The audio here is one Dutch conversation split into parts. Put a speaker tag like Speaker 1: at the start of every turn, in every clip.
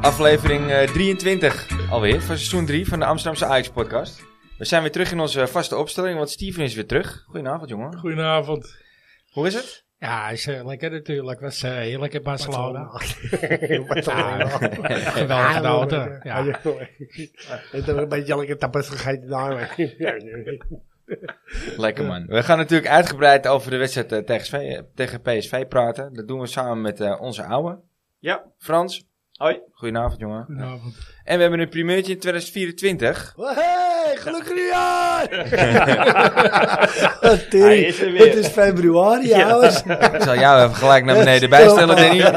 Speaker 1: Aflevering eh, 23 alweer van seizoen 3 van de Amsterdamse Ajax podcast. We zijn weer terug in onze vaste opstelling, want Steven is weer terug. Goedenavond jongen.
Speaker 2: Goedenavond.
Speaker 1: Hoe is het?
Speaker 2: Ja, is eh, lekker natuurlijk. Was eh, heerlijk in Barcelona.
Speaker 3: Barcelona.
Speaker 2: Geweldig gedaan. hè?
Speaker 3: Ja.
Speaker 2: nou? Ja.
Speaker 3: Het is een beetje lekker tapas gegeten daar.
Speaker 1: Lekker man. We gaan natuurlijk uitgebreid over de wedstrijd eh, tegen, SV, eh, tegen PSV praten. Dat doen we samen met eh, onze ouwe.
Speaker 4: Ja.
Speaker 1: Frans.
Speaker 4: Hoi.
Speaker 1: Goedenavond jongen.
Speaker 2: Goedenavond.
Speaker 1: En we hebben een primeurtje in 2024.
Speaker 3: Oh, Hey, gelukkig nieuwjaar!
Speaker 4: Hij is er weer.
Speaker 3: Het is februari, jongens.
Speaker 1: Ik zal jou even gelijk naar beneden bijstellen Danny.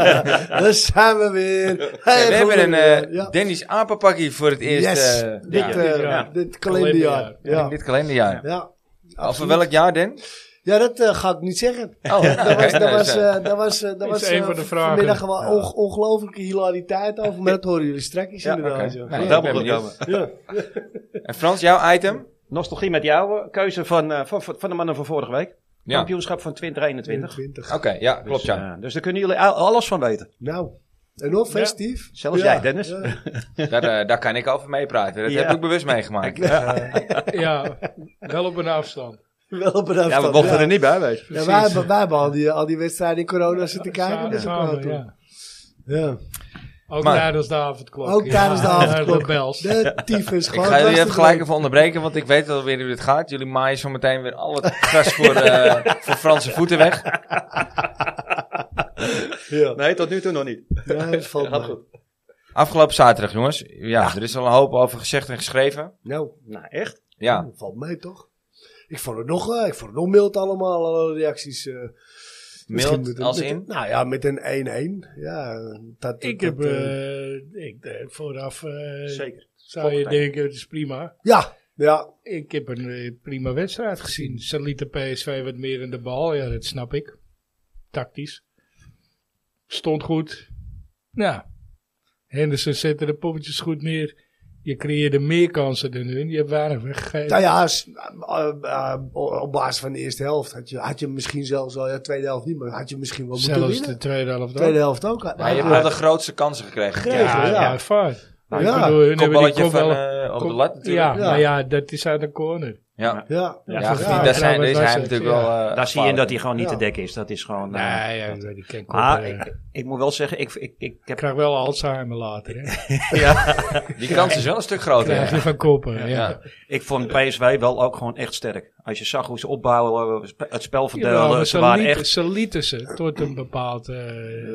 Speaker 3: Daar zijn we weer. Hey,
Speaker 1: we hebben een
Speaker 3: gelukkig
Speaker 1: eh
Speaker 3: nieuwjaar.
Speaker 1: Dennis apenpakkie voor het eerst
Speaker 3: Yes,
Speaker 1: eh,
Speaker 3: dit,
Speaker 1: ja,
Speaker 3: eh,
Speaker 2: ja.
Speaker 3: dit kalenderjaar. Ja.
Speaker 1: dit kalenderjaar.
Speaker 3: Ja.
Speaker 1: Over
Speaker 3: absoluut.
Speaker 1: welk jaar, Den?
Speaker 3: ja, dat eh, ga ik niet zeggen.
Speaker 1: Oh,
Speaker 3: Dat was, dat was, eh, dat was, eh, dat
Speaker 2: Is
Speaker 3: was
Speaker 2: een
Speaker 3: eh,
Speaker 2: van de vragen.
Speaker 3: vanmiddag wel onge- ongelooflijke hilariteit over, maar dat horen jullie straks inderdaad. ja.
Speaker 1: Nee,
Speaker 4: Dubbel
Speaker 1: ik ben
Speaker 4: goed.
Speaker 1: benieuwd. En Frans, jouw item?
Speaker 4: Nostalgie met jou, eh, keuze van, eh, van, van de mannen van vorige week.
Speaker 1: Ja. Oké,
Speaker 4: Kampioenschap van 2021.
Speaker 3: 20.
Speaker 1: ja, klopt
Speaker 4: dus,
Speaker 1: ja.
Speaker 4: eh, dus daar kunnen jullie al- alles van weten.
Speaker 3: Nou, en nog festief.
Speaker 4: Zelfs jij, Dennis.
Speaker 3: ja.
Speaker 1: Daar, eh, daar kan ik over meepraten. Dat
Speaker 4: Ja.
Speaker 1: heb ik bewust meegemaakt.
Speaker 2: Ja, wel op een afstand.
Speaker 3: Wel op een afstand.
Speaker 4: Ja, we mochten
Speaker 3: ja.
Speaker 4: er niet bij wezen.
Speaker 3: Ja, wij, hebben- wij hebben al die, al die wedstrijden in corona zitten kijken.
Speaker 2: Samen,
Speaker 3: Dus ook wel
Speaker 2: samen,
Speaker 3: toen.
Speaker 2: ja.
Speaker 3: ja.
Speaker 2: Ook
Speaker 1: Maar-
Speaker 2: tijdens de avondklok.
Speaker 3: Ook
Speaker 2: ja.
Speaker 3: tijdens de
Speaker 2: Ja,
Speaker 3: avondklok.
Speaker 2: De bels.
Speaker 3: De tyfus.
Speaker 1: Ik
Speaker 3: gewoon
Speaker 1: ga jullie even
Speaker 3: hartstikke
Speaker 1: gelijk
Speaker 3: leuk.
Speaker 1: even onderbreken, want ik weet alweer hoe dit gaat. Jullie maaien zo meteen weer al het gras voor, eh, voor Franse voeten weg.
Speaker 3: Ja,
Speaker 4: Nee, tot nu toe nog niet.
Speaker 3: ja dat valt
Speaker 4: Gaat
Speaker 3: mee.
Speaker 4: goed.
Speaker 1: Afgelopen zaterdag, jongens. Ja, er is al een hoop over gezegd en geschreven.
Speaker 3: Nou,
Speaker 4: Nou, echt?
Speaker 1: Ja,
Speaker 3: dat valt mee toch? Ik vond het nog, eh, ik vond het nog mild allemaal, alle reacties. eh. Misschien met een-
Speaker 1: als
Speaker 3: met
Speaker 1: in?
Speaker 3: een- nou ja, met een 1-1. Ja, eh, dat,
Speaker 2: Ik
Speaker 3: dat,
Speaker 2: heb,
Speaker 3: eh,
Speaker 2: eh, ik, eh, vooraf eh,
Speaker 4: Zeker.
Speaker 2: zou je
Speaker 4: Volgende.
Speaker 2: denken, het is prima.
Speaker 3: ja, ja.
Speaker 2: Ik heb een eh, prima wedstrijd gezien. Ze lieten PSV wat meer in de bal. Ja, dat snap ik. Tactisch. Stond goed. Nou, Henderson zette de poppetjes goed neer. Je creëerde meer kansen dan hun. Je hebt weinig weggegeven.
Speaker 3: Nou ja, s- eh, eh, op basis van de eerste helft had je, had je misschien zelfs al, ja, tweede helft niet, maar had je misschien wel moeten
Speaker 2: Zelfs de
Speaker 3: winnen.
Speaker 2: tweede helft
Speaker 3: Tweede
Speaker 2: ook.
Speaker 3: helft ook. had-
Speaker 1: Ja, je hebt
Speaker 3: had-
Speaker 1: wel de grootste kansen gekregen.
Speaker 3: Gekregen. helft,
Speaker 2: Ja,
Speaker 3: ja.
Speaker 2: ja, vaart.
Speaker 4: Nou,
Speaker 3: Ja.
Speaker 2: Ik bedoel, hun hebben die
Speaker 1: Kopballetje
Speaker 2: kop
Speaker 1: van,
Speaker 2: wel-
Speaker 1: eh, op de
Speaker 2: kop-
Speaker 1: lat natuurlijk.
Speaker 2: Ja,
Speaker 3: Ja.
Speaker 2: maar ja, dat is uit de corner.
Speaker 1: Ja,
Speaker 3: Ja,
Speaker 1: ja,
Speaker 2: Ja,
Speaker 1: goed,
Speaker 2: ja,
Speaker 1: daar zijn, daar is
Speaker 2: trouwens,
Speaker 1: hij
Speaker 2: dat is-
Speaker 1: natuurlijk
Speaker 2: ja.
Speaker 1: wel... eh,
Speaker 4: Daar zie je in dat
Speaker 1: gevaarlijk.
Speaker 4: hij gewoon niet
Speaker 3: Ja.
Speaker 4: te dekken is. Dat is gewoon... eh,
Speaker 2: Nee, ja, die kan
Speaker 4: maar
Speaker 2: koppen, eh.
Speaker 4: ik, ik moet wel zeggen, ik, ik, ik
Speaker 2: Ik
Speaker 4: heb...
Speaker 2: krijg wel Alzheimer later. Hè.
Speaker 1: Die kans is wel een stuk groter.
Speaker 2: Krijg je
Speaker 1: ja.
Speaker 2: van koppen.
Speaker 1: Ja.
Speaker 2: Ja.
Speaker 4: Ik vond PSW wel ook gewoon echt sterk. Als je zag hoe ze opbouwen, eh, spe- het
Speaker 2: Jawel,
Speaker 4: spel verdeelden.
Speaker 2: maar
Speaker 4: ze
Speaker 2: ze,
Speaker 4: waren
Speaker 2: lieten,
Speaker 4: echt...
Speaker 2: ze lieten ze tot een bepaald... eh,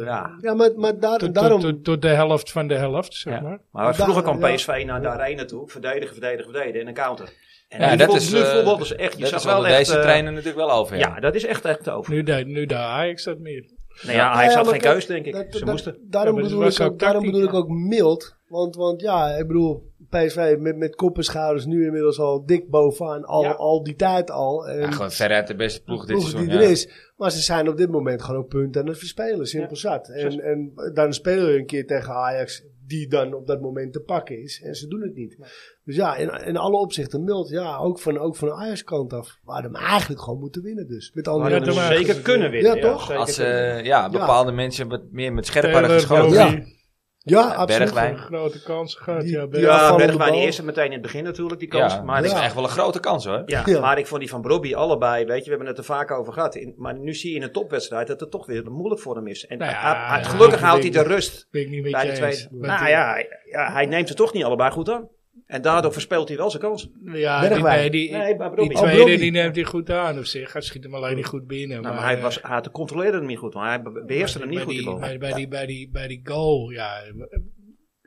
Speaker 4: Ja.
Speaker 3: ja maar, maar daar-
Speaker 2: tot,
Speaker 3: daarom...
Speaker 2: tot, tot, tot de helft van de helft, zeg
Speaker 4: Ja.
Speaker 2: maar.
Speaker 4: Maar vroeger
Speaker 3: Daar-
Speaker 4: kwam
Speaker 3: ja.
Speaker 4: PSV naar de arena toe. Verdedigen, verdedigen, verdedigen. En een counter. En
Speaker 1: Ja,
Speaker 4: nu
Speaker 1: dat
Speaker 4: vo-
Speaker 1: is,
Speaker 4: nu
Speaker 1: eh,
Speaker 4: voetbalden ze echt. Je
Speaker 1: Dat
Speaker 4: zag
Speaker 1: is wel
Speaker 4: wel echt...
Speaker 1: deze
Speaker 4: eh,
Speaker 1: trainer natuurlijk wel over.
Speaker 4: Ja, eh, dat is echt echt over.
Speaker 2: Nu deed nu de Ajax dat meer.
Speaker 4: Nou ja, hij
Speaker 3: Ja,
Speaker 4: had
Speaker 3: maar
Speaker 4: geen
Speaker 3: dat-
Speaker 4: keus, denk ik.
Speaker 3: dat-
Speaker 4: ze
Speaker 3: dat-
Speaker 4: moesten.
Speaker 3: Daarom,
Speaker 2: Ja, maar het
Speaker 3: bedoel, ik
Speaker 2: was ook
Speaker 3: ook, daarom
Speaker 2: tactiek,
Speaker 3: bedoel ik
Speaker 2: ja.
Speaker 3: ook mild. Want, want ja, ik bedoel, PSV met, met kop en schouders nu inmiddels al dik bovenaan. Al,
Speaker 4: Ja.
Speaker 3: al die tijd al. En
Speaker 1: Ja, gewoon veruit de beste ploeg dit
Speaker 3: ploegen
Speaker 1: seizoen.
Speaker 3: die er
Speaker 1: ja.
Speaker 3: is. Maar ze zijn op dit moment gewoon ook punten aan het verspelen. Simpel zat. En, en dan spelen we een keer tegen Ajax. Die dan op dat moment te pakken is. En ze doen het niet. Dus ja, in, in alle opzichten mild. Ja, ook van, ook van de Ajax kant af. We hadden hem eigenlijk gewoon moeten winnen dus. Met andere
Speaker 4: Maar
Speaker 2: Ja,
Speaker 4: dat
Speaker 2: toen
Speaker 4: ze
Speaker 2: waren
Speaker 4: zeker
Speaker 2: ze-
Speaker 4: kunnen winnen.
Speaker 3: Ja, toch?
Speaker 4: zeker
Speaker 1: Als
Speaker 4: kunnen winnen.
Speaker 1: eh, ja, bepaalde mensen wat meer met scherp hadden
Speaker 2: Taylor,
Speaker 1: geschoten.
Speaker 2: Bobby,
Speaker 3: Ja. Ja, absoluut.
Speaker 1: eh, Bergwijn.
Speaker 2: een grote kans gehad.
Speaker 3: Die-
Speaker 2: ja,
Speaker 3: die
Speaker 2: bij-
Speaker 3: Ja,
Speaker 4: Ja,
Speaker 3: afvallende
Speaker 4: Bergwijn die
Speaker 3: bal.
Speaker 4: eerste meteen in het begin natuurlijk, die kans.
Speaker 1: Ja,
Speaker 4: maar,
Speaker 1: dat is
Speaker 3: Ja.
Speaker 1: echt wel een grote kans hoor.
Speaker 4: ja,
Speaker 3: Ja.
Speaker 4: maar ik vond die van Brobbey allebei, weet je, we hebben het er vaak over gehad. In- maar nu zie je in een topwedstrijd dat het toch weer moeilijk voor hem is. En
Speaker 2: Nou ja,
Speaker 4: hij- hij-
Speaker 2: ja,
Speaker 4: gelukkig
Speaker 2: ja,
Speaker 4: houdt hij
Speaker 2: ik denk-
Speaker 4: de rust
Speaker 2: ben ik niet met
Speaker 4: bij
Speaker 2: je
Speaker 4: de
Speaker 2: eens.
Speaker 4: tweede.
Speaker 2: Maar
Speaker 4: Nou
Speaker 2: toen-
Speaker 4: ja, hij- ja, hij neemt ze toch niet allebei goed aan. En daardoor verspeelt hij wel zijn kans.
Speaker 2: ja, die,
Speaker 3: Bergwijn.
Speaker 2: bij- die,
Speaker 4: Nee, maar
Speaker 2: die
Speaker 4: Brobbey.
Speaker 3: Oh,
Speaker 2: tweede
Speaker 3: Brobbey.
Speaker 2: die neemt hij goed aan op zich. Hij schiet hem alleen niet goed binnen.
Speaker 4: Nou, maar
Speaker 2: maar eh,
Speaker 4: hij, was, hij controleerde hem niet goed, maar hij be- beheerste hem niet
Speaker 2: bij
Speaker 4: goed, die
Speaker 2: die,
Speaker 4: bal.
Speaker 2: bij, bij die, bij, die, bij die goal, ja.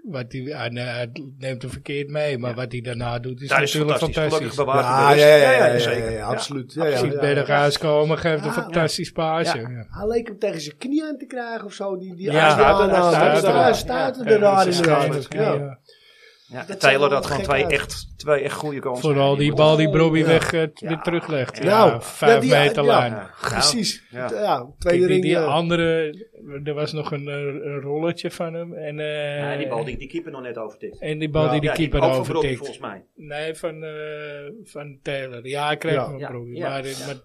Speaker 2: Wat hij, hij ne- hij neemt hem verkeerd mee, maar wat hij daarna doet is
Speaker 4: Dat Nou, is
Speaker 2: natuurlijk
Speaker 4: fantastisch. Gelukkig
Speaker 2: fantastisch. Als
Speaker 4: bewaart hij
Speaker 3: Ja,
Speaker 4: de
Speaker 3: ja,
Speaker 4: rust.
Speaker 3: ja, ja, ja,
Speaker 4: zeker.
Speaker 3: ja, absoluut. Ja,
Speaker 2: hij
Speaker 3: ja,
Speaker 2: ziet
Speaker 3: ja.
Speaker 2: bij de gaas komen, geeft een
Speaker 3: Ja, ja.
Speaker 2: fantastisch paasje.
Speaker 4: Ja.
Speaker 2: ja.
Speaker 3: Hij leek hem tegen zijn knie aan te krijgen of zo. Die, die
Speaker 2: Ja,
Speaker 3: als die
Speaker 4: stuitte-
Speaker 3: aanname.
Speaker 4: hij stuitte
Speaker 3: Dus
Speaker 4: eraan.
Speaker 3: Hij stuitte
Speaker 4: Ja,
Speaker 3: er raar
Speaker 2: Ja,
Speaker 3: in
Speaker 2: ze
Speaker 3: de
Speaker 2: gaan
Speaker 3: hand.
Speaker 2: het,
Speaker 3: Ja.
Speaker 2: ja.
Speaker 4: Ja,
Speaker 3: Dat zijn
Speaker 4: Taylor
Speaker 3: wel
Speaker 4: had gewoon
Speaker 3: gek
Speaker 4: twee
Speaker 3: uit.
Speaker 4: echt, twee echt goede kansen.
Speaker 2: Vooral die bal die Brobby
Speaker 3: Ja.
Speaker 2: weg eh, weer teruglegt. Ja,
Speaker 3: Nou,
Speaker 2: vijf
Speaker 3: ja, die-
Speaker 2: meter
Speaker 3: ja.
Speaker 2: lijn.
Speaker 4: Ja.
Speaker 3: Precies.
Speaker 4: Ja.
Speaker 3: Ja, tweede
Speaker 2: Kijk, die,
Speaker 3: ring.
Speaker 2: die
Speaker 3: ja.
Speaker 2: andere, er was nog een, eh, een rolletje van hem. En, eh,
Speaker 4: Ja, die bal die die keeper nog net overtikt.
Speaker 2: en die bal
Speaker 3: Ja.
Speaker 2: die de
Speaker 4: Ja,
Speaker 2: keeper
Speaker 4: ook van Brobby,
Speaker 2: overtikt.
Speaker 4: volgens mij.
Speaker 2: Nee, van, eh, van Taylor. Ja, ik kreeg
Speaker 3: Ja.
Speaker 2: hem
Speaker 4: Ja.
Speaker 2: Brobby.
Speaker 4: Ja.
Speaker 2: Maar,
Speaker 4: Ja.
Speaker 2: maar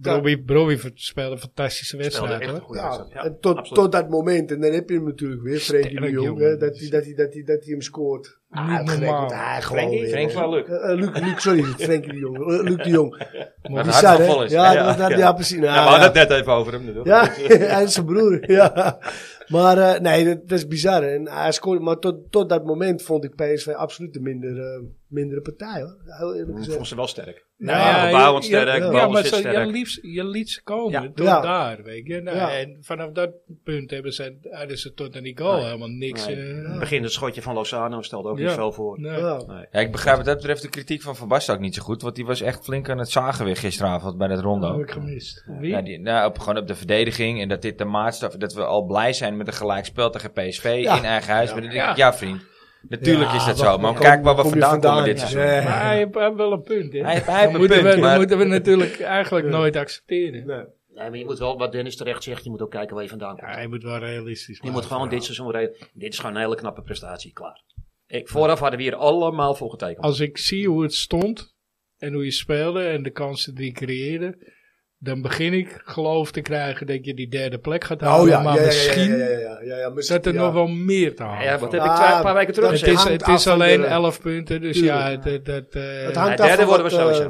Speaker 2: Broby, Broby speelde een fantastische wedstrijd.
Speaker 4: echt een
Speaker 2: hoor.
Speaker 4: goede wedstrijd. Ja,
Speaker 3: en tot,
Speaker 4: absoluut.
Speaker 3: tot dat moment, en dan heb je hem natuurlijk weer, Frenkie de
Speaker 2: Sterk,
Speaker 3: Jong,
Speaker 2: jongen.
Speaker 3: hè, dat hij dat hij- dat hij- dat hij hem scoort.
Speaker 2: Niet
Speaker 3: Ah, gek,
Speaker 2: normaal.
Speaker 3: want hij gewoon
Speaker 4: Frenkie?
Speaker 3: weer.
Speaker 1: Frenkie van Luc.
Speaker 3: Eh, eh, Luc, Luc, sorry, Frenkie de Jong. Eh, Luc de Jong.
Speaker 1: Wat een
Speaker 3: Bizar, hè?
Speaker 1: hartaanval is.
Speaker 3: Ja,
Speaker 4: Ja,
Speaker 3: dat- dat-
Speaker 4: ja.
Speaker 3: ja, precies. Nou,
Speaker 1: Ja, we hadden het net even over hem natuurlijk.
Speaker 3: Ja, hij is zijn broer. Ja. Maar eh, nee, dat, dat is bizar. En hij scoorde, maar tot, tot dat moment vond ik PSV absoluut de minder, eh, mindere partij. Hoor. Heel eerlijk
Speaker 4: Ik vond
Speaker 3: gezegd.
Speaker 4: ze wel sterk.
Speaker 2: Nou
Speaker 4: Ja, opbouwend sterk,
Speaker 2: ja,
Speaker 4: bal
Speaker 2: maar
Speaker 4: zit
Speaker 2: zo-
Speaker 4: sterk.
Speaker 2: Je, liefst, je liet ze komen
Speaker 4: Ja.
Speaker 2: tot
Speaker 3: Ja.
Speaker 2: daar, weet je. Nou,
Speaker 3: Ja.
Speaker 2: En vanaf dat punt hebben ze, hadden ze tot aan die goal
Speaker 4: Nee.
Speaker 2: helemaal niks.
Speaker 4: Nee.
Speaker 2: eh, nou,
Speaker 4: In het begin het schotje van Lozano stelde ook niet
Speaker 2: Ja.
Speaker 4: veel voor.
Speaker 2: nee.
Speaker 3: Ja.
Speaker 4: Nee.
Speaker 1: Ja, ik begrijp wat dat betreft de kritiek van Van Basten ook niet zo goed. Want die was echt flink aan het zagen weer gisteravond bij dat
Speaker 2: Dat
Speaker 1: rondo.
Speaker 2: heb Oh, ik gemist. Wie?
Speaker 1: Ja, die, nou, op, gewoon op de verdediging. En dat dit de maatstaf... Dat we al blij zijn met een gelijkspel tegen PSV
Speaker 3: Ja.
Speaker 1: in eigen huis. Maar dan denk
Speaker 2: Ja.
Speaker 1: ik, ja vriend. Natuurlijk
Speaker 3: Ja,
Speaker 1: is dat
Speaker 3: waar-
Speaker 1: zo. Maar
Speaker 3: waar
Speaker 1: kijk
Speaker 3: kom-
Speaker 1: waar we
Speaker 3: kom je
Speaker 1: vandaan, komen
Speaker 3: vandaan?
Speaker 1: dit
Speaker 3: Ja.
Speaker 1: seizoen.
Speaker 3: Nee.
Speaker 2: Maar hij heeft hij heeft wel een punt, hè.
Speaker 1: Hij, heeft- hij heeft
Speaker 2: Dat
Speaker 1: een
Speaker 2: moeten,
Speaker 1: punt,
Speaker 2: we, dat
Speaker 1: maar...
Speaker 2: moeten we natuurlijk eigenlijk nooit accepteren.
Speaker 3: Nee.
Speaker 4: Nee, maar je moet wel, wat Dennis terecht zegt, je moet ook kijken waar je vandaan komt.
Speaker 2: Ja, hij moet wel realistisch
Speaker 4: je
Speaker 2: blijven.
Speaker 4: moet gewoon dit seizoen reden. Dit is gewoon een hele knappe prestatie, klaar. Ik, vooraf hadden we hier allemaal voor getekend.
Speaker 2: Als ik zie hoe het stond en hoe je speelde en de kansen die je creëerde, dan begin ik geloof te krijgen dat je die derde plek gaat halen.
Speaker 3: Oh ja,
Speaker 2: maar
Speaker 3: ja, ja,
Speaker 2: misschien
Speaker 3: ja, ja, ja, ja, ja, ja, misschien,
Speaker 2: zat er
Speaker 3: ja.
Speaker 2: nog wel meer te halen.
Speaker 4: Ja, wat heb
Speaker 3: Ja,
Speaker 4: ik twee, een paar weken terug
Speaker 3: dat
Speaker 2: Het
Speaker 4: gezegd?
Speaker 2: is,
Speaker 3: hangt
Speaker 2: het
Speaker 3: af
Speaker 2: is
Speaker 3: van
Speaker 2: alleen
Speaker 3: de-
Speaker 2: 11 punten, dus
Speaker 3: Tuurlijk.
Speaker 2: ja, dat... dat eh,
Speaker 3: Het hangt
Speaker 4: Nee,
Speaker 3: af van
Speaker 4: derde worden we
Speaker 3: wat, eh,
Speaker 4: sowieso.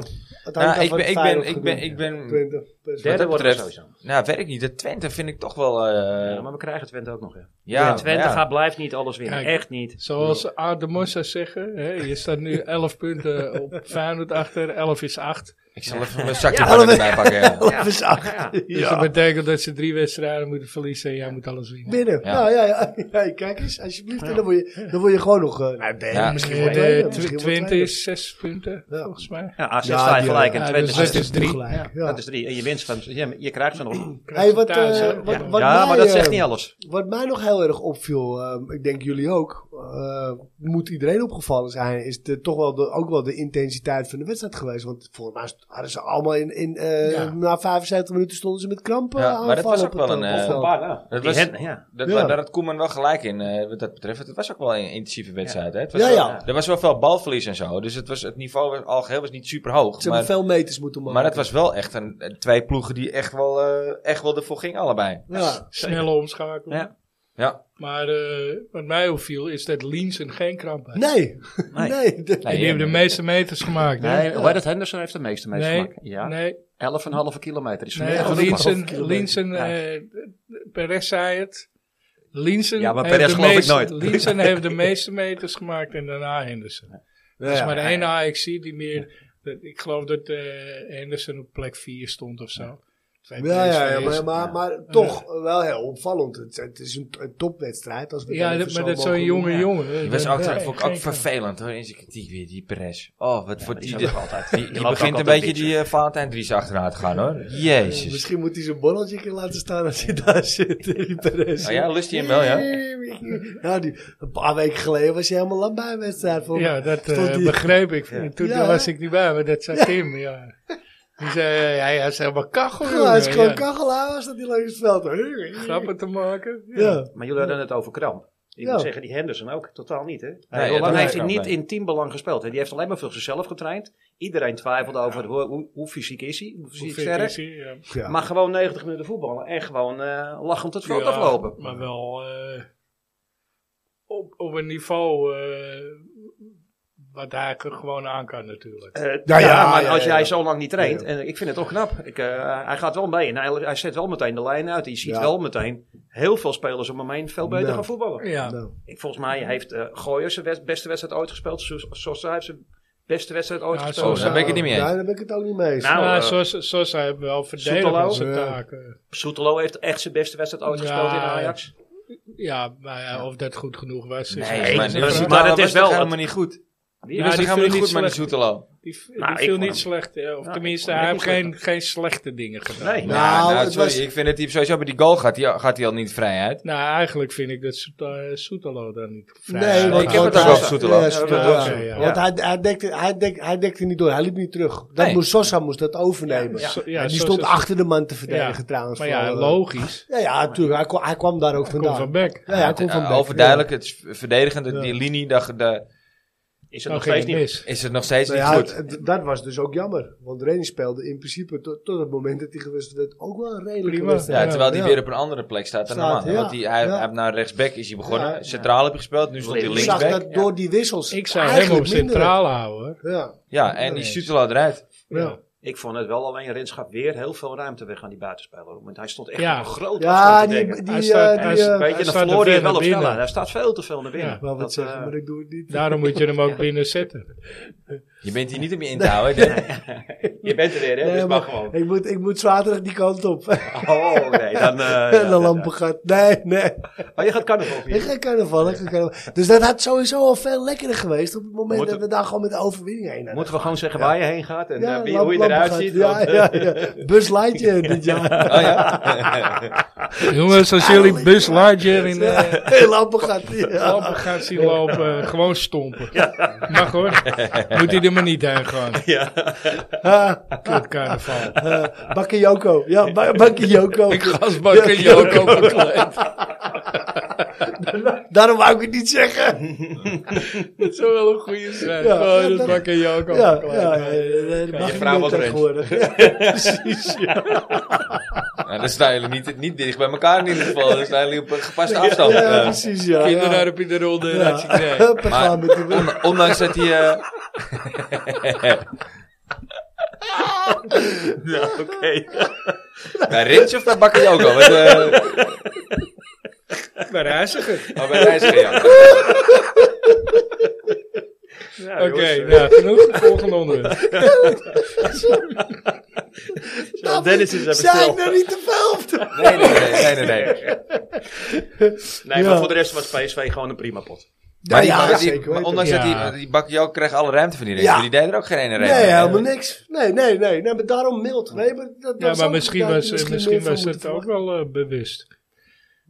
Speaker 3: het hangt
Speaker 1: Nou,
Speaker 3: af
Speaker 1: ik
Speaker 3: van
Speaker 1: ben-
Speaker 3: wat
Speaker 1: ik ben-
Speaker 3: Feyenoord
Speaker 1: ik
Speaker 3: gaat
Speaker 1: ben-
Speaker 3: doen.
Speaker 1: ik ben-
Speaker 3: Twente, PSV.
Speaker 1: Wat
Speaker 4: Derde
Speaker 1: dat
Speaker 4: worden we
Speaker 1: betreft-
Speaker 4: sowieso.
Speaker 1: Nou, weet ik niet. De Twente vind ik toch wel... eh,
Speaker 4: Ja, maar we krijgen Twente ook nog. Hè.
Speaker 1: ja,
Speaker 4: En Twente
Speaker 1: ja.
Speaker 4: gaat, blijft niet alles winnen.
Speaker 2: Kijk.
Speaker 4: Echt niet.
Speaker 2: Zoals Aard de Mos zou zeggen, hè, je staat nu 11 punten op Feyenoord achter, 11 is 8.
Speaker 1: Ik zal even mijn zakje ja, erbij pakken. ja.
Speaker 4: Ja.
Speaker 3: Even zacht.
Speaker 4: Ja.
Speaker 2: Dus dat betekent dat ze drie wedstrijden moeten verliezen en jij moet alles winnen.
Speaker 3: Binnen.
Speaker 1: Ja.
Speaker 3: Nou ja, ja, ja, kijk eens, alsjeblieft. En dan word je, dan word je gewoon nog. eh, nou, ben je
Speaker 1: Ja.
Speaker 3: misschien
Speaker 2: Eh,
Speaker 3: wel
Speaker 2: de
Speaker 3: tweede,
Speaker 2: tw-
Speaker 3: misschien wel
Speaker 2: Twente
Speaker 3: tweede.
Speaker 2: is 6 punten,
Speaker 3: Ja.
Speaker 2: volgens mij.
Speaker 4: Ja, AZ
Speaker 3: Ja,
Speaker 4: staat
Speaker 3: die-
Speaker 4: gelijk en
Speaker 2: ja,
Speaker 4: Twente
Speaker 2: dus
Speaker 4: staat
Speaker 2: het is drie.
Speaker 3: Gelijk,
Speaker 2: Ja.
Speaker 3: ja.
Speaker 4: Dat is drie. En je winst van... Je, je krijgt ze nog.
Speaker 3: Hey, wat,
Speaker 2: thuis,
Speaker 3: eh,
Speaker 2: hè?
Speaker 3: wat,
Speaker 2: Ja.
Speaker 3: wat
Speaker 4: Ja,
Speaker 3: mij,
Speaker 4: maar dat
Speaker 3: eh,
Speaker 4: zegt niet alles.
Speaker 3: Wat mij nog heel erg opviel, ehm, ik denk jullie ook, eh, moet iedereen opgevallen zijn, is de, toch wel de, ook wel de intensiteit van de wedstrijd geweest. Want volgens mij hadden ze allemaal in, in eh,
Speaker 2: Ja.
Speaker 3: na 75 minuten stonden ze met krampen
Speaker 1: Ja,
Speaker 3: aan
Speaker 1: maar dat was
Speaker 3: vallen
Speaker 1: ook
Speaker 3: op het,
Speaker 1: wel een,
Speaker 3: eh,
Speaker 1: eh,
Speaker 3: veld.
Speaker 1: Dat
Speaker 4: Die
Speaker 1: was-
Speaker 4: hen- ja.
Speaker 1: Dat,
Speaker 3: Ja.
Speaker 1: wa- Daar had Koeman wel gelijk in, eh, wat dat betreft. Het was ook wel een intensieve wedstrijd. Hè? Het was
Speaker 3: Ja,
Speaker 1: wel-
Speaker 3: ja.
Speaker 1: Er was wel veel balverlies en zo. Dus het, was, het niveau was, al geheel was niet super hoog.
Speaker 3: Ze
Speaker 1: Maar,
Speaker 3: hebben veel meters moeten maken.
Speaker 1: maar het was wel echt een, eh, twee ploegen die echt wel, eh, echt wel ervoor gingen, allebei.
Speaker 3: Ja,
Speaker 2: Snelle omschakeling.
Speaker 4: Ja.
Speaker 1: Ja.
Speaker 2: Maar eh, wat mij opviel is dat Liensen geen kramp had.
Speaker 3: nee.
Speaker 4: Nee.
Speaker 3: Nee. dat-
Speaker 2: En die hebben de meeste meters gemaakt. hè?
Speaker 4: Nee, Robert Henderson heeft de meeste mee
Speaker 2: Nee,
Speaker 4: gemaakt. Ja.
Speaker 2: nee,
Speaker 4: 11,5 kilometer is
Speaker 2: nee.
Speaker 4: meer dan
Speaker 3: Linsen-
Speaker 4: een
Speaker 2: Linsen,
Speaker 4: kilometer.
Speaker 2: Linsen
Speaker 4: Ja.
Speaker 2: eh, Perez zei het. Linsen,
Speaker 4: Ja, maar
Speaker 2: heeft
Speaker 4: Perez
Speaker 2: de
Speaker 4: geloof ik
Speaker 2: meeste-
Speaker 4: nooit.
Speaker 2: Linsen heeft de meeste meters gemaakt en daarna Henderson. Er is maar de ene AXC die meer... dat- Ik geloof dat eh, Henderson op plek 4 stond of zo. Twee
Speaker 3: Ja, ja, ja,
Speaker 2: PSV's.
Speaker 3: maar, maar, maar toch wel heel opvallend. Het, het is een, een topwedstrijd. Als we
Speaker 2: Ja,
Speaker 3: dan
Speaker 2: dat-
Speaker 3: even
Speaker 2: maar
Speaker 3: zo
Speaker 2: dat is zo'n
Speaker 3: mogen
Speaker 2: jonge
Speaker 3: noemen.
Speaker 2: jongen.
Speaker 1: Die
Speaker 2: hè.
Speaker 1: was
Speaker 2: Dat-
Speaker 1: ook,
Speaker 2: ja,
Speaker 1: vond ik
Speaker 2: geen
Speaker 1: ook
Speaker 2: kramp.
Speaker 1: vervelend hoor, in zijn kritiek weer, die Perez. Oh, wat voor
Speaker 4: Die
Speaker 1: die,
Speaker 4: is
Speaker 1: die,
Speaker 4: ook altijd. Die
Speaker 1: die
Speaker 4: loopt ook
Speaker 1: begint een
Speaker 4: altijd
Speaker 1: beetje
Speaker 4: beetje.
Speaker 1: die eh, Valentijn Dries achterna te gaan hoor.
Speaker 3: Ja,
Speaker 1: Jezus.
Speaker 3: Misschien moet hij zijn borreltje een keer laten staan als hij daar zit. die Perez.
Speaker 1: Oh ja, lust hij hem wel, ja?
Speaker 3: Nou, die, een paar weken geleden was hij helemaal lang bij een wedstrijd. Voor
Speaker 2: Ja, dat eh,
Speaker 3: Stond die-
Speaker 2: begreep ik. Toen
Speaker 3: Ja, hè?
Speaker 2: was ik niet bij, maar dat zei Tim. Ja. Die zei, ja, hij is helemaal kachel.
Speaker 3: Ja, hij is
Speaker 2: jongen,
Speaker 3: gewoon
Speaker 2: ja.
Speaker 3: kachelaar als dat hij langs het veld.
Speaker 2: Grappen te maken. Ja.
Speaker 3: Ja.
Speaker 4: Maar jullie hadden het over kramp. Ik
Speaker 3: Ja.
Speaker 4: moet zeggen, die Henderson ook totaal niet. Hè?
Speaker 1: het
Speaker 4: Hij hoe lang
Speaker 1: was
Speaker 4: heeft
Speaker 1: geen
Speaker 4: hij
Speaker 1: kramp,
Speaker 4: niet
Speaker 1: nee.
Speaker 4: in teambelang gespeeld. Hè? Die heeft alleen maar voor zichzelf getraind. Iedereen twijfelde over hoe, hoe, hoe fysiek is hij, hoe
Speaker 2: Hoe
Speaker 4: fysiek
Speaker 2: fit
Speaker 4: sterk.
Speaker 2: is hij, ja.
Speaker 3: Ja.
Speaker 4: Maar gewoon 90 minuten voetballen en gewoon eh, lachend het veld
Speaker 2: Ja,
Speaker 4: aflopen.
Speaker 2: Maar wel eh, op, op een niveau eh, wat hij gewoon aan kan natuurlijk.
Speaker 4: Eh,
Speaker 3: Ja,
Speaker 4: ja,
Speaker 3: ja,
Speaker 4: maar
Speaker 3: ja,
Speaker 4: als
Speaker 3: ja,
Speaker 4: jij
Speaker 3: ja.
Speaker 4: zo lang niet traint,
Speaker 3: Ja.
Speaker 4: en ik vind het toch knap. Ik, eh, hij gaat wel mee en hij, hij zet wel meteen de lijn uit. Je ziet
Speaker 3: Ja.
Speaker 4: wel meteen heel veel spelers om hem heen veel beter
Speaker 3: Nou.
Speaker 4: gaan voetballen.
Speaker 2: Ja,
Speaker 3: Nou,
Speaker 4: Ik, volgens mij heeft eh Gooyer zijn wes- beste wedstrijd ooit gespeeld. Sosa Sosa heeft zijn beste wedstrijd ooit
Speaker 2: Ja,
Speaker 4: gespeeld.
Speaker 2: Sosa.
Speaker 1: Daar ben ik het niet mee eens.
Speaker 3: Ja, daar ben ik het ook niet mee eens.
Speaker 4: Nou,
Speaker 2: ja
Speaker 4: eh,
Speaker 2: zoals, zoals hij wel verdedigd
Speaker 4: Soetelo?
Speaker 2: onze
Speaker 3: Ja.
Speaker 2: taken.
Speaker 4: Soetelo heeft echt zijn beste wedstrijd ooit
Speaker 2: Ja.
Speaker 4: gespeeld in Ajax.
Speaker 2: Ja, maar ja, of dat goed genoeg was. is
Speaker 1: Nee,
Speaker 2: een
Speaker 1: maar,
Speaker 2: andere
Speaker 4: maar-
Speaker 2: vraag.
Speaker 1: maar,
Speaker 4: maar het is
Speaker 1: was
Speaker 4: wel-
Speaker 1: toch helemaal niet goed. Die
Speaker 4: Die
Speaker 2: Ja,
Speaker 1: was
Speaker 4: is-
Speaker 1: toch
Speaker 2: die
Speaker 1: helemaal
Speaker 2: viel
Speaker 1: niet goed, maar die
Speaker 2: niet slecht.
Speaker 1: Soetelo.
Speaker 2: Die, v-
Speaker 4: Nou,
Speaker 2: die
Speaker 4: ik
Speaker 2: viel
Speaker 4: vond
Speaker 2: niet
Speaker 4: hem-
Speaker 2: slecht. eh, Of
Speaker 4: Nou, ik
Speaker 2: tenminste,
Speaker 4: vond hem
Speaker 2: hij
Speaker 4: niet
Speaker 2: heeft
Speaker 4: slecht.
Speaker 2: geen, geen slechte dingen gedaan.
Speaker 4: Nee.
Speaker 3: Nou,
Speaker 1: Ja, nou,
Speaker 3: het
Speaker 1: sorry,
Speaker 3: was-
Speaker 1: ik vind dat hij sowieso bij die goal gaat. Die gaat hij al niet vrij uit.
Speaker 2: Nou, eigenlijk vind ik dat Soet- eh, Soetelo daar niet vrij
Speaker 3: Nee,
Speaker 2: uit
Speaker 3: want-
Speaker 1: ik heb het
Speaker 3: want
Speaker 1: ook
Speaker 3: hij-
Speaker 1: over Soetelo.
Speaker 3: Ja, Soetelo,
Speaker 2: Ja,
Speaker 3: ja.
Speaker 2: oké, ja.
Speaker 3: Want hij, hij, dekte, hij, dek, hij dekte niet door, hij liep niet terug. Dat
Speaker 1: Nee.
Speaker 3: moest, Sosa moest dat overnemen.
Speaker 4: Ja,
Speaker 2: Zo- ja,
Speaker 3: en die
Speaker 2: zo-
Speaker 3: stond
Speaker 2: zo-
Speaker 3: achter de man te verdedigen
Speaker 2: Ja.
Speaker 3: trouwens.
Speaker 2: Maar ja,
Speaker 3: vooral, eh.
Speaker 2: logisch.
Speaker 3: Ja, ja, natuurlijk. Hij, kwam- hij kwam daar ook
Speaker 2: Kom
Speaker 3: vandaan.
Speaker 2: van Beck.
Speaker 3: Ja, ja, hij komt van
Speaker 1: Eh,
Speaker 3: Beek.
Speaker 1: Overduidelijk, het is verdedigend.
Speaker 3: Ja.
Speaker 1: Die linie, dat, de,
Speaker 4: Is het
Speaker 2: Nou,
Speaker 4: nog steeds
Speaker 2: geen
Speaker 4: niet?
Speaker 2: mis.
Speaker 1: Is het nog steeds
Speaker 3: Nou
Speaker 1: niet goed?
Speaker 3: ja, het- dat was dus ook jammer. Want Reni speelde in principe tot, tot het moment dat hij gewisseld werd ook wel een redelijke
Speaker 2: Prima.
Speaker 3: wedstrijd.
Speaker 1: Ja, terwijl die
Speaker 3: ja.
Speaker 1: weer op een andere plek staat dan
Speaker 3: Staat,
Speaker 1: normaal.
Speaker 3: ja.
Speaker 1: Want die, hij,
Speaker 3: Ja.
Speaker 1: hij heeft naar rechtsback is hij begonnen.
Speaker 3: Ja.
Speaker 1: Centraal heb je gespeeld, nu stond hij
Speaker 4: Ik
Speaker 3: Ik zag
Speaker 1: linksback.
Speaker 3: dat door die wissels
Speaker 2: Ik zou hem
Speaker 3: eigenlijk
Speaker 2: op
Speaker 3: minder.
Speaker 2: centraal houden. hoor.
Speaker 3: Ja,
Speaker 1: Ja, en die
Speaker 2: Nee.
Speaker 1: Sutela eruit.
Speaker 3: ja.
Speaker 4: Ik vond het wel alleen Rens gaf weer heel veel ruimte weg aan die buitenspeler. Want hij stond echt
Speaker 2: Ja.
Speaker 4: op een grote
Speaker 3: ja
Speaker 4: afstand te
Speaker 3: die,
Speaker 4: denken.
Speaker 3: die,
Speaker 2: Hij staat-
Speaker 3: eh,
Speaker 2: hij
Speaker 3: die,
Speaker 2: is-
Speaker 3: eh,
Speaker 4: Weet je,
Speaker 2: staat
Speaker 4: dan
Speaker 2: er
Speaker 4: verloor
Speaker 2: ver
Speaker 4: hij het wel
Speaker 2: naar
Speaker 4: op sneller.
Speaker 2: binnen.
Speaker 4: Hij staat veel te veel naar binnen.
Speaker 2: Ja.
Speaker 3: wel wat
Speaker 4: Dat,
Speaker 3: zeggen,
Speaker 4: eh,
Speaker 3: maar ik doe het niet.
Speaker 2: Daarom moet je hem ook binnen zetten.
Speaker 1: Je bent hier niet om je in te houden. hè, Dirk?
Speaker 4: je bent er weer, hè?
Speaker 3: Nee,
Speaker 4: dus
Speaker 3: maar
Speaker 4: mag gewoon.
Speaker 3: ik, moet, ik moet zaterdag die kant op.
Speaker 4: Oh, nee. Dan, eh, ja,
Speaker 3: en de
Speaker 4: dat-
Speaker 3: lampen gaat. Nee, nee.
Speaker 4: Oh, je gaat carnaval
Speaker 3: Ik
Speaker 4: vieren.
Speaker 3: ga carnaval, ik ga carnaval. Dus dat had sowieso al veel lekkerder geweest op het moment
Speaker 4: Moeten-
Speaker 3: dat we daar gewoon met de overwinning heen hadden.
Speaker 4: Moeten we gewoon zeggen waar je heen gaat en eh, wie,
Speaker 3: lamp-
Speaker 4: hoe je
Speaker 3: lampen
Speaker 4: eruit
Speaker 3: gaat.
Speaker 4: ziet?
Speaker 3: Ja,
Speaker 4: want, eh,
Speaker 3: ja, ja. Bus laat je dit jaar.
Speaker 1: Oh ja.
Speaker 2: Jongens, als jullie bus Larger in eh, de
Speaker 3: Heel lampen gaat. Ja.
Speaker 2: lampen gaan zien lopen, eh, gewoon stompen. Mag hoor. Moet hij er maar niet heen gaan.
Speaker 3: Ha,
Speaker 2: Kut carnaval.
Speaker 3: eh, Bakker Joko. Ja, ba bakker Joko.
Speaker 2: Ik gasbak en Joko bekleed.
Speaker 3: Daarom wou ik het niet zeggen.
Speaker 2: Dat zou wel een goede zijn.
Speaker 3: Ja,
Speaker 2: Gewoon
Speaker 3: ja,
Speaker 2: Oh, dat
Speaker 3: dat-
Speaker 2: bak en Joko
Speaker 3: Ja, ja,
Speaker 2: bekleed.
Speaker 3: ja, ja, dat mag
Speaker 1: Je
Speaker 3: je
Speaker 1: vrouw
Speaker 3: niet meer
Speaker 1: wordt
Speaker 3: tegenwoordig. Ja, precies. Ja,
Speaker 1: Nou, dan staan jullie niet, niet dicht bij elkaar in ieder geval. Dan staan jullie op een gepaste afstand.
Speaker 3: ja,
Speaker 1: Eh,
Speaker 3: precies. Ja, ja.
Speaker 2: Kinderen op in de ronde.
Speaker 3: Ja.
Speaker 2: dat is- nee.
Speaker 3: Hup, we gaan met de bus.
Speaker 1: on- ondanks dat hij... eh,
Speaker 4: Ja, eh, oké.
Speaker 1: bij Rins of bij Bakayoko? Wat, eh
Speaker 2: Maar reiziger.
Speaker 1: oh, bij Reiziger, ja.
Speaker 4: Ja,
Speaker 2: Oké,
Speaker 4: jongens, eh,
Speaker 2: nou genoeg. Volgende onderwerp.
Speaker 4: Dennis is even
Speaker 3: Zijn
Speaker 4: stil.
Speaker 3: er niet te veel op de
Speaker 1: Nee, nee, nee. nee, nee, nee.
Speaker 4: Nee,
Speaker 3: Ja.
Speaker 4: maar voor de rest was PSV gewoon een prima pot.
Speaker 1: Maar, die,
Speaker 3: Ja,
Speaker 1: maar die-
Speaker 3: zeker
Speaker 1: maar
Speaker 3: weten.
Speaker 1: ondanks dat
Speaker 2: Ja.
Speaker 1: die, die Bakayoko kreeg alle ruimte van die Rins.
Speaker 3: Ja.
Speaker 1: maar Die deed er ook geen ene ruimte
Speaker 3: Nee,
Speaker 1: mee.
Speaker 3: helemaal niks. Nee, nee, nee. nee maar daarom mild. Nee, maar dat,
Speaker 2: Ja,
Speaker 3: dat
Speaker 2: maar
Speaker 3: zou-
Speaker 2: misschien
Speaker 3: daar-
Speaker 2: was, eh, misschien
Speaker 3: meer van
Speaker 2: was het
Speaker 3: moeten
Speaker 2: ook wel eh, bewust.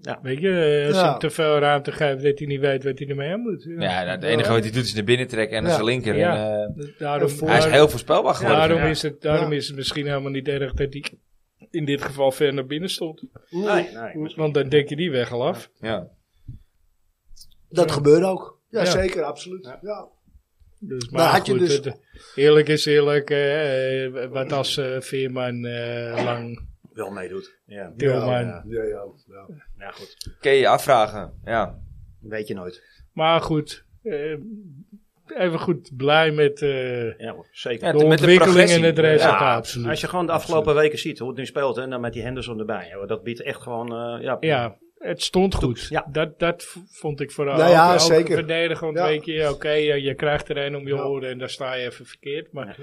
Speaker 4: Ja.
Speaker 2: Weet je, eh, als je
Speaker 3: Ja.
Speaker 2: hem te veel ruimte geeft, dat hij niet weet wat hij ermee aan moet. Ja.
Speaker 1: Ja, nou, het enige wat hij doet is naar binnen trekken en naar
Speaker 3: Ja.
Speaker 1: zijn linker.
Speaker 2: Ja.
Speaker 1: En, eh,
Speaker 2: Daarom,
Speaker 3: Een voor-
Speaker 1: hij is heel voorspelbaar geworden.
Speaker 2: daarom,
Speaker 1: vandaag.
Speaker 2: is, het, daarom
Speaker 3: Ja.
Speaker 2: is het misschien helemaal niet erg dat hij in dit geval ver naar binnen stond.
Speaker 3: verwachten.
Speaker 4: Nee, nee. maar-
Speaker 2: Want dan denk je die weg al af.
Speaker 1: Ja.
Speaker 3: Dat gebeurde ook. Ja,
Speaker 2: Ja.
Speaker 3: zeker, absoluut. Ja. Ja.
Speaker 2: Dus, maar
Speaker 3: Maar had je
Speaker 2: goed,
Speaker 3: dus-
Speaker 2: het- eerlijk is eerlijk. eh, eh, wat als eh, Veerman eh, lang
Speaker 4: Wel meedoet. Ja.
Speaker 2: Tilman.
Speaker 4: Ja.
Speaker 3: Ja, ja, ja.
Speaker 4: Nou goed,
Speaker 1: Kun je je afvragen. Ja.
Speaker 4: weet je nooit.
Speaker 2: Maar goed, eh, even goed blij met... eh,
Speaker 4: Ja, hoor, zeker.
Speaker 1: Ja,
Speaker 2: de
Speaker 1: met de
Speaker 2: ontwikkeling
Speaker 1: progressie.
Speaker 2: en het
Speaker 1: Ja,
Speaker 2: resultaat.
Speaker 4: Als je gewoon de afgelopen weken ziet hoe het nu speelt en dan met die Henderson erbij. ja, dat biedt echt gewoon. eh, ja,
Speaker 2: Ja, het stond goed.
Speaker 4: Ja.
Speaker 2: Dat, dat v- vond ik vooral.
Speaker 3: Nou ja,
Speaker 2: ook,
Speaker 3: zeker.
Speaker 2: verdedigen, want
Speaker 3: Ja.
Speaker 2: weet je, oké, je, je krijgt er een om je
Speaker 3: Ja.
Speaker 2: oren en daar sta je even verkeerd. Maar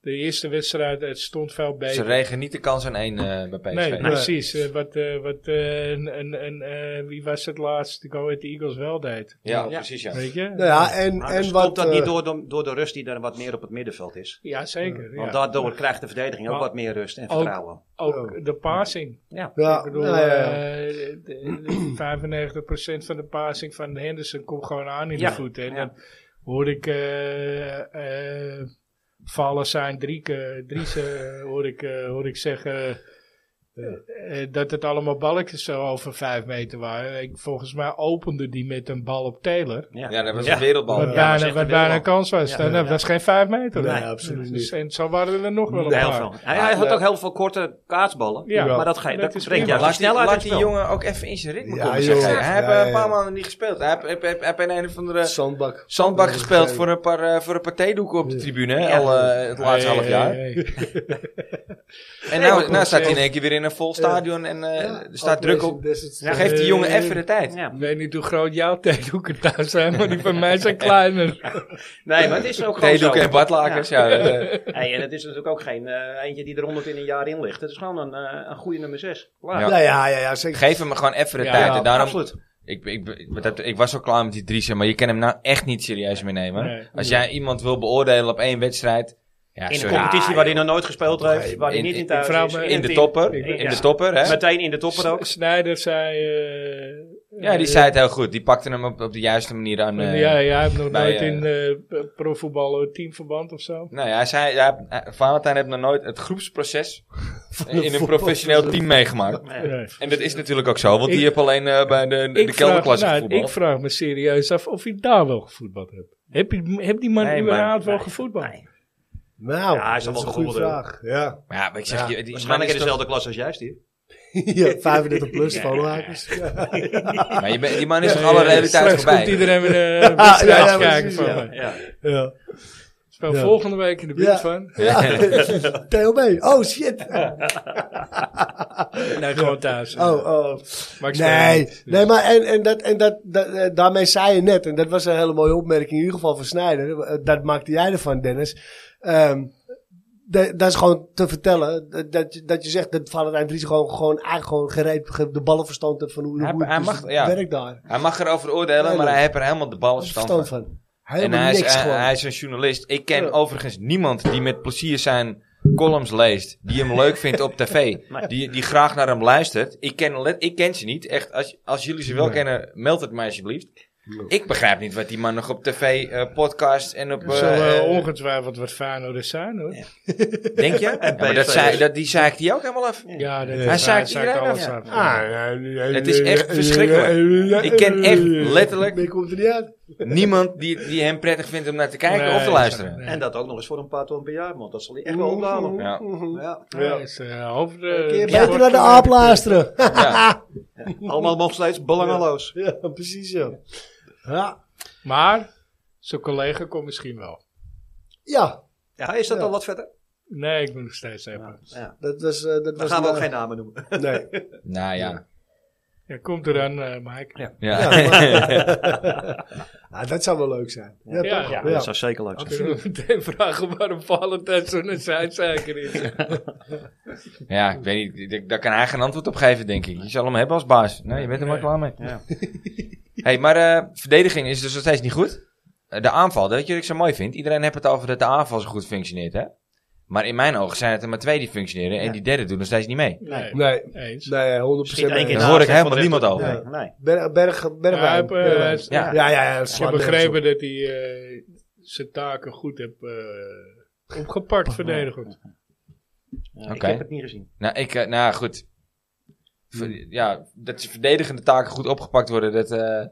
Speaker 2: de eerste wedstrijd, het stond veel
Speaker 1: Ze
Speaker 2: beter.
Speaker 1: regen niet de kans aan één eh, bij PSV.
Speaker 2: Nee, precies. Eh, wat eh, wat eh, een, een, een, eh, wie was het laatst? De Go Ahead Eagles wel deed.
Speaker 1: Ja,
Speaker 4: Ja.
Speaker 1: precies ja.
Speaker 2: Weet je?
Speaker 3: Nou ja, en,
Speaker 4: Maar
Speaker 3: en
Speaker 4: dus
Speaker 3: wat...
Speaker 4: komt dat
Speaker 3: eh,
Speaker 4: niet door de, door de rust die er wat meer op het middenveld is?
Speaker 2: ja, zeker.
Speaker 4: Want
Speaker 2: Ja.
Speaker 4: daardoor krijgt de verdediging ook
Speaker 2: Maar-
Speaker 4: wat meer rust en
Speaker 2: Ook-
Speaker 4: vertrouwen.
Speaker 2: Ook de passing.
Speaker 4: Ja.
Speaker 3: Ja,
Speaker 2: Ik bedoel,
Speaker 3: nou ja, ja.
Speaker 2: eh, de- de- 95% van de passing van Henderson komt gewoon aan in
Speaker 4: Ja,
Speaker 2: de voeten. En
Speaker 4: ja.
Speaker 2: dan hoor ik eh, eh, vallen zijn drie, keer- drie ze- hoor, ik, eh, hoor ik zeggen eh, eh, dat het allemaal balkjes zo over vijf meter waren. Ik, volgens mij opende die met een bal op Taylor.
Speaker 1: Ja, dat was
Speaker 4: Ja.
Speaker 1: een wereldbal.
Speaker 2: Wat
Speaker 1: Oh, Ja.
Speaker 4: dat is
Speaker 2: bijna,
Speaker 4: echt
Speaker 2: wat
Speaker 4: een
Speaker 2: bijna
Speaker 4: wereldbal.
Speaker 2: kans was. Nou,
Speaker 4: Ja,
Speaker 2: dat, dat
Speaker 4: ja.
Speaker 2: was geen vijf meter.
Speaker 3: Nee,
Speaker 2: hoor.
Speaker 3: absoluut
Speaker 2: Dus-
Speaker 3: niet.
Speaker 2: en zo waren er nog wel een
Speaker 4: Heel
Speaker 2: paar.
Speaker 4: veel. Hij, hij had
Speaker 3: Ja.
Speaker 4: ook heel veel korte kaatsballen.
Speaker 2: Ja.
Speaker 4: Maar dat, ga je,
Speaker 2: Dat
Speaker 4: dat,
Speaker 2: is
Speaker 4: brengt
Speaker 2: prima.
Speaker 1: Ja,
Speaker 4: juist die
Speaker 1: laat die,
Speaker 4: snelheid
Speaker 1: laat
Speaker 4: uit
Speaker 1: die
Speaker 4: het spel.
Speaker 1: jongen ook even in zijn ritme
Speaker 3: Ja,
Speaker 1: komen, zeg
Speaker 3: joh.
Speaker 1: jij. Hij
Speaker 3: Ja,
Speaker 1: heeft
Speaker 3: ja,
Speaker 1: een
Speaker 3: ja.
Speaker 1: paar maanden niet gespeeld. Hij heeft, heeft, heeft, heeft een, een of andere
Speaker 3: Zandbak.
Speaker 1: zandbak gespeeld
Speaker 3: Ja.
Speaker 1: voor een paar, eh, voor een paar theedoeken op de tribune. hè,
Speaker 4: Ja.
Speaker 1: Al eh, het laatste
Speaker 2: Hey,
Speaker 1: half jaar.
Speaker 2: hey, hey.
Speaker 1: En nou,
Speaker 2: goed,
Speaker 1: nou staat hij
Speaker 2: zeg.
Speaker 1: in één keer weer in een vol stadion en eh,
Speaker 3: Ja,
Speaker 1: er staat druk op.
Speaker 3: Desert
Speaker 1: Dan
Speaker 3: Storm.
Speaker 1: geeft die jongen
Speaker 2: Eh,
Speaker 1: even de tijd.
Speaker 4: Ja.
Speaker 2: Ik weet niet hoe groot jouw theedoeken thuis zijn, maar die van mij zijn kleiner.
Speaker 4: Nee, maar het is ook gewoon zo.
Speaker 1: Theedoeken en badlakers, ja. eh,
Speaker 4: Hey, en het is natuurlijk ook geen eh, eentje die er 100 in een jaar in ligt. Het is gewoon een, eh, een goede nummer 6. Klaar.
Speaker 1: Ja.
Speaker 3: Nou Ja, ja, ja, ja, zeker.
Speaker 1: geef hem gewoon even de
Speaker 2: Ja,
Speaker 1: tijd. En daarom,
Speaker 4: Absoluut.
Speaker 1: Ik, ik, ik- maar dat- ik was al klaar met die Driesen, maar je kan hem nou echt niet serieus meer nemen.
Speaker 2: Nee.
Speaker 1: Als jij iemand wil beoordelen op één wedstrijd. Ja,
Speaker 4: In een
Speaker 1: sorry.
Speaker 4: competitie
Speaker 1: Ja,
Speaker 4: waar hij
Speaker 1: joh.
Speaker 4: nog nooit gespeeld heeft, waar hij
Speaker 1: in-
Speaker 4: niet in
Speaker 1: in-
Speaker 4: thuis
Speaker 2: vrouw-
Speaker 4: is.
Speaker 1: in de
Speaker 4: team.
Speaker 1: topper.
Speaker 2: Ik-
Speaker 1: In
Speaker 4: ja.
Speaker 1: de topper, hè?
Speaker 4: Meteen in de topper ook.
Speaker 2: Snijder zei... eh,
Speaker 1: Ja, die
Speaker 2: eh,
Speaker 1: zei het heel goed. Die pakte hem op, op de juiste manier aan. eh,
Speaker 2: ja, jij hebt nog
Speaker 1: bij,
Speaker 2: nooit
Speaker 1: eh,
Speaker 2: in eh profvoetbal eh, teamverband of zo.
Speaker 1: Nou ja, hij zei, ja, hij- Valentijn heeft nog nooit het groepsproces
Speaker 3: een
Speaker 1: in een professioneel team meegemaakt.
Speaker 4: Nee.
Speaker 2: Nee.
Speaker 1: En dat is natuurlijk ook zo, want
Speaker 2: Ik-
Speaker 1: die heeft alleen eh, bij de, de
Speaker 2: Ik vraag-
Speaker 1: kelderklasse
Speaker 2: nou,
Speaker 1: voetbal.
Speaker 2: Ik vraag me serieus af of hij daar wel gevoetbald hebt. Heb, je, heb die man
Speaker 1: Nee, maar-
Speaker 2: überhaupt wel
Speaker 4: nee,
Speaker 2: gevoetbald?
Speaker 4: nee.
Speaker 3: Nou,
Speaker 4: Ja, hij is
Speaker 3: dat is
Speaker 4: allemaal
Speaker 3: een goede
Speaker 4: gevonden.
Speaker 3: vraag. Ja,
Speaker 1: Maar ja, maar ik zeg
Speaker 3: Ja,
Speaker 1: je, die man
Speaker 4: Waarschijnlijk
Speaker 1: is
Speaker 4: in
Speaker 1: toch,
Speaker 4: dezelfde klas als jij, Stier.
Speaker 3: ja 35 plus van Lakers. Ja.
Speaker 1: maar je bent- die man is toch
Speaker 2: Ja,
Speaker 1: alle
Speaker 2: ja,
Speaker 1: realiteit
Speaker 2: straks
Speaker 1: voorbij.
Speaker 2: komt iedereen weer een wedstrijd
Speaker 3: ja, ja,
Speaker 2: kijken
Speaker 3: precies,
Speaker 2: van
Speaker 3: ja.
Speaker 2: me.
Speaker 4: Ja.
Speaker 3: Ja.
Speaker 2: Speel
Speaker 3: Ja.
Speaker 2: volgende week in de buurt
Speaker 3: Ja.
Speaker 2: van.
Speaker 3: Ja. TLB. Oh, shit.
Speaker 2: Nee, gewoon thuis.
Speaker 3: Oh, oh.
Speaker 2: Maar ik speel
Speaker 3: Nee,
Speaker 2: niet.
Speaker 3: nee, maar en, en, dat, en dat, dat, eh, daarmee zei je net, en dat was een hele mooie opmerking in ieder geval van Snijder, eh, dat maakte jij ervan Dennis. Ehm, da- dat is gewoon te vertellen, dat- dat, je- dat je zegt dat Valentijn Dries gewoon, gewoon, eigenlijk gewoon gereed ge- de ballen verstand heeft van hoe,
Speaker 1: Hij-
Speaker 3: hoe het
Speaker 1: hij
Speaker 3: dus
Speaker 1: mag- ja.
Speaker 3: werkt daar.
Speaker 1: Hij mag erover oordelen,
Speaker 3: Nee,
Speaker 1: maar
Speaker 3: nee.
Speaker 1: hij heeft er helemaal de bal verstand van.
Speaker 3: Verstand van.
Speaker 1: En
Speaker 3: Helemaal
Speaker 1: hij is,
Speaker 3: niks
Speaker 1: eh,
Speaker 3: gewoon.
Speaker 1: hij is een journalist. Ik ken
Speaker 3: Ja.
Speaker 1: overigens niemand die met plezier zijn columns leest, die hem leuk vindt op tv,
Speaker 4: Nee.
Speaker 1: die, die graag naar hem luistert. Ik ken, let- ik ken ze niet. Echt, als, als jullie ze wel kennen, meld het mij alsjeblieft. Ik begrijp niet wat die man nog op tv, eh podcast en op...
Speaker 2: Er zal
Speaker 1: eh,
Speaker 2: eh,
Speaker 1: eh,
Speaker 2: ongetwijfeld wat Fano er zijn hoor. Ja,
Speaker 1: denk je? Ja, maar dat
Speaker 4: PSV
Speaker 1: zei,
Speaker 4: dus.
Speaker 1: dat, die zei ik die ook helemaal af.
Speaker 2: dat
Speaker 1: Hij
Speaker 2: is-
Speaker 1: zaakt
Speaker 2: zaakt
Speaker 1: iedereen
Speaker 2: alles
Speaker 1: af.
Speaker 2: af.
Speaker 1: Het is echt verschrikkelijk. Ik ken echt letterlijk-
Speaker 3: Ik komt er niet uit.
Speaker 1: Niemand die, die hem prettig vindt om naar te kijken
Speaker 2: Nee,
Speaker 1: of te luisteren.
Speaker 2: nee.
Speaker 4: En dat ook nog eens voor een paar ton per jaar, want dat zal hij echt wel
Speaker 3: Mhm.
Speaker 4: ophalen.
Speaker 1: Ja.
Speaker 4: Ja.
Speaker 2: Ja, is, eh, hoofd, eh,
Speaker 4: Een keer
Speaker 2: sport-
Speaker 3: Beter naar de aap luisteren.
Speaker 1: Ja.
Speaker 4: Allemaal nog steeds belangeloos.
Speaker 3: Ja, precies zo. Ja.
Speaker 2: Maar zijn collega komt misschien wel.
Speaker 3: Ja,
Speaker 4: Ja, is dat
Speaker 3: Ja.
Speaker 4: al wat verder?
Speaker 2: Nee, ik moet nog steeds even.
Speaker 4: Ja. Ja.
Speaker 3: dat was... eh, dat
Speaker 4: Dan
Speaker 3: was
Speaker 4: gaan we ook
Speaker 3: een- eh,
Speaker 4: geen namen noemen.
Speaker 3: Nee.
Speaker 1: Nou ja.
Speaker 2: Ja, komt er dan, eh Mike.
Speaker 1: Ja.
Speaker 3: Ja, maar- Ah, dat zou wel leuk zijn. Ja,
Speaker 2: Ja,
Speaker 3: toch?
Speaker 2: ja.
Speaker 3: Ja.
Speaker 4: zou zeker leuk
Speaker 2: Kunnen we meteen vragen waarom Valentijn zo'n zijzaker is?
Speaker 1: Ja, ik weet niet. ik- Daar kan hij geen antwoord op geven, denk ik. Je zal hem hebben als baas. Nee, je bent er maar klaar mee.
Speaker 4: Ja.
Speaker 1: hey, maar eh, verdediging is dus nog steeds niet goed. Eh, de aanval, dat je wat ik zo mooi vind. Iedereen heeft het over dat de aanval zo goed functioneert, hè? Maar in mijn ogen zijn het er maar twee die functioneren. En
Speaker 4: Ja.
Speaker 1: die derde doet nog steeds niet mee.
Speaker 4: Nee.
Speaker 3: Nee,
Speaker 2: Eens.
Speaker 3: nee, 100%
Speaker 4: Schiet één keer
Speaker 1: Daar
Speaker 4: Ja,
Speaker 1: hoor ik
Speaker 4: zeg maar
Speaker 1: helemaal
Speaker 4: de
Speaker 1: niemand
Speaker 4: rechter.
Speaker 1: over.
Speaker 3: Ja.
Speaker 4: Nee. nee.
Speaker 3: Berg, berg,
Speaker 2: Hij
Speaker 3: Bergwijn.
Speaker 2: heeft, eh,
Speaker 3: Bergwijn.
Speaker 2: s-
Speaker 1: Ja.
Speaker 3: Ja, ja, ja. dat
Speaker 2: Ik
Speaker 3: slaat
Speaker 2: heb
Speaker 3: nergens
Speaker 2: begrepen dat hij eh, zijn taken goed heeft eh, opgepakt, verdedigend.
Speaker 4: Ik
Speaker 1: Oké.
Speaker 4: heb het niet gezien.
Speaker 1: Nou, ik, eh, nou goed. Ver- ja, dat ze verdedigende taken goed opgepakt worden, dat, eh,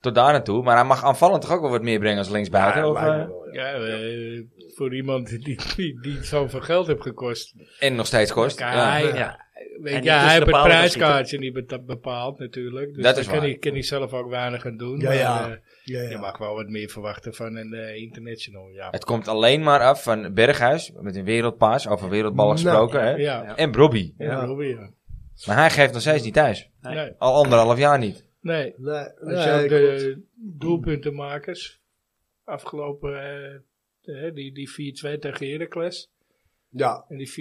Speaker 1: tot daar naartoe. Maar hij mag aanvallend toch ook wel wat meer brengen als
Speaker 3: op.
Speaker 1: linksbuiten?
Speaker 3: Ja,
Speaker 1: of, eh,
Speaker 3: lijkt me wel, ja.
Speaker 2: Ja, eh, voor iemand die, die, die zoveel geld heeft gekost.
Speaker 1: en nog steeds kost.
Speaker 2: Kan
Speaker 1: Ja.
Speaker 2: hij,
Speaker 4: Ja.
Speaker 2: Weet
Speaker 4: En
Speaker 2: je,
Speaker 4: die
Speaker 2: ja,
Speaker 4: tussen
Speaker 2: hij
Speaker 4: de
Speaker 2: heeft het
Speaker 4: palen kan
Speaker 2: prijskaartje niet beta- bepaald natuurlijk. Dus
Speaker 1: Dat
Speaker 2: daar
Speaker 1: is
Speaker 2: kan
Speaker 1: waar.
Speaker 2: hij, kan hij zelf ook weinig aan doen.
Speaker 3: Ja,
Speaker 2: maar,
Speaker 3: ja.
Speaker 2: eh,
Speaker 3: Ja, ja.
Speaker 2: je mag wel wat meer verwachten van een eh, international. Ja.
Speaker 1: Het komt alleen maar af van Berghuis, met een wereldpaas, over wereldballen
Speaker 3: Nou,
Speaker 1: gesproken. hè?
Speaker 2: Ja, ja.
Speaker 1: En Brobby.
Speaker 3: Ja.
Speaker 2: Robby, ja.
Speaker 1: Maar hij geeft nog steeds niet thuis.
Speaker 4: Nee.
Speaker 2: Nee.
Speaker 1: Al anderhalf jaar niet.
Speaker 2: nee.
Speaker 3: Nee,
Speaker 2: Als
Speaker 3: nee,
Speaker 2: je ook eh,
Speaker 3: klopt.
Speaker 2: de doelpuntenmakers afgelopen, eh, eh, die, die 4-2 tegen Heracles.
Speaker 3: Ja.
Speaker 2: En die 4-1.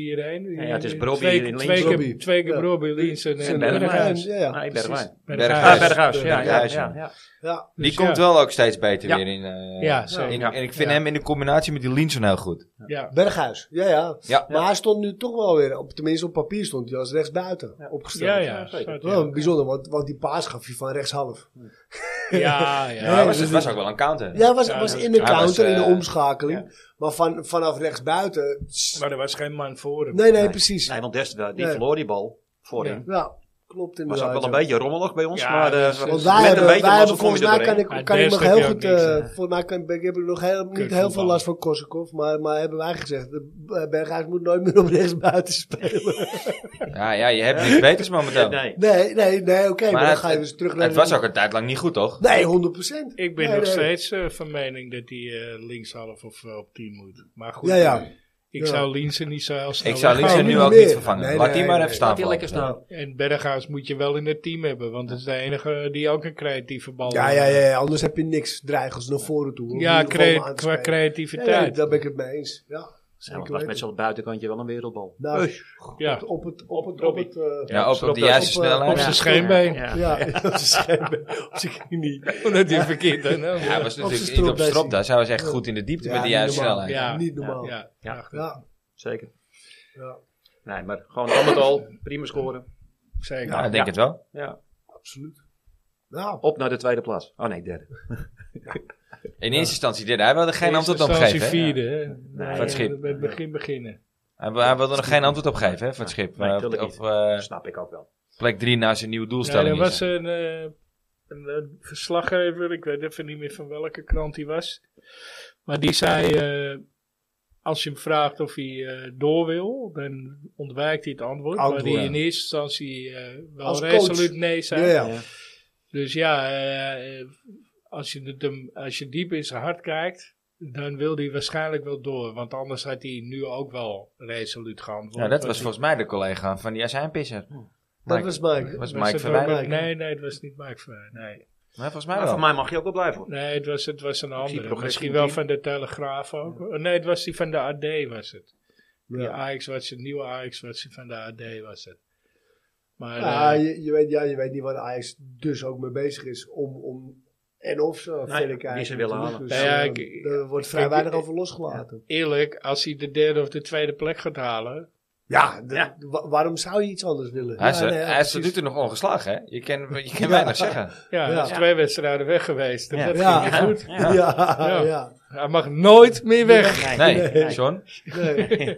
Speaker 2: die-
Speaker 4: Ja, het is
Speaker 2: die-
Speaker 4: Brobby
Speaker 2: twee-
Speaker 4: in links.
Speaker 2: Twee
Speaker 3: Brobby.
Speaker 2: keer, twee keer
Speaker 3: Ja.
Speaker 2: Brobby, Liens en,
Speaker 3: En
Speaker 2: en
Speaker 4: Bergwijn.
Speaker 2: Berghuis.
Speaker 3: Ja, ja.
Speaker 4: Nee, Bergwijn.
Speaker 1: Berghuis.
Speaker 4: Ah, Berghuis. Ja, ja,
Speaker 1: Berghuis,
Speaker 4: ja.
Speaker 1: ja.
Speaker 4: ja.
Speaker 3: Ja.
Speaker 1: Die
Speaker 2: Dus
Speaker 1: komt
Speaker 2: ja.
Speaker 1: wel ook steeds beter
Speaker 4: Ja.
Speaker 1: weer in. eh,
Speaker 2: Ja, zo.
Speaker 1: in-
Speaker 4: Ja.
Speaker 1: En ik vind
Speaker 2: Ja.
Speaker 1: hem in de combinatie met die Linson heel goed.
Speaker 2: Ja.
Speaker 3: Berghuis. Ja, ja.
Speaker 1: Ja.
Speaker 3: Maar hij stond nu toch wel weer, op, tenminste op papier stond hij als rechtsbuiten opgesteld.
Speaker 2: Ja, ja.
Speaker 4: zeker.
Speaker 2: staat,
Speaker 3: Wel bijzonder, want, want die paas gaf hij van rechtshalf.
Speaker 2: Ja, ja.
Speaker 1: Ja,
Speaker 3: Ja,
Speaker 1: was,
Speaker 3: dus
Speaker 1: het
Speaker 3: het-
Speaker 1: was ook wel een counter.
Speaker 3: Ja, was,
Speaker 2: Ja,
Speaker 3: was
Speaker 2: ja.
Speaker 3: in de
Speaker 1: Hij was,
Speaker 3: counter, in
Speaker 1: eh,
Speaker 3: de omschakeling. Maar van, vanaf rechtsbuiten.
Speaker 2: Maar er was geen man voor hem.
Speaker 3: Nee, nee, precies.
Speaker 4: Nee, want Dest, die
Speaker 3: Nee.
Speaker 4: verloor die bal voorin.
Speaker 3: Ja, klopt inderdaad.
Speaker 4: Was ook wel een
Speaker 3: ja.
Speaker 4: beetje rommelig bij ons,
Speaker 2: Ja,
Speaker 4: maar eh,
Speaker 2: dus, eh,
Speaker 3: Want
Speaker 2: Met
Speaker 3: wij hebben,
Speaker 4: een beetje
Speaker 3: wij hebben
Speaker 4: mazzel kom
Speaker 3: volgens
Speaker 4: je er
Speaker 3: mij kan
Speaker 4: doorheen.
Speaker 3: ik,
Speaker 2: Maar
Speaker 3: kan ik nog
Speaker 2: Dest
Speaker 3: heel
Speaker 2: heb
Speaker 3: goed,
Speaker 2: je ook
Speaker 3: eh,
Speaker 2: niks, hè?
Speaker 3: volgens mij kan, ik heb ik nog heel, niet heel veel
Speaker 2: voetballen.
Speaker 3: last van Korsakoff, maar, maar hebben wij gezegd, de- eh, Berghuis moet nooit meer op rechtsbuiten spelen.
Speaker 1: Ja, ja, je hebt niks beters momenteel.
Speaker 4: Nee.
Speaker 3: nee, nee, nee, oké, maar,
Speaker 1: Maar
Speaker 3: dan
Speaker 1: het-
Speaker 3: ga je weer terug naar
Speaker 1: Het
Speaker 3: de-
Speaker 1: was ook een tijd lang niet goed, toch?
Speaker 3: Nee, 100 procent.
Speaker 2: Ik ben nog steeds eh, van mening dat hij eh, linkshalf of eh, op 10 moet. Maar goed, eh,
Speaker 3: Ja, ja.
Speaker 2: ik
Speaker 3: Ja.
Speaker 2: zou Liensen niet zo heel snel
Speaker 1: Ik zou
Speaker 2: weggaan.
Speaker 1: Linson nu
Speaker 3: niet
Speaker 1: ook
Speaker 3: meer.
Speaker 1: niet vervangen.
Speaker 3: Nee,
Speaker 1: Laat
Speaker 3: nee,
Speaker 1: die maar
Speaker 3: nee.
Speaker 1: even staan.
Speaker 4: Laat die lekker
Speaker 1: volgens mij.
Speaker 4: staan.
Speaker 2: En Berghuis moet je wel in het team hebben, want dat is de enige die ook een creatieve bal
Speaker 3: Ja, ja, ja, ja, anders heb je niks dreigels naar voren toe. om in
Speaker 2: Ja,
Speaker 3: ieder geval
Speaker 2: crea-
Speaker 3: maar aan te
Speaker 2: qua
Speaker 3: spelen.
Speaker 2: creativiteit.
Speaker 3: Nee, nee, daar ben ik het mee eens. Ja,
Speaker 4: Ja, want
Speaker 3: zeker
Speaker 4: het was met
Speaker 3: weten.
Speaker 4: zo'n buitenkantje wel een wereldbal.
Speaker 3: Nou,
Speaker 2: ja.
Speaker 3: op het, op het, op het, eh,
Speaker 1: Ja, op, op de
Speaker 4: op-
Speaker 1: juiste
Speaker 3: op, eh,
Speaker 1: snelheid.
Speaker 2: Op zijn scheenbeen.
Speaker 4: Ja.
Speaker 3: ja, op zijn schijnbeen, op zijn knie.
Speaker 2: Omdat hij verkeerd dan.
Speaker 1: Ja, hij was
Speaker 3: Op zijn
Speaker 1: natuurlijk niet op
Speaker 3: stropdas.
Speaker 1: strop daar. Hij was echt goed in de diepte
Speaker 3: Ja,
Speaker 1: met de
Speaker 3: niet
Speaker 1: juiste
Speaker 3: normaal.
Speaker 1: snelheid.
Speaker 2: Ja.
Speaker 3: Niet normaal. Ja,
Speaker 2: Ja, ja.
Speaker 3: ja.
Speaker 4: Zeker.
Speaker 3: ja.
Speaker 4: Nee, maar gewoon al met al, prima scoren.
Speaker 2: zeker.
Speaker 1: Ja, ik denk
Speaker 4: Ja.
Speaker 1: het wel.
Speaker 4: Ja.
Speaker 3: Absoluut. Nou,
Speaker 4: Op naar de tweede plaats. Oh nee, derde.
Speaker 1: In eerste instantie derde. Hij wilde geen antwoord op
Speaker 2: Instantie
Speaker 1: geven. hè?
Speaker 2: vierde, hè?
Speaker 4: Nee,
Speaker 1: het schip.
Speaker 2: Met het begin beginnen.
Speaker 1: Hij, wil- hij wilde er geen antwoord op geven hè, van het schip.
Speaker 4: Nee,
Speaker 1: Eh,
Speaker 4: tuurlijk
Speaker 1: of
Speaker 4: niet.
Speaker 1: eh,
Speaker 4: snap ik ook wel.
Speaker 1: plek 3 naar zijn nieuwe
Speaker 2: Nee,
Speaker 1: doelstelling.
Speaker 2: er
Speaker 1: is.
Speaker 2: was een eh, een, een verslaggever, ik weet even niet meer van welke krant hij was. Maar die zei, eh, als je hem vraagt of hij eh, door wil, dan ontwijkt hij het antwoord.
Speaker 4: Antwoord,
Speaker 2: maar die
Speaker 4: ja.
Speaker 2: in eerste instantie eh, wel
Speaker 3: Als coach.
Speaker 2: resoluut nee zei.
Speaker 3: Ja,
Speaker 4: Ja.
Speaker 2: Dus ja, eh, eh, als, je het hem, als je diep in zijn hart kijkt, dan wil hij waarschijnlijk wel door. Want anders had hij nu ook wel resoluut geantwoord.
Speaker 1: Ja, dat was
Speaker 2: Want
Speaker 1: volgens mij de collega van die azijnpisser.
Speaker 3: Dat
Speaker 1: Mike-
Speaker 3: was Mike.
Speaker 1: was
Speaker 2: was
Speaker 1: Mike
Speaker 2: het
Speaker 1: Verwij.
Speaker 2: ook-
Speaker 3: Verwij.
Speaker 2: Nee, nee, het was niet Mike Verwij, nee.
Speaker 1: Maar volgens mij
Speaker 4: Maar
Speaker 1: wel.
Speaker 4: van mij mag je ook wel blijven. hoor.
Speaker 2: Nee, het was, het was een
Speaker 4: zie
Speaker 2: andere.
Speaker 4: progressie
Speaker 2: Misschien
Speaker 4: in
Speaker 2: wel
Speaker 4: team.
Speaker 2: van de Telegraaf ook. Oh, Nee, het was die van de AD was het. Die
Speaker 3: Ja.
Speaker 2: Ajax was het, nieuwe Ajax was die van de AD was het. Maar
Speaker 3: Ja,
Speaker 2: eh,
Speaker 3: Nou, je, je weet, ja, je weet niet waar Ajax dus ook mee bezig is om, om en of ze verder
Speaker 4: die
Speaker 3: kijken.
Speaker 4: ze willen halen.
Speaker 3: Dus,
Speaker 2: Nou ja,
Speaker 3: eh,
Speaker 2: ik-
Speaker 3: er wordt vrij
Speaker 2: kijk,
Speaker 3: weinig
Speaker 2: ik-
Speaker 3: over losgelaten.
Speaker 2: eerlijk, als hij de derde of de tweede plek gaat halen,
Speaker 3: Ja, de-
Speaker 4: Ja.
Speaker 3: wa- waarom zou je iets anders willen?
Speaker 1: Hij is,
Speaker 3: ja,
Speaker 1: er-
Speaker 3: nee, ja,
Speaker 1: hij is tot
Speaker 3: precies.
Speaker 1: nu toe nog ongeslagen, hè? Je kan, je kan
Speaker 3: Ja.
Speaker 1: weinig zeggen.
Speaker 2: ja,
Speaker 3: Ja.
Speaker 2: dat is twee wedstrijden weg geweest. En
Speaker 1: Ja.
Speaker 2: dat
Speaker 3: Ja.
Speaker 2: ging niet goed.
Speaker 3: Ja, ja.
Speaker 2: Ja. Hij mag nooit meer weg.
Speaker 1: Nee,
Speaker 3: Nee.
Speaker 1: John.
Speaker 3: Nee, nee,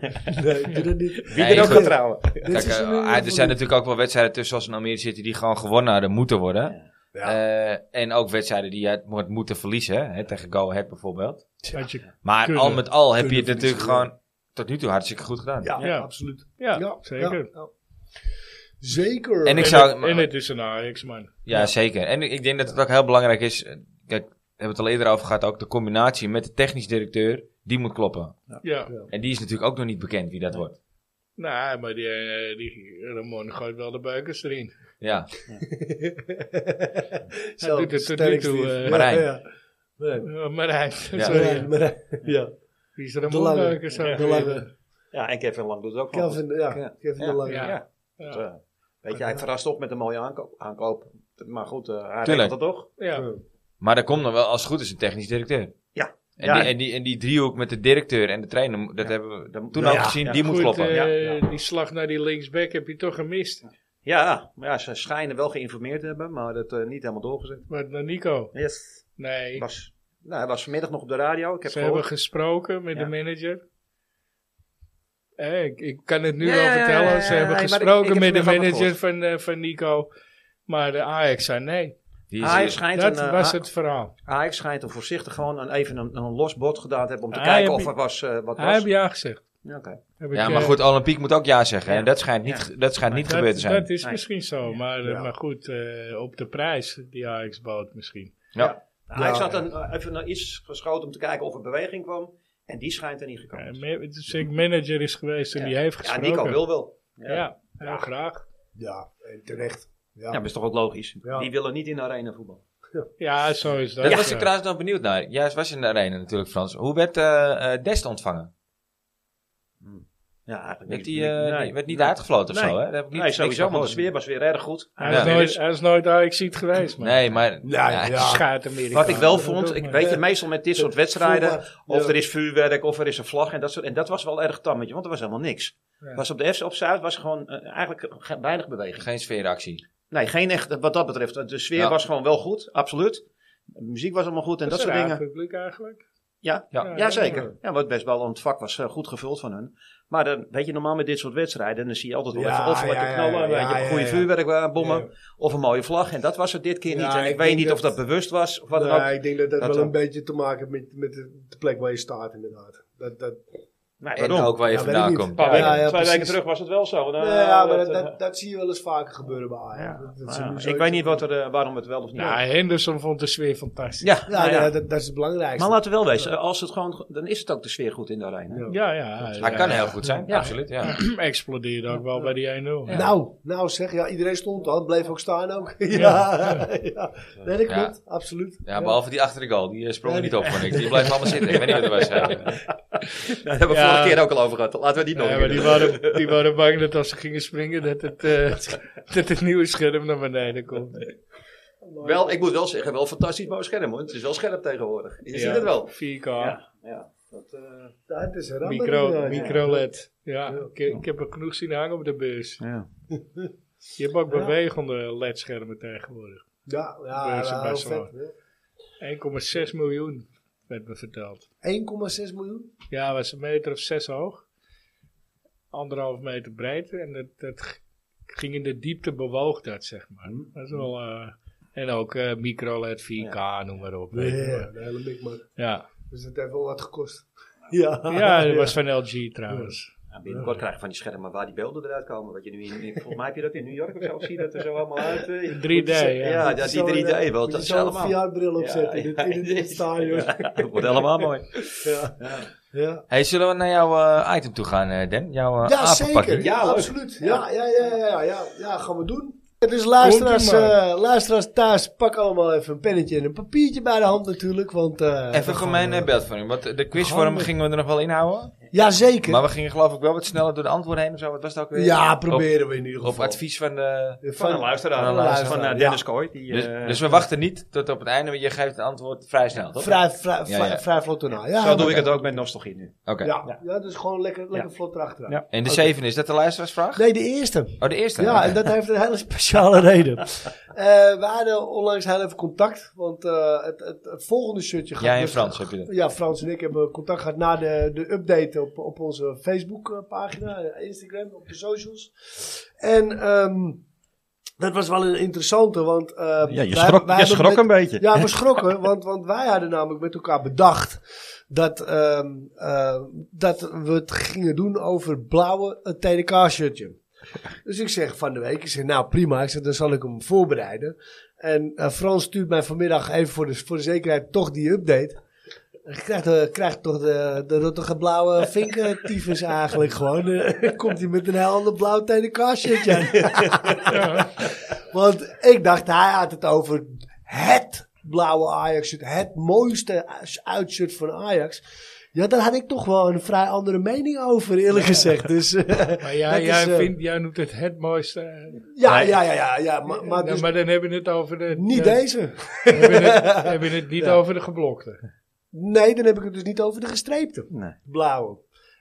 Speaker 3: doe dat niet.
Speaker 1: Wie
Speaker 4: Ik
Speaker 1: Nee,
Speaker 4: ben ook
Speaker 1: goed.
Speaker 4: getrouwen.
Speaker 3: Dit
Speaker 1: Kijk,
Speaker 3: seizoen in
Speaker 1: eh,
Speaker 3: ieder
Speaker 1: er
Speaker 3: geval
Speaker 1: zijn
Speaker 3: niet.
Speaker 1: natuurlijk ook wel wedstrijden tussen als een Almere City die gewoon gewonnen hadden moeten worden. Eh, en ook wedstrijden die je had mo- moeten verliezen, hè, tegen Go Ahead bijvoorbeeld.
Speaker 2: Want je-
Speaker 1: Maar
Speaker 2: Kunnen.
Speaker 1: al met al heb je het
Speaker 3: Kunnen
Speaker 1: natuurlijk
Speaker 3: verliezen,
Speaker 1: gewoon tot nu toe hartstikke goed gedaan.
Speaker 3: Ja,
Speaker 2: Ja.
Speaker 3: absoluut.
Speaker 2: Ja,
Speaker 3: Ja,
Speaker 2: zeker.
Speaker 3: ja, ja. Zeker.
Speaker 1: En ik
Speaker 2: En
Speaker 1: zou-
Speaker 2: het- En het is een Ajax, man.
Speaker 1: Ja, zeker. En ik ik denk dat het ook heel belangrijk is. eh, Kijk, we hebben het al eerder over gehad. Ook de combinatie met de technisch directeur. Die moet kloppen.
Speaker 2: Ja.
Speaker 1: En die is natuurlijk ook nog niet bekend wie dat wordt.
Speaker 2: Nou, maar die, eh, die Ramon gooit wel de buikers erin.
Speaker 1: Ja.
Speaker 3: Zo,
Speaker 2: doet het tot
Speaker 3: sterk,
Speaker 2: nu toe,
Speaker 3: Steve.
Speaker 2: eh,
Speaker 3: Ja,
Speaker 1: Marijn.
Speaker 3: ja. Nee.
Speaker 2: Eh, Marijn, sorry.
Speaker 3: Marijn, Marijn, Ja,
Speaker 2: Die is
Speaker 3: de
Speaker 2: Ramon
Speaker 3: lange.
Speaker 2: buikers aan
Speaker 3: De
Speaker 2: het
Speaker 3: lange.
Speaker 4: Ja, en Kevin Lang doet het ook wel goed.
Speaker 3: Kelvin, ja,
Speaker 4: Ja.
Speaker 3: Kelvin de
Speaker 4: Ja.
Speaker 3: lange.
Speaker 2: Ja.
Speaker 4: Ja. Dus, eh, weet je, hij verrast op met een mooie aankoop. aankoop. Maar goed, eh hij
Speaker 1: Tuurlijk.
Speaker 4: regelt het toch?
Speaker 2: Ja.
Speaker 1: Maar er komt nog wel, als het goed is, een technisch directeur.
Speaker 4: Ja.
Speaker 1: En,
Speaker 4: Ja.
Speaker 1: Die, en, die, en die driehoek met de directeur en de trainer, dat
Speaker 4: Ja.
Speaker 1: hebben we
Speaker 4: Dan-
Speaker 1: toen
Speaker 4: Ja,
Speaker 1: al
Speaker 4: ja,
Speaker 1: gezien,
Speaker 4: ja.
Speaker 1: die moet
Speaker 2: Goed,
Speaker 1: kloppen.
Speaker 2: eh,
Speaker 4: Ja, ja.
Speaker 2: die slag naar die linksback heb je toch gemist.
Speaker 4: Ja, maar ja, ze schijnen wel geïnformeerd te hebben, maar dat eh, niet helemaal doorgezet.
Speaker 2: Maar naar Nico.
Speaker 4: Yes.
Speaker 2: Nee.
Speaker 4: Was, nou, hij was vanmiddag nog op de radio. Ik heb
Speaker 2: Ze hebben
Speaker 4: gehoord.
Speaker 2: gesproken met
Speaker 4: Ja.
Speaker 2: de manager. Eh, ik, ik kan het nu
Speaker 4: Ja,
Speaker 2: wel
Speaker 4: ja, ja,
Speaker 2: vertellen.
Speaker 4: ja, ja,
Speaker 2: Ze hebben
Speaker 4: nee, maar ik-
Speaker 2: gesproken
Speaker 4: ik heb
Speaker 2: met de
Speaker 4: vanmiddag
Speaker 2: manager
Speaker 4: gehoord.
Speaker 2: van, eh, van Nico. Maar de Ajax zei nee.
Speaker 1: Die is,
Speaker 4: Ajax schijnt,
Speaker 2: Dat
Speaker 4: een, eh,
Speaker 2: was
Speaker 4: A-
Speaker 2: het verhaal.
Speaker 4: Ajax schijnt een voorzichtig gewoon een, even een, een los bod gedaan te hebben om te
Speaker 2: Hij
Speaker 4: kijken
Speaker 2: heb-
Speaker 4: of er was, eh, wat
Speaker 2: Hij
Speaker 4: was.
Speaker 2: heb ja gezegd.
Speaker 4: Ja, oké.
Speaker 2: Heb ik,
Speaker 1: ja, maar
Speaker 2: eh,
Speaker 1: goed, Olympiek moet ook ja zeggen. En dat schijnt niet, dat schijnt niet
Speaker 2: dat,
Speaker 1: gebeurd te zijn.
Speaker 2: dat is
Speaker 4: Nee.
Speaker 2: misschien zo. Maar, eh,
Speaker 3: Ja.
Speaker 2: maar goed, eh, op de prijs die Ajax bood misschien.
Speaker 1: ja.
Speaker 4: Ajax
Speaker 3: Ja.
Speaker 4: had een, eh, even naar iets geschoten om te kijken of er beweging kwam. En die schijnt er niet
Speaker 2: Eh,
Speaker 4: gekomen. te zijn.
Speaker 2: ma- het is een manager is geweest en die heeft
Speaker 4: ja,
Speaker 2: gesproken.
Speaker 4: Nico wil wel.
Speaker 2: Ja, ja, graag.
Speaker 3: Ja, en terecht. Ja.
Speaker 4: Ja, maar is toch ook logisch.
Speaker 3: Ja.
Speaker 4: Die willen niet in arena voetbal.
Speaker 2: Ja, zo is dat.
Speaker 1: Dat was
Speaker 2: ja.
Speaker 1: ik trouwens nog benieuwd naar. Juist was je in de arena natuurlijk, Frans. Hoe werd eh, eh, Dest ontvangen?
Speaker 4: Ja, eigenlijk
Speaker 1: Werd
Speaker 4: niet.
Speaker 1: die, eh,
Speaker 4: Nee.
Speaker 1: die werd niet uitgefloten of
Speaker 4: Nee.
Speaker 1: zo, hè? Dat heb ik niet,
Speaker 4: nee,
Speaker 1: niks van
Speaker 4: sowieso, want de
Speaker 1: gehoord.
Speaker 4: sfeer was weer erg goed.
Speaker 2: Hij,
Speaker 1: Ja.
Speaker 2: is nooit, hij is nooit Ajax-ziet geweest, man.
Speaker 1: Nee, maar...
Speaker 3: Ja,
Speaker 1: ja,
Speaker 3: ja.
Speaker 2: Schaat Amerika.
Speaker 4: Wat ik wel
Speaker 2: Dat
Speaker 4: vond,
Speaker 2: doet
Speaker 4: ik
Speaker 2: me.
Speaker 4: weet je, meestal met dit soort wedstrijden,
Speaker 3: Voetbal.
Speaker 4: of
Speaker 3: Ja.
Speaker 4: er is vuurwerk, of er is een vlag en dat soort. En dat was wel erg tammetje, want er was helemaal niks.
Speaker 2: Ja.
Speaker 4: Was op de F op Zuid was gewoon eh, eigenlijk ge- weinig beweging.
Speaker 1: Geen sfeeractie.
Speaker 4: Nee, geen echt, wat dat betreft. De sfeer
Speaker 1: Ja.
Speaker 4: was gewoon wel goed, absoluut. De muziek was allemaal goed en dat,
Speaker 2: is
Speaker 4: soort
Speaker 2: een raar
Speaker 4: dingen.
Speaker 2: publiek eigenlijk.
Speaker 4: Ja,
Speaker 1: Ja.
Speaker 4: ja, zeker. Ja, want best wel, want het vak was eh, goed gevuld van hun. Maar dan, weet je, normaal met dit soort wedstrijden, dan zie je altijd wel
Speaker 3: Ja,
Speaker 4: even of wat
Speaker 3: ja,
Speaker 4: te
Speaker 3: ja,
Speaker 4: knallen,
Speaker 3: ja,
Speaker 4: weet je,
Speaker 3: ja,
Speaker 4: goede
Speaker 3: ja.
Speaker 4: vuurwerk eh, bommen,
Speaker 3: Ja.
Speaker 4: of een mooie vlag. En dat was het dit keer
Speaker 3: Ja,
Speaker 4: niet. En ik,
Speaker 3: ik
Speaker 4: weet
Speaker 3: denk
Speaker 4: niet of
Speaker 3: dat-
Speaker 4: dat bewust was, of wat dan
Speaker 3: Nee,
Speaker 4: ook.
Speaker 3: ik denk dat dat,
Speaker 4: Dat
Speaker 3: wel
Speaker 4: wel.
Speaker 3: een beetje te maken heeft met, met de, de plek waar je staat, inderdaad. Dat, dat,
Speaker 4: Nee,
Speaker 1: En
Speaker 4: waarom?
Speaker 1: ook waar je
Speaker 3: Ja, weet ik
Speaker 1: vandaan
Speaker 3: niet.
Speaker 1: komt.
Speaker 4: Een paar
Speaker 3: Ja,
Speaker 4: weken-
Speaker 3: ja,
Speaker 4: twee
Speaker 3: precies.
Speaker 4: weken terug was het wel zo. Nou,
Speaker 3: Nee, ja, maar
Speaker 4: dat,
Speaker 3: dat,
Speaker 4: eh,
Speaker 3: dat, dat zie je wel eens vaker gebeuren bij Ajax.
Speaker 4: ja.
Speaker 3: Dat- dat
Speaker 4: Nou
Speaker 3: ze
Speaker 4: ja,
Speaker 3: nu
Speaker 4: ik
Speaker 3: zoiets-
Speaker 4: weet niet wat er, eh, waarom het wel of niet.
Speaker 2: Nou, Henderson vond de sfeer fantastisch.
Speaker 4: Ja,
Speaker 3: Ja,
Speaker 4: nou ja.
Speaker 3: ja, Dat, dat is het belangrijkste.
Speaker 4: maar laten we wel wezen, eh, als het gewoon, dan is het ook de sfeer goed in de arena.
Speaker 3: Ja.
Speaker 2: Ja, ja. eh,
Speaker 1: Hij kan heel goed zijn,
Speaker 4: Ja.
Speaker 1: absoluut. Ja.
Speaker 2: Explodeerde ook wel bij die 1-0. Ja.
Speaker 3: Nou, nou zeg, ja, iedereen stond dan, bleef ook staan ook. ja, ja. Nee, dat
Speaker 1: Ja.
Speaker 3: klopt, absoluut.
Speaker 1: ja, behalve die achter de goal. Die eh, sprong er niet op, vond ik. Die blijft allemaal zitten. Ik weet niet wat er was. eh.
Speaker 4: Daar hebben we
Speaker 2: Ja.
Speaker 4: vorige keer ook al over gehad. Laten we die nog
Speaker 2: Ja,
Speaker 4: een
Speaker 2: maar
Speaker 4: keer
Speaker 2: die
Speaker 4: doen.
Speaker 2: waren, die waren bang dat als ze gingen springen, dat het, eh, dat het nieuwe scherm naar beneden komt.
Speaker 4: Wel, ik moet wel zeggen, wel fantastisch mooi scherm hoor. Het is wel scherp tegenwoordig. Je ziet
Speaker 2: Ja.
Speaker 4: het wel.
Speaker 2: 4K,
Speaker 4: ja. Dat, eh,
Speaker 3: Dat is een rammer
Speaker 2: micro,
Speaker 3: inderdaad.
Speaker 2: micro-led. eh, Ja, ik, ik heb er genoeg zien hangen op de beurs. Je hebt ook
Speaker 3: Ja.
Speaker 2: bewegende LED-schermen tegenwoordig.
Speaker 3: Ja, ja,
Speaker 2: Beurs in
Speaker 3: ja, heel
Speaker 2: Barcelona.
Speaker 3: vet. ja.
Speaker 2: 1,6 miljoen, werd me verteld.
Speaker 3: 1,6 miljoen?
Speaker 2: Ja, was een meter of zes hoog. Anderhalf meter
Speaker 3: Hm.
Speaker 2: breed. En dat, dat g- ging in de diepte bewoog dat, zeg maar. Dat is wel eh, En ook eh micro-led, 4K, noem maar op. weet je wel.
Speaker 3: de hele mikmak.
Speaker 2: Ja.
Speaker 3: Dus dat heeft wel wat gekost. Ah, Ja,
Speaker 2: ja, dat was van LG trouwens.
Speaker 4: Ja, binnenkort krijg je van die schermen waar die beelden eruit komen. Wat je nu in, in- volgens mij heb je dat in New York of zo. Zie je dat er zo allemaal uit? eh, in-
Speaker 2: 3D, ja.
Speaker 4: ja. dat die 3D wel, dat is allemaal.
Speaker 3: een VR-bril opzetten
Speaker 4: Ja,
Speaker 3: in het, in het,
Speaker 4: ja,
Speaker 3: stadion. Ja.
Speaker 4: Ja, dat wordt allemaal mooi.
Speaker 3: Ja. Ja.
Speaker 1: Hey, zullen we naar jouw eh, item toe gaan, eh, Dan? Jouw eh
Speaker 3: zeker.
Speaker 1: apenpakking.
Speaker 3: Ja,
Speaker 4: Ja, leuk.
Speaker 3: absoluut. Ja, ja, ja, ja, ja, ja, ja, gaan we doen. Dus luisteraars,
Speaker 2: Komt-ie maar.
Speaker 3: eh, luisteraars thuis, pak allemaal even een pennetje en een papiertje bij de hand natuurlijk. Want, eh, we
Speaker 1: Even
Speaker 3: gaan,
Speaker 1: gemeen
Speaker 3: eh,
Speaker 1: uh, beeldvorming, want de
Speaker 3: gaan
Speaker 1: quizvorm
Speaker 3: we-
Speaker 1: gingen we er nog wel inhouden.
Speaker 3: Jazeker.
Speaker 1: Maar we gingen geloof ik wel wat sneller door de antwoorden heen of zo. Wat was dat ook weer?
Speaker 3: ja,
Speaker 1: Op-
Speaker 3: proberen we in ieder
Speaker 1: Op,
Speaker 3: geval.
Speaker 1: advies van de...
Speaker 4: Van een luisteraar.
Speaker 1: Van een luisteraar,
Speaker 4: Van eh,
Speaker 3: ja.
Speaker 4: Dennis Kooi. Die,
Speaker 1: Dus,
Speaker 4: eh,
Speaker 1: dus we wachten niet tot op het einde, want je geeft het antwoord vrij snel, toch?
Speaker 3: Vrij, vrij,
Speaker 1: Ja, ja.
Speaker 3: vrij vlot erna. Ja,
Speaker 4: Zo doe ik het ook met nostalgie nu.
Speaker 1: Oké.
Speaker 3: Ja, ja. dus gewoon lekker, lekker
Speaker 4: Ja.
Speaker 3: vlot erachteraan.
Speaker 4: Ja.
Speaker 1: En de
Speaker 3: Oké.
Speaker 1: zeven, is dat de luisteraarsvraag?
Speaker 3: Nee, de eerste.
Speaker 1: Oh, de eerste?
Speaker 3: Ja,
Speaker 1: Oké.
Speaker 3: en dat heeft een hele speciale reden. Eh, we hadden onlangs heel even contact, want eh, het, het, het volgende shirtje gaat...
Speaker 1: Jij en
Speaker 3: dus-
Speaker 1: Frans heb je dat.
Speaker 3: Ja, Frans en ik hebben contact gehad na de, de update op, op onze Facebook-pagina, eh, Instagram, op de socials. En ehm, dat was wel een interessante, want... eh, wij- wij hebben met-
Speaker 4: beetje.
Speaker 3: ja, we schrokken, want, want wij hadden namelijk met elkaar bedacht dat, ehm, eh, dat we het gingen doen over het blauwe eh, TDK-shirtje. Dus ik zeg van de week, ik zeg nou prima, ik zeg, dan zal ik hem voorbereiden. En eh, Frans stuurt mij vanmiddag even voor de, voor de zekerheid toch die update. Ik krijg, de, krijg toch de, de rottige blauwe vinkertyfus eigenlijk gewoon. Eh, komt hij met een heel ander blauw TDK-shirtje aan. Want ik dacht, hij had het over het blauwe Ajax-shirt. Het mooiste uitshirt van Ajax. Ja, daar had ik toch wel een vrij andere mening over, eerlijk gezegd. Dus, eh,
Speaker 2: Maar ja,
Speaker 3: dat is,
Speaker 2: jij,
Speaker 3: eh,
Speaker 2: vindt, jij noemt het het mooiste. eh,
Speaker 3: ja, ja, ja, ja, ja. Maar, maar
Speaker 2: ja,
Speaker 3: dus
Speaker 2: maar dan hebben we het over de...
Speaker 3: niet
Speaker 2: ja,
Speaker 3: deze.
Speaker 2: dan Hebben we het, hebben we het niet over de geblokte.
Speaker 3: Nee, dan heb ik het dus niet over de gestreepte
Speaker 4: Nee.
Speaker 3: blauwe.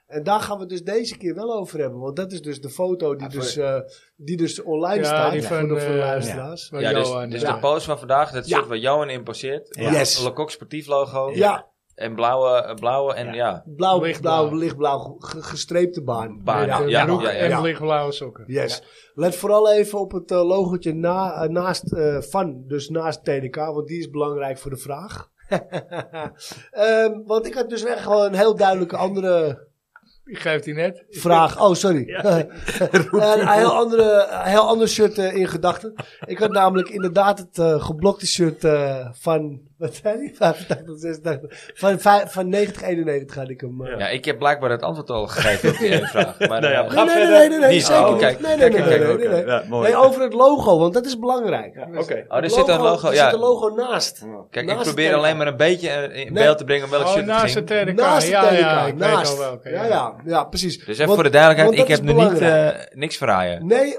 Speaker 3: En daar gaan we het dus deze keer wel over hebben. Want dat is dus de foto die, dus, eh, die dus online
Speaker 2: Ja,
Speaker 3: staat
Speaker 2: die
Speaker 3: voor,
Speaker 2: van,
Speaker 3: de, voor de
Speaker 2: eh,
Speaker 3: luisteraars. Oh, Ja,
Speaker 2: Maar
Speaker 1: Ja, dus,
Speaker 2: Johan,
Speaker 1: dus
Speaker 2: ja.
Speaker 1: de post van vandaag, dat
Speaker 3: Ja.
Speaker 1: shirt waar Johan in passeert.
Speaker 4: Ja.
Speaker 3: Yes.
Speaker 1: Lecoq sportief logo.
Speaker 3: ja
Speaker 1: En blauwe, eh, blauwe en ja.
Speaker 3: blauw,
Speaker 2: Lichtblauw.
Speaker 3: blauw, lichtblauw, ge- gestreepte baan.
Speaker 1: Baan,
Speaker 2: Met
Speaker 1: ja,
Speaker 2: een
Speaker 1: ja,
Speaker 2: broek
Speaker 1: ja, ja.
Speaker 2: en
Speaker 3: Ja.
Speaker 2: lichtblauwe sokken.
Speaker 3: Yes. Let vooral even op het eh, logotje na, eh, naast eh, van, dus naast TDK, want die is belangrijk voor de vraag. Ehm, want ik had dus echt wel een heel duidelijke andere
Speaker 2: Ik geef die net.
Speaker 3: vraag. Oh, sorry. een heel, andere, een heel ander shirt eh, in gedachten. Ik had namelijk inderdaad het eh, geblokte shirt eh, van, wat zei die? 85, 86. Van, vij- van 90, 91 had ik hem. eh.
Speaker 1: Ja, ik heb blijkbaar het antwoord al gegeven op die ene vraag. Maar,
Speaker 4: Nou ja,
Speaker 1: eh,
Speaker 3: Nee,
Speaker 4: Ga
Speaker 3: nee,
Speaker 4: verder.
Speaker 3: nee, nee, nee,
Speaker 1: Die is-
Speaker 3: zeker
Speaker 1: oh,
Speaker 3: niet.
Speaker 1: kijk,
Speaker 3: nee, nee,
Speaker 1: kijk,
Speaker 3: nee,
Speaker 1: kijk,
Speaker 3: nee,
Speaker 1: oké.
Speaker 3: nee, nee.
Speaker 4: Ja, mooi.
Speaker 3: Nee, over het logo, want dat is belangrijk.
Speaker 4: Ja, Oké.
Speaker 1: oh, er zit een logo.
Speaker 3: Er
Speaker 1: Ja.
Speaker 3: zit een logo naast.
Speaker 1: Kijk, ik
Speaker 3: Naast Nou het
Speaker 1: probeer
Speaker 3: TDK.
Speaker 1: alleen maar een beetje eh, in
Speaker 3: Nee.
Speaker 1: beeld te brengen om welk
Speaker 2: Oh,
Speaker 1: shirt het
Speaker 2: naast het
Speaker 1: ging.
Speaker 2: TDK.
Speaker 3: Naast
Speaker 2: ja,
Speaker 3: het TDK.
Speaker 2: ja, ik
Speaker 3: naast.
Speaker 2: weet al welke.
Speaker 3: ja, ja, ja, precies.
Speaker 1: Dus even
Speaker 3: Want-
Speaker 1: voor de duidelijkheid, ik
Speaker 3: want dat
Speaker 1: heb
Speaker 3: is
Speaker 1: nu niet
Speaker 3: belangrijk.
Speaker 1: eh, niks verraaien.
Speaker 3: Nee,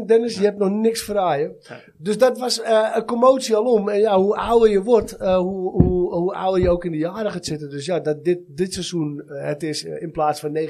Speaker 3: 100% Dennis, je hebt nog niks verraaien. Dus dat was eh, een commotie alom. En ja, hoe ouder je wordt, eh, hoe, hoe, hoe ouder je ook in de jaren gaat zitten. Dus ja, dat dit, dit seizoen eh, het is eh, in plaats van 90-91,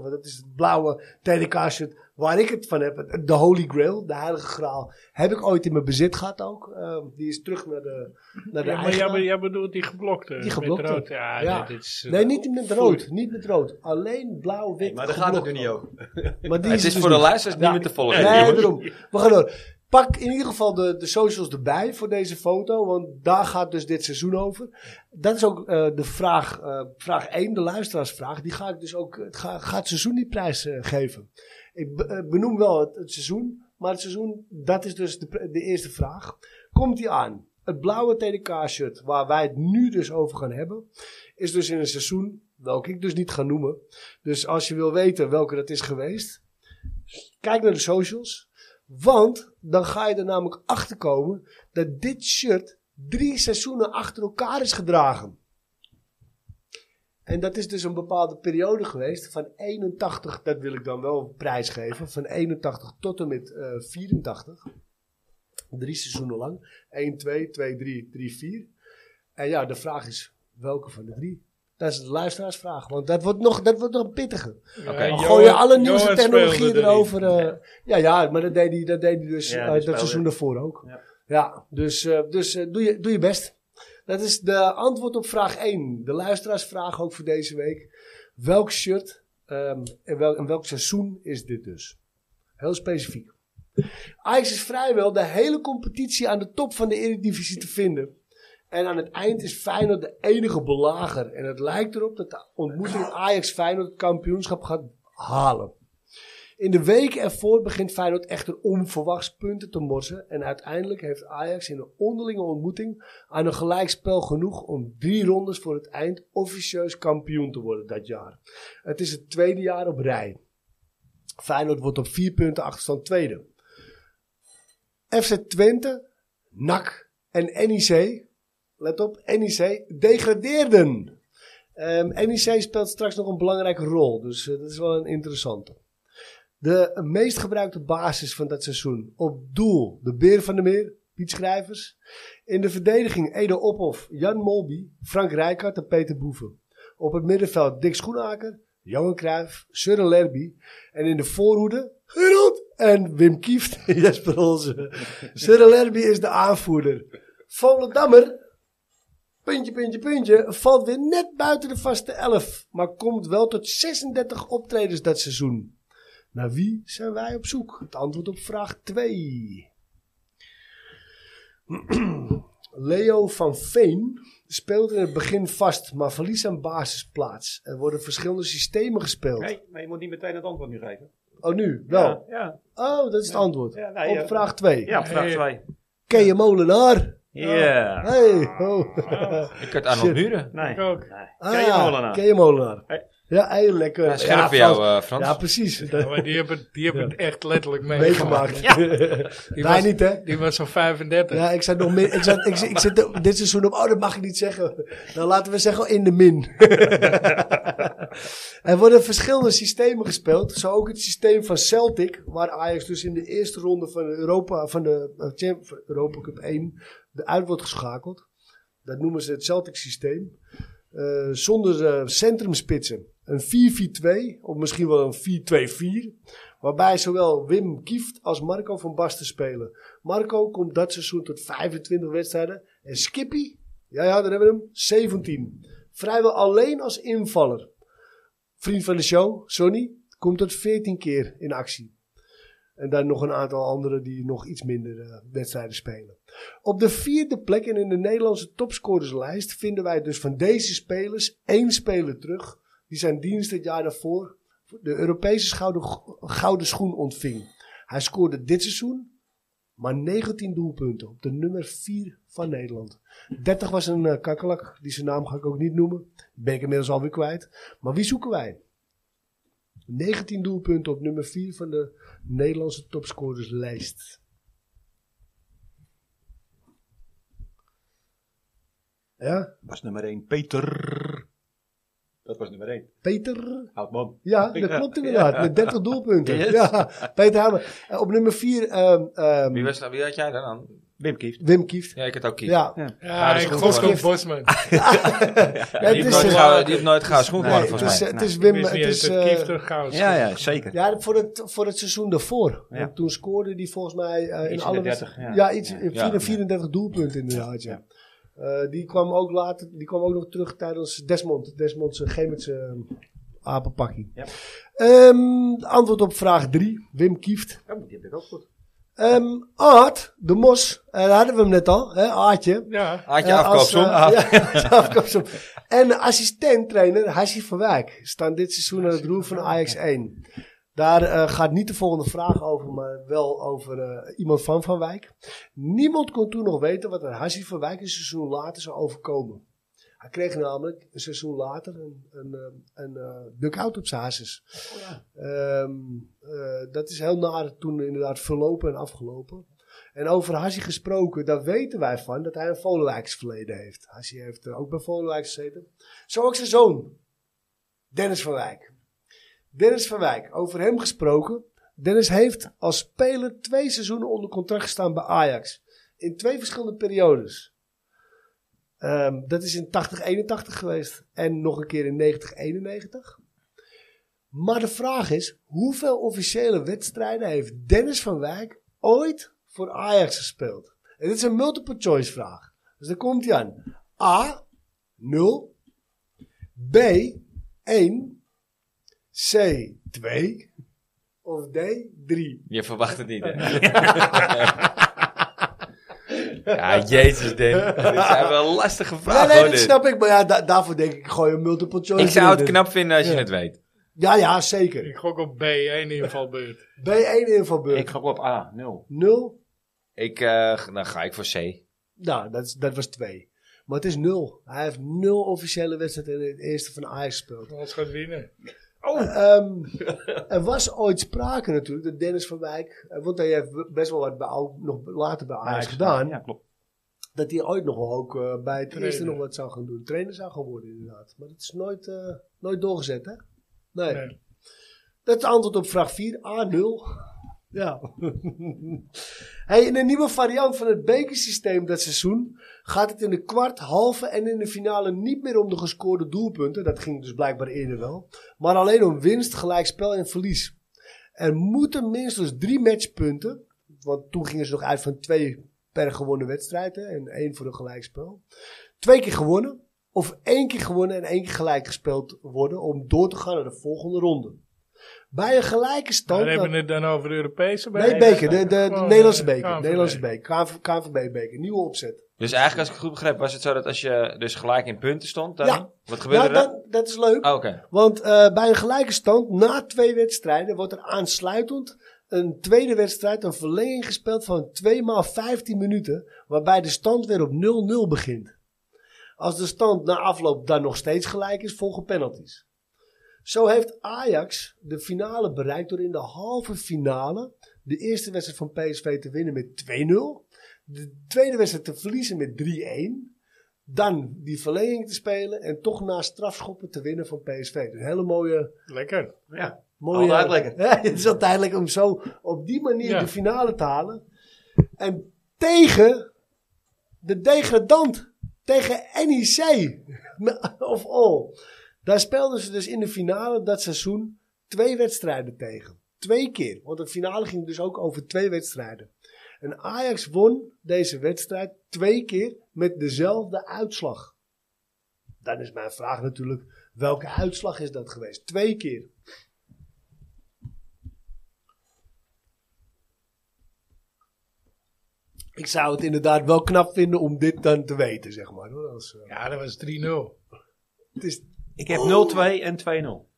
Speaker 3: want dat is het blauwe TDK-shirt waar ik het van heb. De Holy Grail, de heilige graal, heb ik ooit in mijn bezit gehad ook. Eh, die is terug naar de, naar de
Speaker 2: Ja, maar jij,
Speaker 3: eigenaar.
Speaker 2: be- jij bedoelt die geblokte.
Speaker 3: Die geblokte.
Speaker 2: Met rood. Ja,
Speaker 3: Ja.
Speaker 2: nee, dit is... eh,
Speaker 3: Nee, niet met rood. Niet met rood. Alleen blauw, wit.
Speaker 4: Nee, maar daar gaat het nu
Speaker 3: geblokt.
Speaker 4: niet over.
Speaker 3: Maar die
Speaker 1: Het is
Speaker 3: dus
Speaker 1: voor de
Speaker 3: niet.
Speaker 1: luisteraars niet
Speaker 3: Ja.
Speaker 1: meer te volgen.
Speaker 3: Nee,
Speaker 1: jongens.
Speaker 3: daarom. We gaan door. Pak in ieder geval de, de socials erbij voor deze foto, want daar gaat dus dit seizoen over. Dat is ook eh, de vraag, eh, vraag 1, de luisteraarsvraag. Die ga ik dus ook, het ga, ga het seizoen die prijs eh, geven. Ik be- eh, benoem wel het, het seizoen, maar het seizoen, dat is dus de, pr- de eerste vraag. Komt die aan? Het blauwe TDK-shirt, waar wij het nu dus over gaan hebben, is dus in een seizoen, welke ik dus niet ga noemen. Dus als je wil weten welke dat is geweest, kijk naar de socials. Want dan ga je er namelijk achter komen dat dit shirt drie seizoenen achter elkaar is gedragen. En dat is dus een bepaalde periode geweest van 81, dat wil ik dan wel prijsgeven, van 81 tot en met eh 84. Drie seizoenen lang. 1, 2, 2, 3, 3, 4. En ja, de vraag is welke van de drie? Dat is de luisteraarsvraag, want dat wordt nog, dat wordt nog pittiger.
Speaker 2: ja,
Speaker 1: Oké.
Speaker 3: Dan
Speaker 2: Johan-
Speaker 3: gooi je alle
Speaker 2: Johan
Speaker 3: nieuwste
Speaker 2: speelde
Speaker 3: technologie
Speaker 2: erin.
Speaker 3: erover. eh, ja, ja, maar dat deed hij, dat deed hij dus
Speaker 4: Ja,
Speaker 3: eh,
Speaker 4: die
Speaker 3: dat
Speaker 4: speelde.
Speaker 3: seizoen daarvoor ook. Ja,
Speaker 4: Ja.
Speaker 3: dus, eh, dus eh, doe, je, doe je best. Dat is de antwoord op vraag 1. De luisteraarsvraag ook voor deze week. Welk shirt ehm, en, wel, en welk seizoen is dit dus? Heel specifiek. Ajax is vrijwel de hele competitie aan de top van de Eredivisie te vinden. En aan het eind is Feyenoord de enige belager. En het lijkt erop dat de ontmoeting Ajax-Feyenoord het kampioenschap gaat halen. In de weken ervoor begint Feyenoord echter onverwachts punten te morsen. En uiteindelijk heeft Ajax in een onderlinge ontmoeting aan een gelijkspel genoeg om drie rondes voor het eind officieus kampioen te worden dat jaar. Het is het tweede jaar op rij. Feyenoord wordt op vier punten achterstand tweede. FC Twente, NAC en NEC, let op, NEC, degradeerden. Ehm, NEC speelt straks nog een belangrijke rol, dus eh, dat is wel een interessante. De meest gebruikte basis van dat seizoen. Op doel de Beer van de Meer, Piet Schrijvers. In de verdediging Edo Ophof, Jan Molby, Frank Rijkaard en Peter Boeven. Op het middenveld Dick Schoenaker, Johan Cruijff, Søren Lerby. En in de voorhoede Gerald en Wim Kieft, Jesper Olsen. Søren Lerby is de aanvoerder. Volendammer, puntje, puntje, puntje, valt weer net buiten de vaste elf. Maar komt wel tot 36 optredens dat seizoen. Naar wie zijn wij op zoek? Het antwoord op vraag 2. Leo van Veen speelt in het begin vast, maar verliest aan basisplaats. Er worden verschillende systemen gespeeld.
Speaker 4: Nee, maar je moet niet meteen het antwoord nu geven.
Speaker 3: Oh, nu? Wel.
Speaker 4: Ja, ja,
Speaker 3: Oh, dat is het antwoord.
Speaker 4: Ja, nee, ja.
Speaker 3: op vraag 2.
Speaker 4: ja vraag
Speaker 2: Hey.
Speaker 4: 2.
Speaker 3: Ken je Molenaar?
Speaker 4: Ja.
Speaker 3: Hey, ho.
Speaker 1: Ik had Arnold
Speaker 3: Shit.
Speaker 1: Muren.
Speaker 4: Nee.
Speaker 2: Ik ook.
Speaker 4: nee.
Speaker 3: Ah,
Speaker 4: Ken je Molenaar?
Speaker 3: Ken je Molenaar?
Speaker 4: Hey.
Speaker 3: Ja, hey, lekker.
Speaker 1: Ja, scherp
Speaker 3: Ja,
Speaker 1: voor jou,
Speaker 3: Frans.
Speaker 1: eh, Frans.
Speaker 3: Ja, precies.
Speaker 2: Ja, maar die hebben, die hebben het echt letterlijk meegemaakt.
Speaker 3: Meegemaakt. Wij
Speaker 2: was-
Speaker 3: niet, hè?
Speaker 2: Die was zo'n 35.
Speaker 3: Ja, ik zat nog min. Ik, zat, ik, ik zit er- dit seizoen op. Oh, dat mag ik niet zeggen. Nou, laten we zeggen in de min. er worden verschillende systemen gespeeld. Zo ook het systeem van Celtic, waar Ajax dus in de eerste ronde van de Europa, van de eh, Cham- van Europa Cup 1 eruit wordt geschakeld. Dat noemen ze het Celtic systeem. Eh, zonder eh, centrumspitsen. Een 4-4-2, of misschien wel een 4-2-4. Waarbij zowel Wim Kieft als Marco van Basten spelen. Marco komt dat seizoen tot 25 wedstrijden. En Skippy, ja, ja, daar hebben we hem, 17. Vrijwel alleen als invaller. Vriend van de show, Sonny, komt tot 14 keer in actie. En dan nog een aantal anderen die nog iets minder eh, wedstrijden spelen. Op de vierde plek en in de Nederlandse topscorerslijst vinden wij dus van deze spelers één speler terug. Die zijn dienst het jaar daarvoor de Europese gouden, gouden schoen ontving. Hij scoorde dit seizoen maar 19 doelpunten op de nummer 4 van Nederland. 30 was een eh, kakkelak, die zijn naam ga ik ook niet noemen. Ben ik inmiddels alweer kwijt. Maar wie zoeken wij? 19 doelpunten op nummer 4 van de Nederlandse topscorerslijst. Ja,
Speaker 4: was nummer 1 Peter. Dat was nummer 1.
Speaker 3: Peter.
Speaker 4: Oud man.
Speaker 3: Ja, dat klopt inderdaad. Met 30 doelpunten. Ja, Peter Hamer. Eh, op nummer 4 ehm, ehm,
Speaker 1: Wie, was, dat- wie had jij dan aan?
Speaker 4: Wim Kieft.
Speaker 3: Wim Kieft.
Speaker 1: Ja, ik had ook Kiep.
Speaker 3: Ja,
Speaker 1: Ja,
Speaker 2: Ja,
Speaker 1: dat is
Speaker 2: ik
Speaker 1: goed,
Speaker 2: gok
Speaker 1: hoor.
Speaker 2: op Bosman.
Speaker 3: Ja,
Speaker 1: die,
Speaker 3: het
Speaker 1: heeft
Speaker 3: is,
Speaker 1: nooit
Speaker 3: eh,
Speaker 1: gauw- die heeft nooit gouden schoen
Speaker 4: Nee,
Speaker 1: gewonnen,
Speaker 3: het,
Speaker 1: volgens
Speaker 3: is,
Speaker 1: mij.
Speaker 3: eh, het is
Speaker 2: Ik
Speaker 3: Wim.
Speaker 2: wist
Speaker 3: Het
Speaker 2: niet eens
Speaker 3: is,
Speaker 2: dat Kieft
Speaker 3: eh,
Speaker 2: er gauw is.
Speaker 4: Ja, ja, zeker.
Speaker 3: ja, voor het, voor het seizoen daarvoor.
Speaker 4: Ja.
Speaker 3: Want Toen scoorde hij volgens mij eh, in
Speaker 4: Iets in
Speaker 3: alle
Speaker 4: de 30,
Speaker 3: wedstrijden-
Speaker 4: ja.
Speaker 3: Ja, iets,
Speaker 4: Ja.
Speaker 3: in
Speaker 1: Ja.
Speaker 3: 34 doelpunten inderdaad. Ja. Eh, die kwam ook later, die kwam ook nog terug tijdens Desmond. Desmond zijn Gemitse apenpakkie.
Speaker 4: Ja.
Speaker 3: Ehm, antwoord op vraag 3, Wim Kieft.
Speaker 4: Ja, maar Oh, die heb ik ook goed.
Speaker 3: Ehm Aard, de Mos, eh, daar hadden we hem net al, hè, Aartje.
Speaker 2: Ja,
Speaker 1: Had je
Speaker 3: Eh, als,
Speaker 1: afkoopsom?
Speaker 3: eh,
Speaker 1: Ah,
Speaker 3: ja, als afkoopsom. En assistent-trainer Hassie van Wijk staan dit seizoen aan het roer van Ajax 1. Daar eh, gaat niet de volgende vraag over, maar wel over eh, iemand van Van Wijk. Niemand kon toen nog weten wat er Hassie van Wijk een seizoen later zou overkomen. Hij kreeg namelijk een seizoen later een, een, eh, een eh, duck-out op zijn hasses.
Speaker 1: Oh
Speaker 3: Ehm, eh, dat is heel naar toen inderdaad verlopen en afgelopen. En over Hassie gesproken, daar weten wij van dat hij een Volenwijks verleden heeft. Hassie heeft eh, ook bij Volenwijks gezeten. Zo ook zijn zoon, Dennis van Wijk. Dennis van Wijk, over hem gesproken. Dennis heeft als speler twee seizoenen onder contract gestaan bij Ajax. In twee verschillende periodes. Ehm, dat is in 80-81 geweest en nog een keer in 90-91. Maar de vraag is, hoeveel officiële wedstrijden heeft Dennis van Wijk ooit voor Ajax gespeeld? En dit is een multiple choice vraag. Dus daar komt hij aan. A, 0. B, 1. C, 2. of day 3.
Speaker 1: Je verwacht het niet, hè? ja, jezus, Danny. Dit zijn wel lastige
Speaker 3: Ja,
Speaker 1: vragen,
Speaker 3: nee,
Speaker 1: hoor,
Speaker 3: dat
Speaker 1: dit.
Speaker 3: snap ik. Maar ja, da- daarvoor denk ik, ik gooi een multiple choice.
Speaker 1: Ik zou het
Speaker 3: erin.
Speaker 1: knap vinden als je
Speaker 3: Ja.
Speaker 1: het weet.
Speaker 3: Ja, ja, zeker.
Speaker 2: Ik gok op B1 invalbeurt.
Speaker 3: B1 invalbeurt.
Speaker 4: Ik ga op A, 0.
Speaker 3: 0.
Speaker 1: Ik, eh, dan ga ik voor C.
Speaker 3: Nou, dat, is- dat was 2. Maar het is 0. Hij heeft 0 officiële wedstrijden in het eerste van Ajax gespeeld.
Speaker 2: Ons gaat winnen.
Speaker 3: Ehm, er was ooit sprake natuurlijk dat Dennis van Wijk, eh, want hij heeft best wel wat bij, Au- nog later bij Ajax gedaan,
Speaker 4: Ja, klopt.
Speaker 3: dat hij ooit nog wel ook eh, bij het
Speaker 2: Trainer.
Speaker 3: eerste nog wat zou gaan doen. Trainer zou gaan worden inderdaad. Maar dat is nooit, eh, nooit doorgezet hè? Nee.
Speaker 2: Nee.
Speaker 3: Dat is het antwoord op vraag 4, A0. Ja. hey, in een nieuwe variant van het bekersysteem dat seizoen gaat het in de kwart, halve en in de finale niet meer om de gescoorde doelpunten. Dat ging dus blijkbaar eerder wel. Maar alleen om winst, gelijkspel en verlies. Er moeten minstens dus drie matchpunten, want toen gingen ze nog uit van twee per gewonnen wedstrijd hè, en één voor een gelijkspel. Twee keer gewonnen of één keer gewonnen en één keer gelijk gespeeld worden om door te gaan naar de volgende ronde. Bij een gelijke stand...
Speaker 2: Waar hebben we het dan over de Europese
Speaker 3: Nee,
Speaker 2: beker?
Speaker 3: beker. De, de, de
Speaker 2: Gewoon,
Speaker 3: Nederlandse
Speaker 2: eh,
Speaker 3: beker.
Speaker 2: KNVB.
Speaker 3: Nederlandse beker. KNVB-beker. Nieuwe opzet.
Speaker 1: Dus eigenlijk, als ik het goed begreep, was het zo dat als je dus gelijk in punten stond, dan...
Speaker 3: Ja.
Speaker 1: Wat
Speaker 3: Ja,
Speaker 1: gebeurde er?
Speaker 3: Nou, dat, dat is leuk.
Speaker 1: Oh, oké.
Speaker 3: Want eh, bij een gelijke stand, na twee wedstrijden, wordt er aansluitend een tweede wedstrijd, een verlenging gespeeld van 2 maal 15 minuten, waarbij de stand weer op 0-0 begint. Als de stand na afloop dan nog steeds gelijk is, volgen penalties. Zo heeft Ajax de finale bereikt door in de halve finale de eerste wedstrijd van PSV te winnen met 2-0, de tweede wedstrijd te verliezen met 3-1 dan die verlenging te spelen en toch na strafschoppen te winnen van PSV. Dus een hele mooie...
Speaker 2: Lekker.
Speaker 4: Ja.
Speaker 3: mooie
Speaker 4: Altijd lekker.
Speaker 3: Ja, het is altijd lekker om zo op die manier
Speaker 2: Ja.
Speaker 3: de finale te halen. En tegen de degradant, tegen NEC of all. Daar speelden ze dus in de finale dat seizoen twee wedstrijden tegen. Twee keer, want de finale ging dus ook over twee wedstrijden. En Ajax won deze wedstrijd twee keer met dezelfde uitslag. Dan is mijn vraag natuurlijk, welke uitslag is dat geweest? Twee keer. Ik zou het inderdaad wel knap vinden om dit dan te weten, zeg maar. hoor. Als, eh,
Speaker 2: Ja, dat was 3-0.
Speaker 3: het is,
Speaker 4: Ik heb 0-2 en 2-0.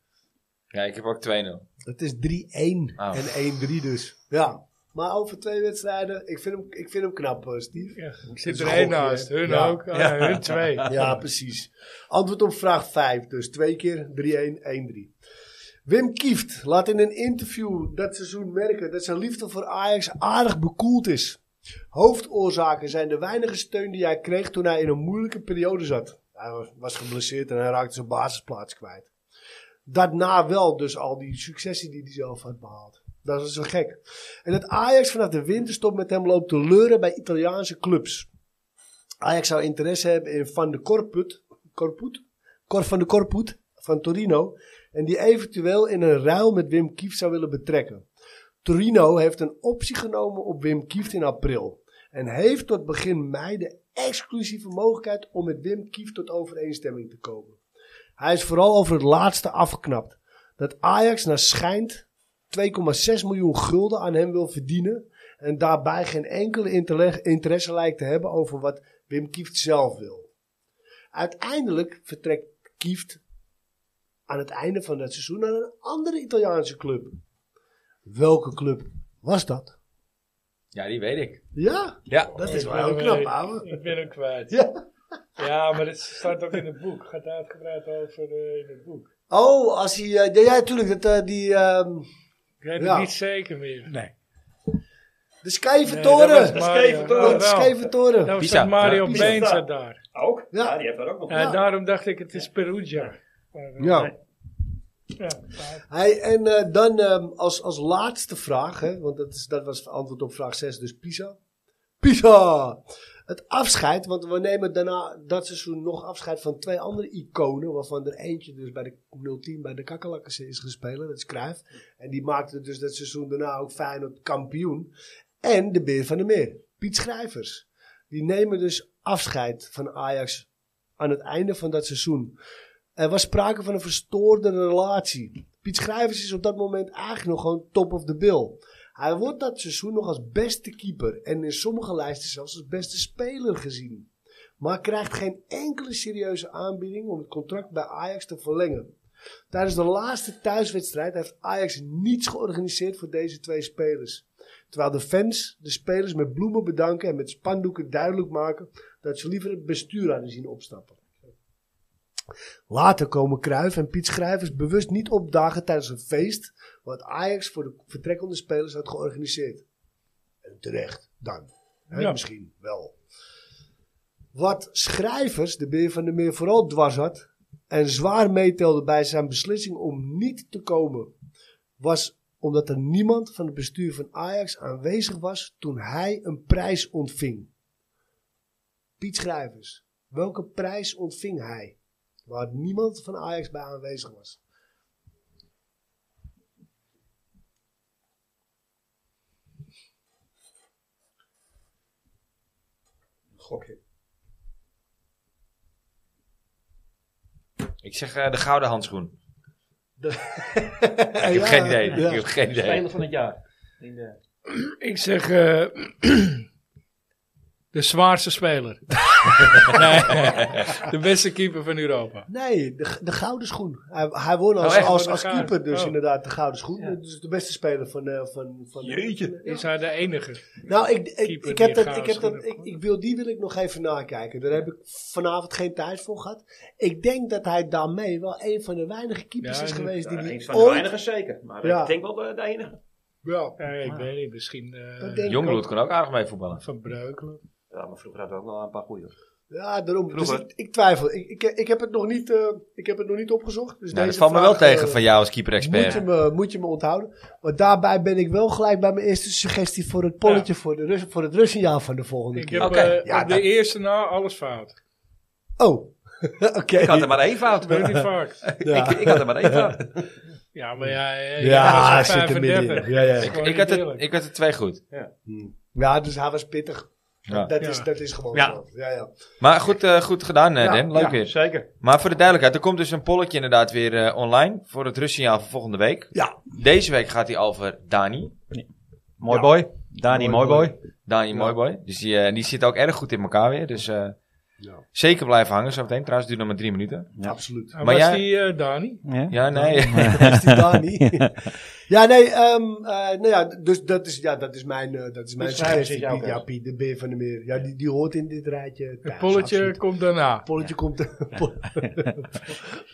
Speaker 1: Ja, ik heb ook 2-0.
Speaker 3: het is 3-1
Speaker 1: Oh.
Speaker 3: en 1-3 dus. Ja, maar over twee wedstrijden, ik vind hem, ik vind hem knap, eh, Steve.
Speaker 2: Ja, ik zit
Speaker 3: is
Speaker 2: er één
Speaker 3: een gokje,
Speaker 2: naast.
Speaker 3: hè?
Speaker 2: Hun
Speaker 3: Ja.
Speaker 2: ook. Ah, ja, hun twee.
Speaker 3: Ja, precies. Antwoord op vraag 5. Dus twee keer 3-1, 1-3. Wim Kieft laat in een interview dat seizoen merken dat zijn liefde voor Ajax aardig bekoeld is. Hoofdoorzaken zijn de weinige steun die hij kreeg toen hij in een moeilijke periode zat. Hij was- was geblesseerd en hij raakte zijn basisplaats kwijt. Daarna wel dus al die successen die hij zelf had behaald. Dat is zo gek. En dat Ajax vanaf de winterstop met hem loopt te leuren bij Italiaanse clubs. Ajax zou interesse hebben in Van de Corput, Corput, Cor van de Corput van Torino. En die eventueel in een ruil met Wim Kieft zou willen betrekken. Torino heeft een optie genomen op Wim Kieft in april. En heeft tot begin mei de exclusieve mogelijkheid om met Wim Kieft tot overeenstemming te komen. Hij is vooral over het laatste afgeknapt. Dat Ajax naar schijnt 2,6 miljoen gulden aan hem wil verdienen. En daarbij geen enkele interle- interesse lijkt te hebben over wat Wim Kieft zelf wil. Uiteindelijk vertrekt Kieft aan het einde van dat seizoen naar een andere Italiaanse club. Welke club was dat?
Speaker 1: Ja, die weet ik.
Speaker 3: Ja,
Speaker 1: Ja.
Speaker 3: dat is wel
Speaker 2: Ik
Speaker 3: heel
Speaker 2: ben-
Speaker 3: knap, ouwe.
Speaker 2: Ik ben hem kwijt.
Speaker 3: Ja.
Speaker 2: Ja, maar het staat ook in het boek. Gaat uitgebreid over eh, in het boek.
Speaker 3: Oh, als hij... eh, ja, ja, tuurlijk. Dat, eh, die, ehm,
Speaker 2: Ik weet
Speaker 3: Ja.
Speaker 2: het niet zeker meer. Nee.
Speaker 3: de Schijven
Speaker 2: dat
Speaker 3: Toren.
Speaker 2: was Mario.
Speaker 3: de Schijven Toren.
Speaker 2: Daar was
Speaker 1: Pisa.
Speaker 2: dat Mario
Speaker 1: Ja,
Speaker 2: Been
Speaker 1: Pisa.
Speaker 2: zat daar.
Speaker 4: Ook?
Speaker 3: Ja.
Speaker 4: Ja, die hebben we ook nog.
Speaker 2: Ja, Daarom dacht ik, het is Perugia. Maar, eh,
Speaker 3: Ja.
Speaker 2: ja, maar-
Speaker 3: Hey, en eh, dan ehm, als, als laatste vraag, hè, want dat, is, dat was antwoord op vraag 6, dus Pisa. Pisa! Het afscheid, want we nemen daarna dat seizoen nog afscheid van twee andere iconen, waarvan er eentje dus bij de 010 bij de Kakkelakkers is gespeeld, dat is Cruijff. En die maakte dus dat seizoen daarna ook Feyenoord kampioen. En de Beer van de Meer, Piet Schrijvers. Die nemen dus afscheid van Ajax aan het einde van dat seizoen. Er was sprake van een verstoorde relatie. Piet Schrijvers is op dat moment eigenlijk nog gewoon top of the bill. Hij wordt dat seizoen nog als beste keeper en in sommige lijsten zelfs als beste speler gezien. Maar krijgt geen enkele serieuze aanbieding om het contract bij Ajax te verlengen. Tijdens de laatste thuiswedstrijd heeft Ajax niets georganiseerd voor deze twee spelers. Terwijl de fans de spelers met bloemen bedanken en met spandoeken duidelijk maken dat ze liever het bestuur hadden zien opstappen. Later komen Cruijff en Piet Schrijvers bewust niet opdagen tijdens een feest wat Ajax voor de vertrekkende spelers had georganiseerd. En terecht, dan. Hè,
Speaker 2: Ja.
Speaker 3: Misschien wel. Wat Schrijvers, de beer van de meer, vooral dwars had en zwaar meetelde bij zijn beslissing om niet te komen, was omdat er niemand van het bestuur van Ajax aanwezig was toen hij een prijs ontving. Piet Schrijvers, welke prijs ontving hij? Waar niemand van Ajax bij aanwezig was.
Speaker 4: Gokje.
Speaker 1: Ik zeg eh, de gouden handschoen.
Speaker 3: Ik
Speaker 1: ik heb geen idee. Ik heb geen idee.
Speaker 5: Speler van het jaar. In de,
Speaker 2: Ik zeg eh, de zwaarste speler. nee, de beste keeper van Europa.
Speaker 3: Nee, de, de gouden schoen. Hij, hij won
Speaker 1: Oh,
Speaker 3: als,
Speaker 1: echt?
Speaker 3: als,
Speaker 2: Oh,
Speaker 3: als
Speaker 2: de
Speaker 3: keeper
Speaker 2: gouden.
Speaker 3: dus
Speaker 2: Oh.
Speaker 3: inderdaad de gouden schoen.
Speaker 5: Ja.
Speaker 3: Dus de beste speler van... eh, van, van
Speaker 4: Jeetje.
Speaker 3: Ja.
Speaker 2: Is hij de enige?
Speaker 3: Nou, ik, ik,
Speaker 2: Keeper
Speaker 3: ik heb
Speaker 2: die
Speaker 3: dat,
Speaker 2: chaos
Speaker 3: ik, heb dat,
Speaker 2: gelukkig.
Speaker 3: ik, ik wil, die wil ik nog even nakijken. Daar heb ik vanavond geen tijd voor gehad. Ik denk dat hij daarmee wel een van de weinige keepers
Speaker 2: Ja,
Speaker 3: is
Speaker 2: die-
Speaker 3: geweest die
Speaker 4: Ja,
Speaker 3: die
Speaker 4: een van de
Speaker 3: ooit-
Speaker 4: weinigen zeker. Maar
Speaker 3: Ja.
Speaker 4: ik denk wel de, de enige.
Speaker 3: Ja.
Speaker 2: Ja, ik
Speaker 3: Ah.
Speaker 2: weet niet, misschien eh,
Speaker 3: Dat denk ik
Speaker 1: Jongbloed
Speaker 3: ook.
Speaker 1: kan ook aardig mee
Speaker 3: Dus
Speaker 1: voetballen.
Speaker 2: Van Breukelen.
Speaker 4: Ja, maar vroeger hadden we ook wel een paar goede.
Speaker 3: Ja, daarom. Dus
Speaker 4: Vroeger.
Speaker 3: ik, ik twijfel. Ik, ik, ik, heb het nog niet, eh, ik heb het nog niet opgezocht. Dus
Speaker 1: Nou, dat
Speaker 3: deze
Speaker 1: valt me wel
Speaker 3: vraag, eh,
Speaker 1: tegen van jou als
Speaker 3: Moet
Speaker 1: keeper-expert.
Speaker 3: je, me, moet je me onthouden. Want daarbij ben ik wel gelijk bij mijn eerste suggestie voor het polletje voor, de Rus, voor het Russenjaar van de volgende
Speaker 2: Ik
Speaker 3: keer.
Speaker 2: heb
Speaker 1: Oké,
Speaker 2: eh,
Speaker 3: ja,
Speaker 2: op de
Speaker 3: dat-
Speaker 2: eerste na alles fout.
Speaker 3: Oh, oké.
Speaker 4: Ik had er maar één fout.
Speaker 2: Dat weet niet vaak.
Speaker 3: Ja,
Speaker 4: Ik, ik had er maar één fout.
Speaker 2: Ja, maar ja, ja,
Speaker 3: Ja,
Speaker 2: was
Speaker 3: zit er middenin.
Speaker 2: 35.
Speaker 3: Ja, ja.
Speaker 1: Ik,
Speaker 2: Gewoon
Speaker 1: ik, had het,
Speaker 2: eerlijk.
Speaker 1: ik had het twee goed.
Speaker 3: ja, dus hij was pittig.
Speaker 1: Ja.
Speaker 3: Dat,
Speaker 2: Ja.
Speaker 3: is, dat is gewoon
Speaker 4: Ja.
Speaker 3: zo. Ja, ja.
Speaker 1: Maar goed, eh, goed gedaan, eh, Dan. Leuk
Speaker 4: Ja,
Speaker 1: weer.
Speaker 4: Zeker.
Speaker 1: Maar voor de duidelijkheid, er komt dus een polletje inderdaad weer eh, online voor het Russiaal van volgende week.
Speaker 3: Ja.
Speaker 1: Deze week gaat hij over Dani.
Speaker 4: Mooi boy. Dani,
Speaker 3: Mooi
Speaker 4: mooi
Speaker 3: boy.
Speaker 4: boy.
Speaker 1: Dani Mooiboy. Dus die, eh, die zit ook erg goed in elkaar weer. Dus eh,
Speaker 3: Ja.
Speaker 1: zeker blijven hangen zo meteen. Trouwens, het duurt nog maar drie minuten.
Speaker 4: Ja.
Speaker 3: absoluut.
Speaker 2: Maar
Speaker 1: Maar
Speaker 2: was
Speaker 1: jij-
Speaker 2: die eh, Dani?
Speaker 1: Ja, nee.
Speaker 3: Dat is die Dani. ja, nee, ehm eh, nou ja, dus dat is, ja, dat is mijn, eh, dat is mijn
Speaker 5: schrijven
Speaker 3: suggestie.
Speaker 5: zit jou
Speaker 3: Piet,
Speaker 5: ook
Speaker 3: ja,
Speaker 5: eens.
Speaker 3: Piet, de beer van de meer. Ja, die, die hoort in dit rijtje.
Speaker 2: Het
Speaker 3: thuis,
Speaker 2: polletje
Speaker 3: absoluut.
Speaker 2: komt daarna.
Speaker 3: Polletje komt. po-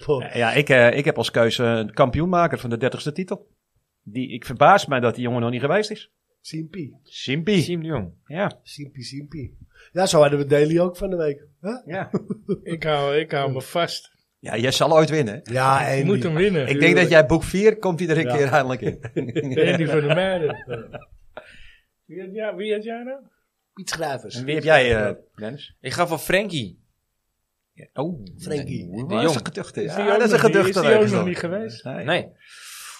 Speaker 3: po-
Speaker 4: Ja, ik, eh, ik heb als keuze een kampioenmaker van de 30ste titel. Die, ik verbaas mij dat die jongen nog niet geweest is.
Speaker 3: Simpie.
Speaker 4: Simpi.
Speaker 1: Siem de Jong.
Speaker 4: Ja.
Speaker 3: Simpie, Simpie. Ja, zo hadden we Daily ook van de week. Huh?
Speaker 4: Ja.
Speaker 2: Ik hou, ik hou me vast.
Speaker 6: Ja, jij zal ooit winnen.
Speaker 3: Ja,
Speaker 2: Je
Speaker 3: en
Speaker 2: moet hem winnen.
Speaker 6: Ik denk dat jij boek 4 komt iedere
Speaker 3: Ja.
Speaker 6: keer eindelijk in.
Speaker 2: Andy van der Meijden. Wie had, ja, wie had jij nou?
Speaker 3: Piet Schrijvers.
Speaker 6: En wie heb jij, eh, Dennis?
Speaker 1: Ik ga voor Frankie.
Speaker 6: Oh,
Speaker 3: Frankie.
Speaker 6: Oeh,
Speaker 1: De
Speaker 6: dat
Speaker 1: Jong.
Speaker 6: is een geduchte.
Speaker 2: Is die
Speaker 6: Ja,
Speaker 2: ook
Speaker 6: dat is een
Speaker 2: nog niet-
Speaker 6: geduchte.
Speaker 2: is die
Speaker 6: weet
Speaker 2: ook
Speaker 6: ik
Speaker 2: nog
Speaker 6: wel.
Speaker 2: niet geweest?
Speaker 6: Nee.
Speaker 1: Nee.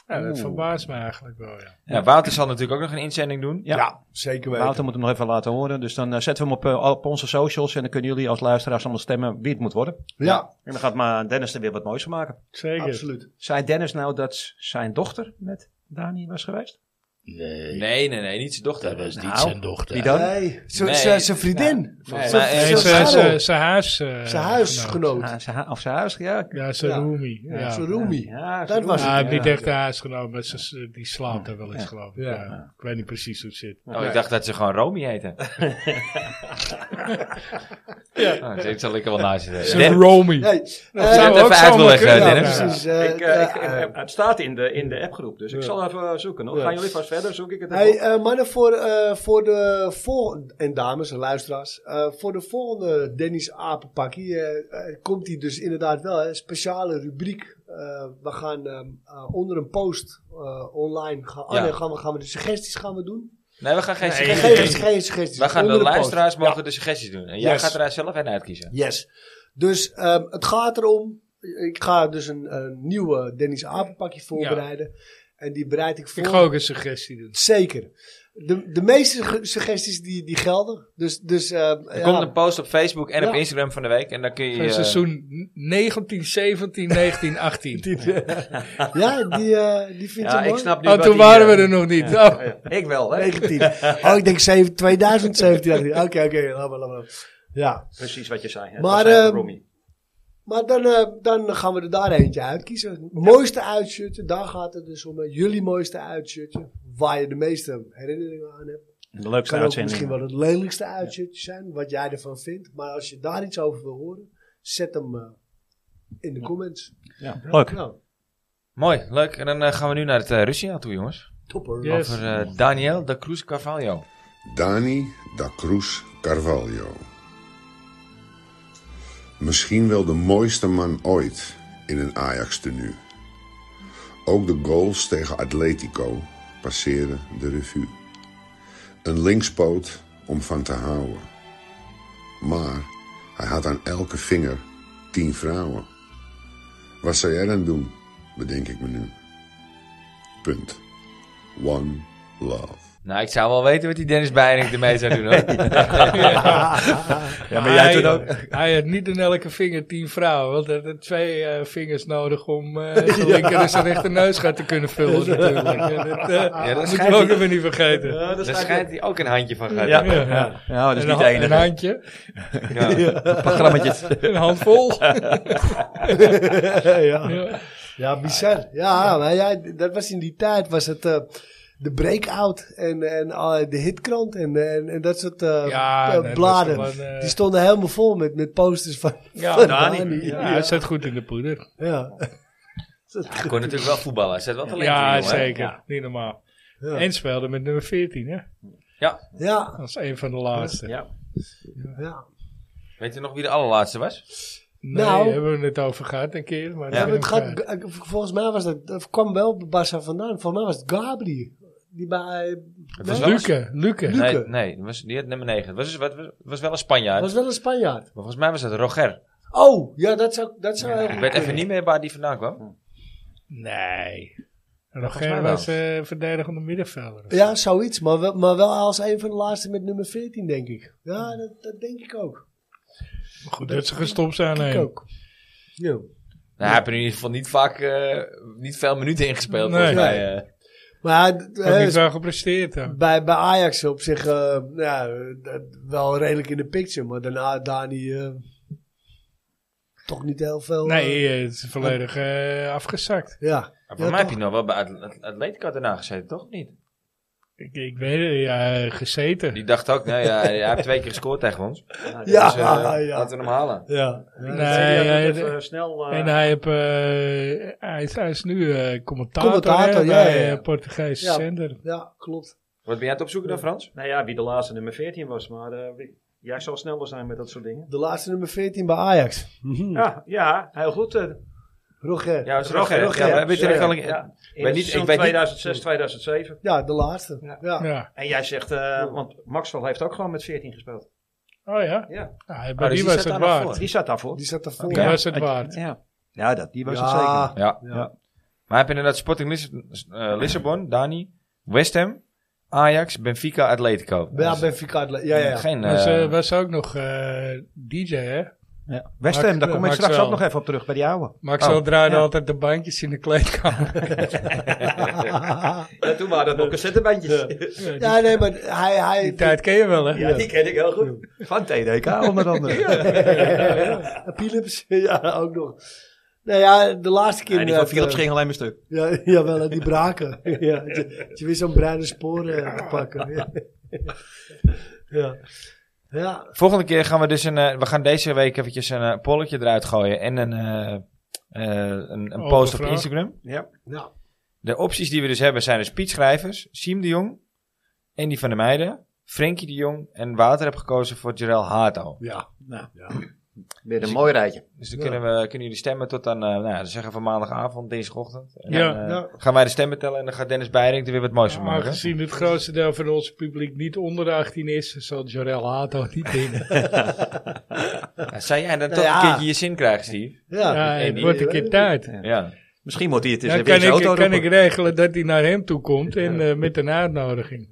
Speaker 2: Ja, dat
Speaker 6: Oeh.
Speaker 2: verbaast me eigenlijk wel, ja.
Speaker 1: Ja, Wouter zal natuurlijk ook nog een inzending doen.
Speaker 3: Ja,
Speaker 6: Ja.
Speaker 3: zeker weten.
Speaker 6: Wouter moet hem nog even laten horen. Dus dan eh, zetten we hem op, eh, op onze socials. En dan kunnen jullie als luisteraars allemaal stemmen wie het moet worden.
Speaker 3: Ja,
Speaker 6: En dan gaat maar Dennis er weer wat moois van maken.
Speaker 2: Zeker.
Speaker 3: absoluut.
Speaker 6: Zei Dennis nou dat zijn dochter met Dani was geweest?
Speaker 1: Nee, nee, nee. Niet zijn dochter.
Speaker 6: is niet
Speaker 4: Nou,
Speaker 6: zijn dochter. Wie dan?
Speaker 3: Nee, z-
Speaker 1: Nee.
Speaker 3: z- zijn vriendin.
Speaker 1: Nee,
Speaker 3: Zijn-
Speaker 1: maar, eh,
Speaker 2: Nee,
Speaker 3: zijn
Speaker 2: zijn-
Speaker 3: scharrel.
Speaker 2: zijn- zijn huis... eh,
Speaker 3: Zijn
Speaker 2: genoot.
Speaker 3: huisgenoot.
Speaker 6: Ah, zijn hu- of zijn huis, ja.
Speaker 2: Ja, zijn
Speaker 3: Ja.
Speaker 2: roomie. Ja.
Speaker 3: Ja, zijn roomie.
Speaker 6: Ja,
Speaker 3: Dat was
Speaker 2: Ah,
Speaker 3: het.
Speaker 2: niet echt de huisgenoot, maar ze- ze- die slaapt daar wel eens, geloof ik.
Speaker 3: Ja.
Speaker 2: Ja. Ik weet niet precies hoe het zit.
Speaker 1: Oh, ik dacht dat ze gewoon Romy heette. ja. Oh, dit zal ik er wel naast zitten.
Speaker 2: Zijn
Speaker 1: Dan-
Speaker 2: roomie.
Speaker 3: Nee,
Speaker 2: dat
Speaker 3: eh,
Speaker 1: zou
Speaker 2: zou
Speaker 1: even
Speaker 2: ook
Speaker 1: uit
Speaker 2: zomaar
Speaker 1: willen,
Speaker 2: kunnen.
Speaker 1: eh, Dennis.
Speaker 3: precies. eh,
Speaker 4: Ik, eh, ik,
Speaker 3: eh,
Speaker 4: eh, het staat in de, in de appgroep, dus ik zal even zoeken. Hoor.
Speaker 3: Ja.
Speaker 4: Gaan jullie vast verder? Zoek ik het
Speaker 3: Hey,
Speaker 4: even op.
Speaker 3: eh, mannen, voor, eh, voor de volgende, en dames en luisteraars, eh, voor de volgende Dennis Apenpakkie eh, eh, komt hij dus inderdaad wel, hè, een speciale rubriek. Eh, we gaan ehm, eh, onder een post eh, online, gaan, oh
Speaker 1: Ja.
Speaker 3: nee, gaan, we, gaan we de suggesties gaan we doen?
Speaker 1: Nee, we gaan geen
Speaker 3: Geen,
Speaker 1: suggesties
Speaker 3: geen,
Speaker 1: doen.
Speaker 3: geen suggesties.
Speaker 1: We gaan de
Speaker 3: onder post.
Speaker 1: luisteraars mogen de suggesties doen. En jij
Speaker 3: Yes.
Speaker 1: gaat er zelf een uitkiezen.
Speaker 3: Yes. Dus ehm, het gaat erom. Ik ga dus een, een nieuwe Dennis Apenpakje voorbereiden. En die bereid ik voor.
Speaker 2: Ik ga ook een suggestie doen.
Speaker 3: Zeker. de, de meeste ge- suggesties die, die gelden. Dus, dus eh,
Speaker 1: Er
Speaker 3: ja,
Speaker 1: komt een post op Facebook en op
Speaker 3: Ja.
Speaker 1: Instagram van de week. En dan kun je...
Speaker 2: Van
Speaker 1: eh,
Speaker 2: seizoen 19, 17, 19, 18.
Speaker 3: die, ja, die, eh, die vind je
Speaker 4: Ja,
Speaker 3: mooi.
Speaker 4: ik snap nu
Speaker 2: Oh,
Speaker 4: wat
Speaker 2: toen
Speaker 4: hij,
Speaker 2: waren we
Speaker 4: eh,
Speaker 2: er nog niet.
Speaker 4: ja,
Speaker 2: Oh.
Speaker 4: ja. Ik wel, hè?
Speaker 3: 19. Oh, ik denk zeven- 2017. dacht ik. Oké, oké. laat maar, laat maar. Ja.
Speaker 4: Precies wat je zei. hè.
Speaker 3: Maar,
Speaker 4: Dat zei
Speaker 3: ehm,
Speaker 4: Romy.
Speaker 3: Maar dan, eh, dan gaan we er daar eentje uitkiezen. Het Mooiste uitshirtje, daar gaat het dus om. eh, jullie mooiste uitshirtje, waar je de meeste herinneringen aan hebt.
Speaker 6: De leukste
Speaker 3: Kan ook misschien wel
Speaker 6: uitzending.
Speaker 3: het lelijkste uitshirtje zijn, wat jij ervan vindt. Maar als je daar iets over wil horen, zet hem eh, in de comments.
Speaker 6: Leuk.
Speaker 3: Nou,
Speaker 1: Mooi, leuk. En dan eh, gaan we nu naar het eh, Russia toe, jongens.
Speaker 3: topper.
Speaker 2: Yes.
Speaker 1: Over eh, Daniel da Cruz Carvalho.
Speaker 7: Dani da Cruz Carvalho. Misschien wel de mooiste man ooit in een Ajax-tenue. Ook de goals tegen Atletico passeren de revue. Een linkspoot om van te houden. Maar hij had aan elke vinger tien vrouwen. Wat zou jij dan doen, bedenk ik me nu. Punt. One love.
Speaker 1: Nou, ik zou wel weten wat die Dennis Beiring ermee zou doen, hoor.
Speaker 6: Ja, maar jij
Speaker 2: Hij-
Speaker 6: toen
Speaker 4: Eh,
Speaker 6: ook.
Speaker 2: Hij had niet in elke vinger tien vrouwen. Want hij had twee eh, vingers nodig om eh, zijn linker en zijn rechter neusgat te kunnen vullen natuurlijk. En dat, eh,
Speaker 1: dat
Speaker 2: dat moeten
Speaker 1: schijnt
Speaker 2: we ook
Speaker 1: hij-
Speaker 2: even niet vergeten.
Speaker 4: Ja, dat
Speaker 1: Daar
Speaker 4: schijnt-
Speaker 1: schijnt hij ook een handje van gehad.
Speaker 6: Ja,
Speaker 1: te hebben.
Speaker 6: ja. ja, dat is
Speaker 2: een,
Speaker 6: niet
Speaker 2: ha-
Speaker 6: de
Speaker 2: een
Speaker 6: enige.
Speaker 2: handje,
Speaker 1: Ja.
Speaker 6: Een paar grammetjes.
Speaker 2: een handvol.
Speaker 3: ja.
Speaker 2: Ja.
Speaker 3: ja, bizar. Ja, maar ja, dat was in die tijd, was het... eh, de breakout en, en eh, de hitkrant en, en, en dat soort eh,
Speaker 2: Ja,
Speaker 3: eh,
Speaker 2: nee, dat is
Speaker 3: bladen.
Speaker 2: toch wel een, eh,
Speaker 3: Die stonden helemaal vol met, met posters van,
Speaker 2: Ja,
Speaker 3: van
Speaker 4: Dani.
Speaker 3: Dani.
Speaker 2: Ja, hij zit goed in de poeder.
Speaker 3: Ja.
Speaker 1: Hij kon natuurlijk wel voetballen. Hij zet wel talent in,
Speaker 2: Ja,
Speaker 1: jongen.
Speaker 2: zeker. Niet normaal.
Speaker 3: Ja.
Speaker 2: En speelde met nummer 14, hè?
Speaker 3: Ja,
Speaker 2: Als een van de laatste.
Speaker 4: Ja.
Speaker 3: ja.
Speaker 1: Weet je nog wie de allerlaatste was?
Speaker 2: Nee,
Speaker 3: Nou.
Speaker 2: hebben we het over gehad een keer. Maar
Speaker 3: Ja, maar het gaat, eh, volgens mij was dat, dat kwam wel bij Barca vandaan. Volgens mij was het Gabri. Die bij, eh,
Speaker 1: Het
Speaker 3: nee,
Speaker 1: was wel een-
Speaker 2: Luke, Luke.
Speaker 3: Luke.
Speaker 1: Nee, nee dat was, die had nummer 9. Het was, was, was, was wel een Spanjaard.
Speaker 3: was wel een Spanjaard.
Speaker 1: Maar volgens mij was dat Roger.
Speaker 3: Oh, ja, dat zou, dat zou heel
Speaker 1: Ik
Speaker 3: goed
Speaker 1: weet even
Speaker 3: kunnen.
Speaker 1: niet meer waar die vandaan kwam.
Speaker 2: Nee.
Speaker 1: volgens mij
Speaker 2: Roger
Speaker 1: wel.
Speaker 2: was eh verdedigende middenvelder.
Speaker 3: Ja, zoiets. Maar wel, maar wel als een van de laatste met nummer 14, denk ik. Ja, dat, dat denk ik ook.
Speaker 2: Goed dat ze gestopt zijn.
Speaker 3: Ik
Speaker 2: hè.
Speaker 3: ook. Ja.
Speaker 1: Nou, hij heeft er in ieder geval niet vaak, eh, niet veel minuten ingespeeld.
Speaker 2: Nee.
Speaker 1: volgens mij. eh.
Speaker 3: Maar eh,
Speaker 2: Ik heb niet zo gepresteerd. hè.
Speaker 3: bij, bij Ajax op zich eh, nou ja, dat- wel redelijk in de picture. Maar daarna Dani eh, toch niet heel veel. eh,
Speaker 2: Nee, eh, het is volledig eh, afgezakt.
Speaker 3: ja.
Speaker 1: Maar
Speaker 3: Ja,
Speaker 1: voor mij heb
Speaker 3: toch?
Speaker 1: je nog wel bij At- At- Atletico daarna gezeten, toch? Of Niet?
Speaker 2: Ik, ik weet het, ja, gezeten.
Speaker 1: Die dacht ook, nee, ja, hij heeft twee keer gescoord tegen ons.
Speaker 3: Ja,
Speaker 1: Dus, eh,
Speaker 3: ja, ja.
Speaker 1: Laten we hem halen.
Speaker 3: Ja,
Speaker 4: Ja,
Speaker 2: Nee,
Speaker 4: dat zei hij,
Speaker 2: hij-
Speaker 4: dat even snel. eh,
Speaker 2: En hij, heb, eh, hij, is, hij is nu eh, commentator,
Speaker 3: Commentator,
Speaker 2: hè,
Speaker 3: ja, ja,
Speaker 2: bij
Speaker 3: ja.
Speaker 2: eh, Portugese
Speaker 3: Ja.
Speaker 2: zender.
Speaker 3: ja klopt.
Speaker 1: Wat ben jij aan het opzoeken dan, Frans?
Speaker 4: Nou ja, wie de laatste nummer 14 was, maar eh, wie- jij zal sneller zijn met dat soort dingen.
Speaker 3: De laatste nummer 14 bij Ajax.
Speaker 6: Hmm.
Speaker 3: Mhm.
Speaker 4: Ja, ja heel goed. eh,
Speaker 3: Roger.
Speaker 1: Ja,
Speaker 3: Ja.
Speaker 1: dat is Roger.
Speaker 4: Roger,
Speaker 1: Ja,
Speaker 3: ja.
Speaker 1: maar weet je,
Speaker 4: Ja,
Speaker 1: dat kan ik-
Speaker 4: ja.
Speaker 1: weet
Speaker 4: In
Speaker 1: niet-
Speaker 4: het
Speaker 1: ik
Speaker 4: seizoen
Speaker 1: weet niet-
Speaker 4: 2006, 2007.
Speaker 3: de laatste.
Speaker 4: Ja.
Speaker 3: Ja.
Speaker 2: Ja.
Speaker 4: En jij zegt, eh, want Maxwell heeft ook gewoon met 14 gespeeld.
Speaker 2: Oh ja?
Speaker 4: Ja,
Speaker 2: Nou,
Speaker 1: dus
Speaker 2: bij die
Speaker 1: die
Speaker 2: was
Speaker 1: zat
Speaker 2: het
Speaker 1: daar nog
Speaker 2: waard.
Speaker 1: voor.
Speaker 4: die zat daarvoor.
Speaker 3: Die zat ervoor.
Speaker 2: Die was het waard.
Speaker 6: Ja, ja dat, die was het
Speaker 3: Ja.
Speaker 6: zeker.
Speaker 1: Ja.
Speaker 3: Ja.
Speaker 1: Maar heb je inderdaad Sporting Lis- eh, Lissabon, Dani, West Ham, Ajax, Benfica, Atletico.
Speaker 3: Ja,
Speaker 1: Dus
Speaker 3: Benfica. had le- Ja, ja, ja.
Speaker 1: Geen,
Speaker 2: was,
Speaker 1: eh,
Speaker 2: eh, was ook nog eh, DJ, hè?
Speaker 6: Ja. West
Speaker 2: Max-
Speaker 6: Ham, daar kom ik
Speaker 2: Max
Speaker 6: straks
Speaker 2: wel.
Speaker 6: ook nog even op terug bij die ouwe.
Speaker 2: Maxwell
Speaker 1: Oh,
Speaker 2: draaide
Speaker 6: ja.
Speaker 2: altijd de bandjes in de kleedkamer.
Speaker 4: Ja, toen waren dat nog cassettebandjes.
Speaker 2: Ja, die,
Speaker 3: ja, nee, maar hij... hij
Speaker 2: die tijd ken je wel, hè?
Speaker 4: Ja, die ken ik heel goed.
Speaker 6: Van TDK onder andere.
Speaker 3: Philips, ja, ook nog. Nou ja, de laatste keer...
Speaker 6: Nee, die van
Speaker 3: inderdaad,
Speaker 6: Philips
Speaker 3: eh,
Speaker 6: ging alleen maar stuk.
Speaker 3: Ja, jawel, hè, die braken. ja, dat je, dat je weer zo'n bruine sporen eh, te pakken. ja. ja. Ja,
Speaker 1: Volgende keer gaan we dus een. eh, we gaan deze week eventjes een eh, polletje eruit gooien. En een, eh, eh, een, een
Speaker 2: Oh,
Speaker 1: post
Speaker 2: een
Speaker 1: op
Speaker 2: vraag.
Speaker 1: Instagram.
Speaker 3: ja. Nou.
Speaker 1: De opties die we dus hebben zijn de speechschrijvers. Siem de Jong. Andy van der Meijden. Frenkie de Jong. En Wouter heb gekozen voor Jarel Hato.
Speaker 3: ja.
Speaker 4: Weer een mooi rijtje.
Speaker 1: Dus dan kunnen, we, kunnen jullie stemmen tot aan. eh nou ja, dan zeggen we maandagavond, dinsdagochtend. En
Speaker 2: Ja, nou.
Speaker 1: dan, eh,
Speaker 3: ja.
Speaker 1: Gaan wij de stemmen tellen en dan gaat Dennis Beiring er weer wat moois van maken.
Speaker 2: Aangezien het grootste deel van ons publiek niet onder de 18 is, zal Jorel Hato niet winnen.
Speaker 1: Ja, Zou jij dan
Speaker 3: Nou
Speaker 1: toch een
Speaker 3: ja.
Speaker 1: keertje je zin krijgen, Steve?
Speaker 3: Ja.
Speaker 2: ja,
Speaker 1: en
Speaker 2: het
Speaker 1: die-
Speaker 2: wordt een keer tijd.
Speaker 1: Ja.
Speaker 6: Misschien moet hij het eens
Speaker 2: Dan
Speaker 6: even in
Speaker 2: kan
Speaker 6: zijn
Speaker 2: ik,
Speaker 6: auto
Speaker 2: kan ik
Speaker 6: roepen.
Speaker 2: regelen dat hij naar hem toe komt en eh, met een uitnodiging.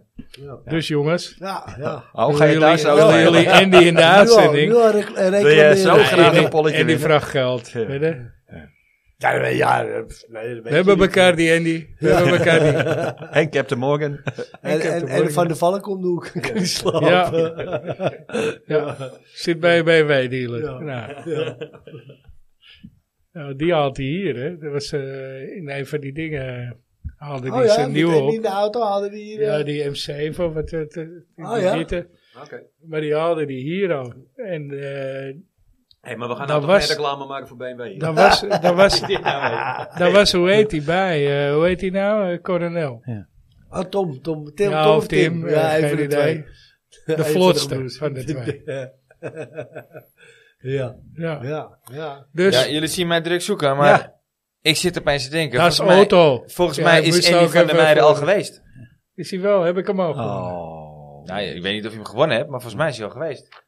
Speaker 2: Dus jongens,
Speaker 3: Ja, ja.
Speaker 6: Oh, ga
Speaker 2: willen
Speaker 6: je daar
Speaker 2: jullie,
Speaker 6: zo
Speaker 2: willen
Speaker 6: spelen?
Speaker 2: jullie Andy in de uitzending?
Speaker 3: Nu al, nu al rec- eh,
Speaker 4: Wil jij zo
Speaker 3: reclameren.
Speaker 4: graag
Speaker 2: Andy-
Speaker 4: een polletje
Speaker 2: Andy
Speaker 4: winnen?
Speaker 2: vraagt geld.
Speaker 6: Ja.
Speaker 2: weet je?
Speaker 3: Ja, nee, ja, eh, pff, nee, dat weet
Speaker 2: We hebben
Speaker 3: je niet.
Speaker 2: Bacardi, Andy. We hebben Bacardi.
Speaker 6: En Captain Morgan.
Speaker 3: En, en, en Van der Valk komt de hoek. Kan niet slapen.
Speaker 2: Ja. Ja. Zit bij een BMW-dealer.
Speaker 3: Ja.
Speaker 2: Nou.
Speaker 3: Ja.
Speaker 2: Nou, die haalt hij hier, hè. Dat was eh, in een van die dingen haalde hij
Speaker 3: Oh ja,
Speaker 2: zijn nieuwe
Speaker 3: meteen
Speaker 2: op.
Speaker 3: in de auto hadden die hier. eh,
Speaker 2: Ja, die M7 of wat eh, het
Speaker 3: Ah, ja?
Speaker 2: Maar die haalde die hier al. En eh,
Speaker 4: Hé, maar we
Speaker 2: Dat
Speaker 4: gaan nou toch
Speaker 2: was-
Speaker 4: geen reclame maken voor BMW.
Speaker 2: daar was, daar was,
Speaker 1: nou
Speaker 4: Ja,
Speaker 2: daar was, hoe heet die bij? eh, hoe heet die nou? Eh, Coronel.
Speaker 3: Ah, Tom, Tom, Tim,
Speaker 2: ja,
Speaker 3: Tom
Speaker 2: of Tim. eh,
Speaker 3: Ja,
Speaker 2: geen
Speaker 3: even de
Speaker 2: idee.
Speaker 3: twee.
Speaker 2: De
Speaker 3: Even
Speaker 2: vlotste
Speaker 3: broers.
Speaker 2: van de twee.
Speaker 3: ja,
Speaker 2: Ja.
Speaker 3: ja, ja.
Speaker 2: Dus,
Speaker 1: Ja, jullie zien mij druk zoeken, maar ik zit opeens te denken.
Speaker 2: dat is
Speaker 1: volgens mij-
Speaker 2: auto.
Speaker 1: Volgens
Speaker 2: Ja,
Speaker 1: mij
Speaker 2: moest
Speaker 1: is
Speaker 2: je
Speaker 1: Andy
Speaker 2: ook
Speaker 1: van der
Speaker 2: even
Speaker 1: Meijden al
Speaker 2: voor-
Speaker 1: geweest.
Speaker 2: Is hij wel? Heb ik hem al gewonnen?
Speaker 6: Oh.
Speaker 1: Nou, ik weet niet of je hem gewonnen hebt, maar volgens mij is hij al geweest.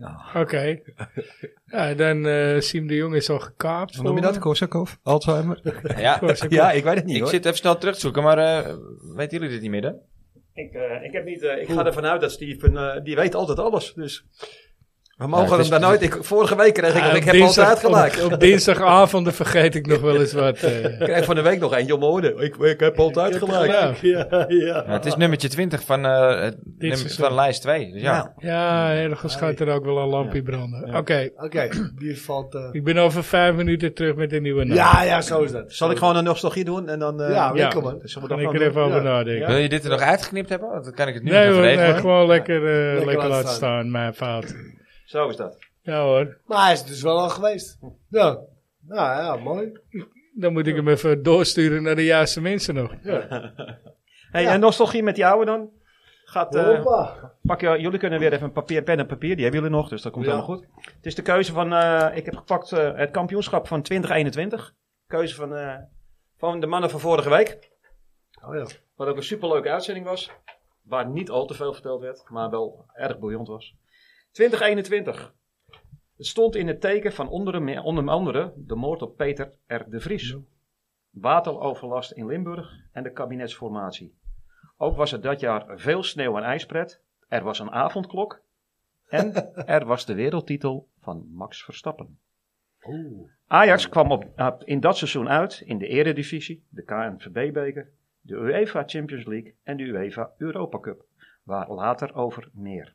Speaker 2: Oké. Ja, dan eh Siem de Jong is al gekaapt.
Speaker 6: Hoe noem je
Speaker 2: voor
Speaker 6: dat?
Speaker 2: me.
Speaker 6: Korsakov? Alzheimer?
Speaker 1: Ja,
Speaker 2: Korsak-
Speaker 6: Ja, ik weet het niet
Speaker 1: ik
Speaker 6: hoor.
Speaker 1: zit even snel terug te zoeken, maar eh weten jullie dit niet meer? hè?
Speaker 4: Ik, eh, ik, heb niet, eh, ik ga ervan uit dat Steve, een, eh, die weet altijd alles. Dus we mogen
Speaker 1: het is-
Speaker 4: hem daar nooit... Ik, vorige week kreeg ik,
Speaker 2: Ja,
Speaker 4: ik
Speaker 2: op
Speaker 4: heb
Speaker 2: dinsdag-
Speaker 4: altijd gelijk.
Speaker 6: Oh,
Speaker 2: Op, op dinsdagavonden vergeet ik nog wel eens wat. eh.
Speaker 4: Ik kreeg van de week nog eentje om mijn oren. Ik, ik heb altijd gelijk.
Speaker 2: Ja.
Speaker 3: Ja,
Speaker 1: Ja,
Speaker 3: ja.
Speaker 1: Nou, het is nummertje 20 van, eh, het nummer-
Speaker 2: seizoen.
Speaker 1: van lijst 2. Dus ja.
Speaker 4: Nou,
Speaker 2: Ja, ergens gaat er ook wel een lampje branden. Oké,
Speaker 3: Oké, die valt... eh,
Speaker 2: ik ben over vijf minuten terug met een nieuwe naam.
Speaker 3: ja, ja, zo is dat.
Speaker 4: zal ik gewoon een nostalgie doen en dan... eh,
Speaker 3: Ja,
Speaker 2: ja.
Speaker 3: lekker man.
Speaker 4: zullen we
Speaker 2: Kan
Speaker 4: dat
Speaker 2: ik
Speaker 4: gewoon
Speaker 2: er even
Speaker 4: doen?
Speaker 2: over
Speaker 3: Ja.
Speaker 2: nadenken.
Speaker 1: Wil je dit er nog uitgeknipt hebben? Want dan kan ik het nu
Speaker 2: Nee
Speaker 1: nog
Speaker 2: hoor,
Speaker 1: even
Speaker 2: nee,
Speaker 1: regelen.
Speaker 2: gewoon lekker, eh, lekker,
Speaker 3: laten
Speaker 2: laten
Speaker 3: staan.
Speaker 2: staan, mijn fout.
Speaker 4: Zo is dat.
Speaker 2: Ja hoor,
Speaker 3: Maar hij is dus wel al geweest. Ja. Nou ja, mooi.
Speaker 2: dan moet ik hem even doorsturen naar de juiste mensen nog.
Speaker 6: Hey,
Speaker 3: Ja.
Speaker 6: En nostalgie met die oude dan? Gaat, eh,
Speaker 3: Hoppa.
Speaker 6: pak je, jullie kunnen weer even een papier, pen en papier, die hebben jullie nog, dus dat komt
Speaker 3: Ja.
Speaker 6: helemaal goed. Het is de keuze van, eh, ik heb gepakt eh, het kampioenschap van 2021.
Speaker 4: Keuze van, eh, van de mannen van vorige week.
Speaker 3: Oh ja.
Speaker 4: Wat ook een superleuke uitzending was. Waar niet al te veel verteld werd, maar wel erg boeiend was. 2021. Het stond in het teken van onder, me- onder andere de moord op Peter R. de Vries. Wateroverlast in Limburg en de kabinetsformatie. Ook was er dat jaar veel sneeuw en ijspret. Er was een avondklok. En er was de wereldtitel van Max Verstappen. Ajax kwam op, op- in dat seizoen uit in de Eredivisie, de KNVB-beker, de UEFA Champions League en de UEFA Europa Cup. Waar later over meer.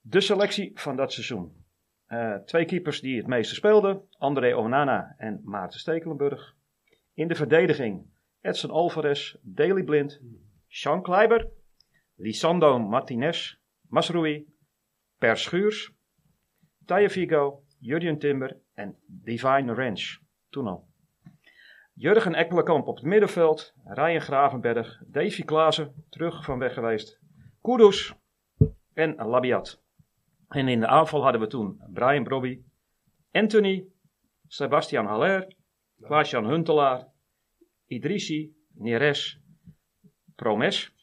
Speaker 4: De selectie van dat seizoen. Eh, twee keepers die het meeste speelden. André Onana en Maarten Stekelenburg. In de verdediging Edson Alvarez, Daley Blind, Sean Kleiber, Lisandro Martinez, Masrui, Per Schuurs, Taya Vigo, Jurgen Timber en Divine Ranch. Toen al. Jurgen Ekkelenkamp op het middenveld, Ryan Gravenberg, Davy Klaassen, terug van weg geweest, Kudus en Labiat. En in de aanval hadden we toen Brian Brobby, Anthony, Sebastian Haller, Klaas-Jan Huntelaar, Idrissi, Neres, Promes.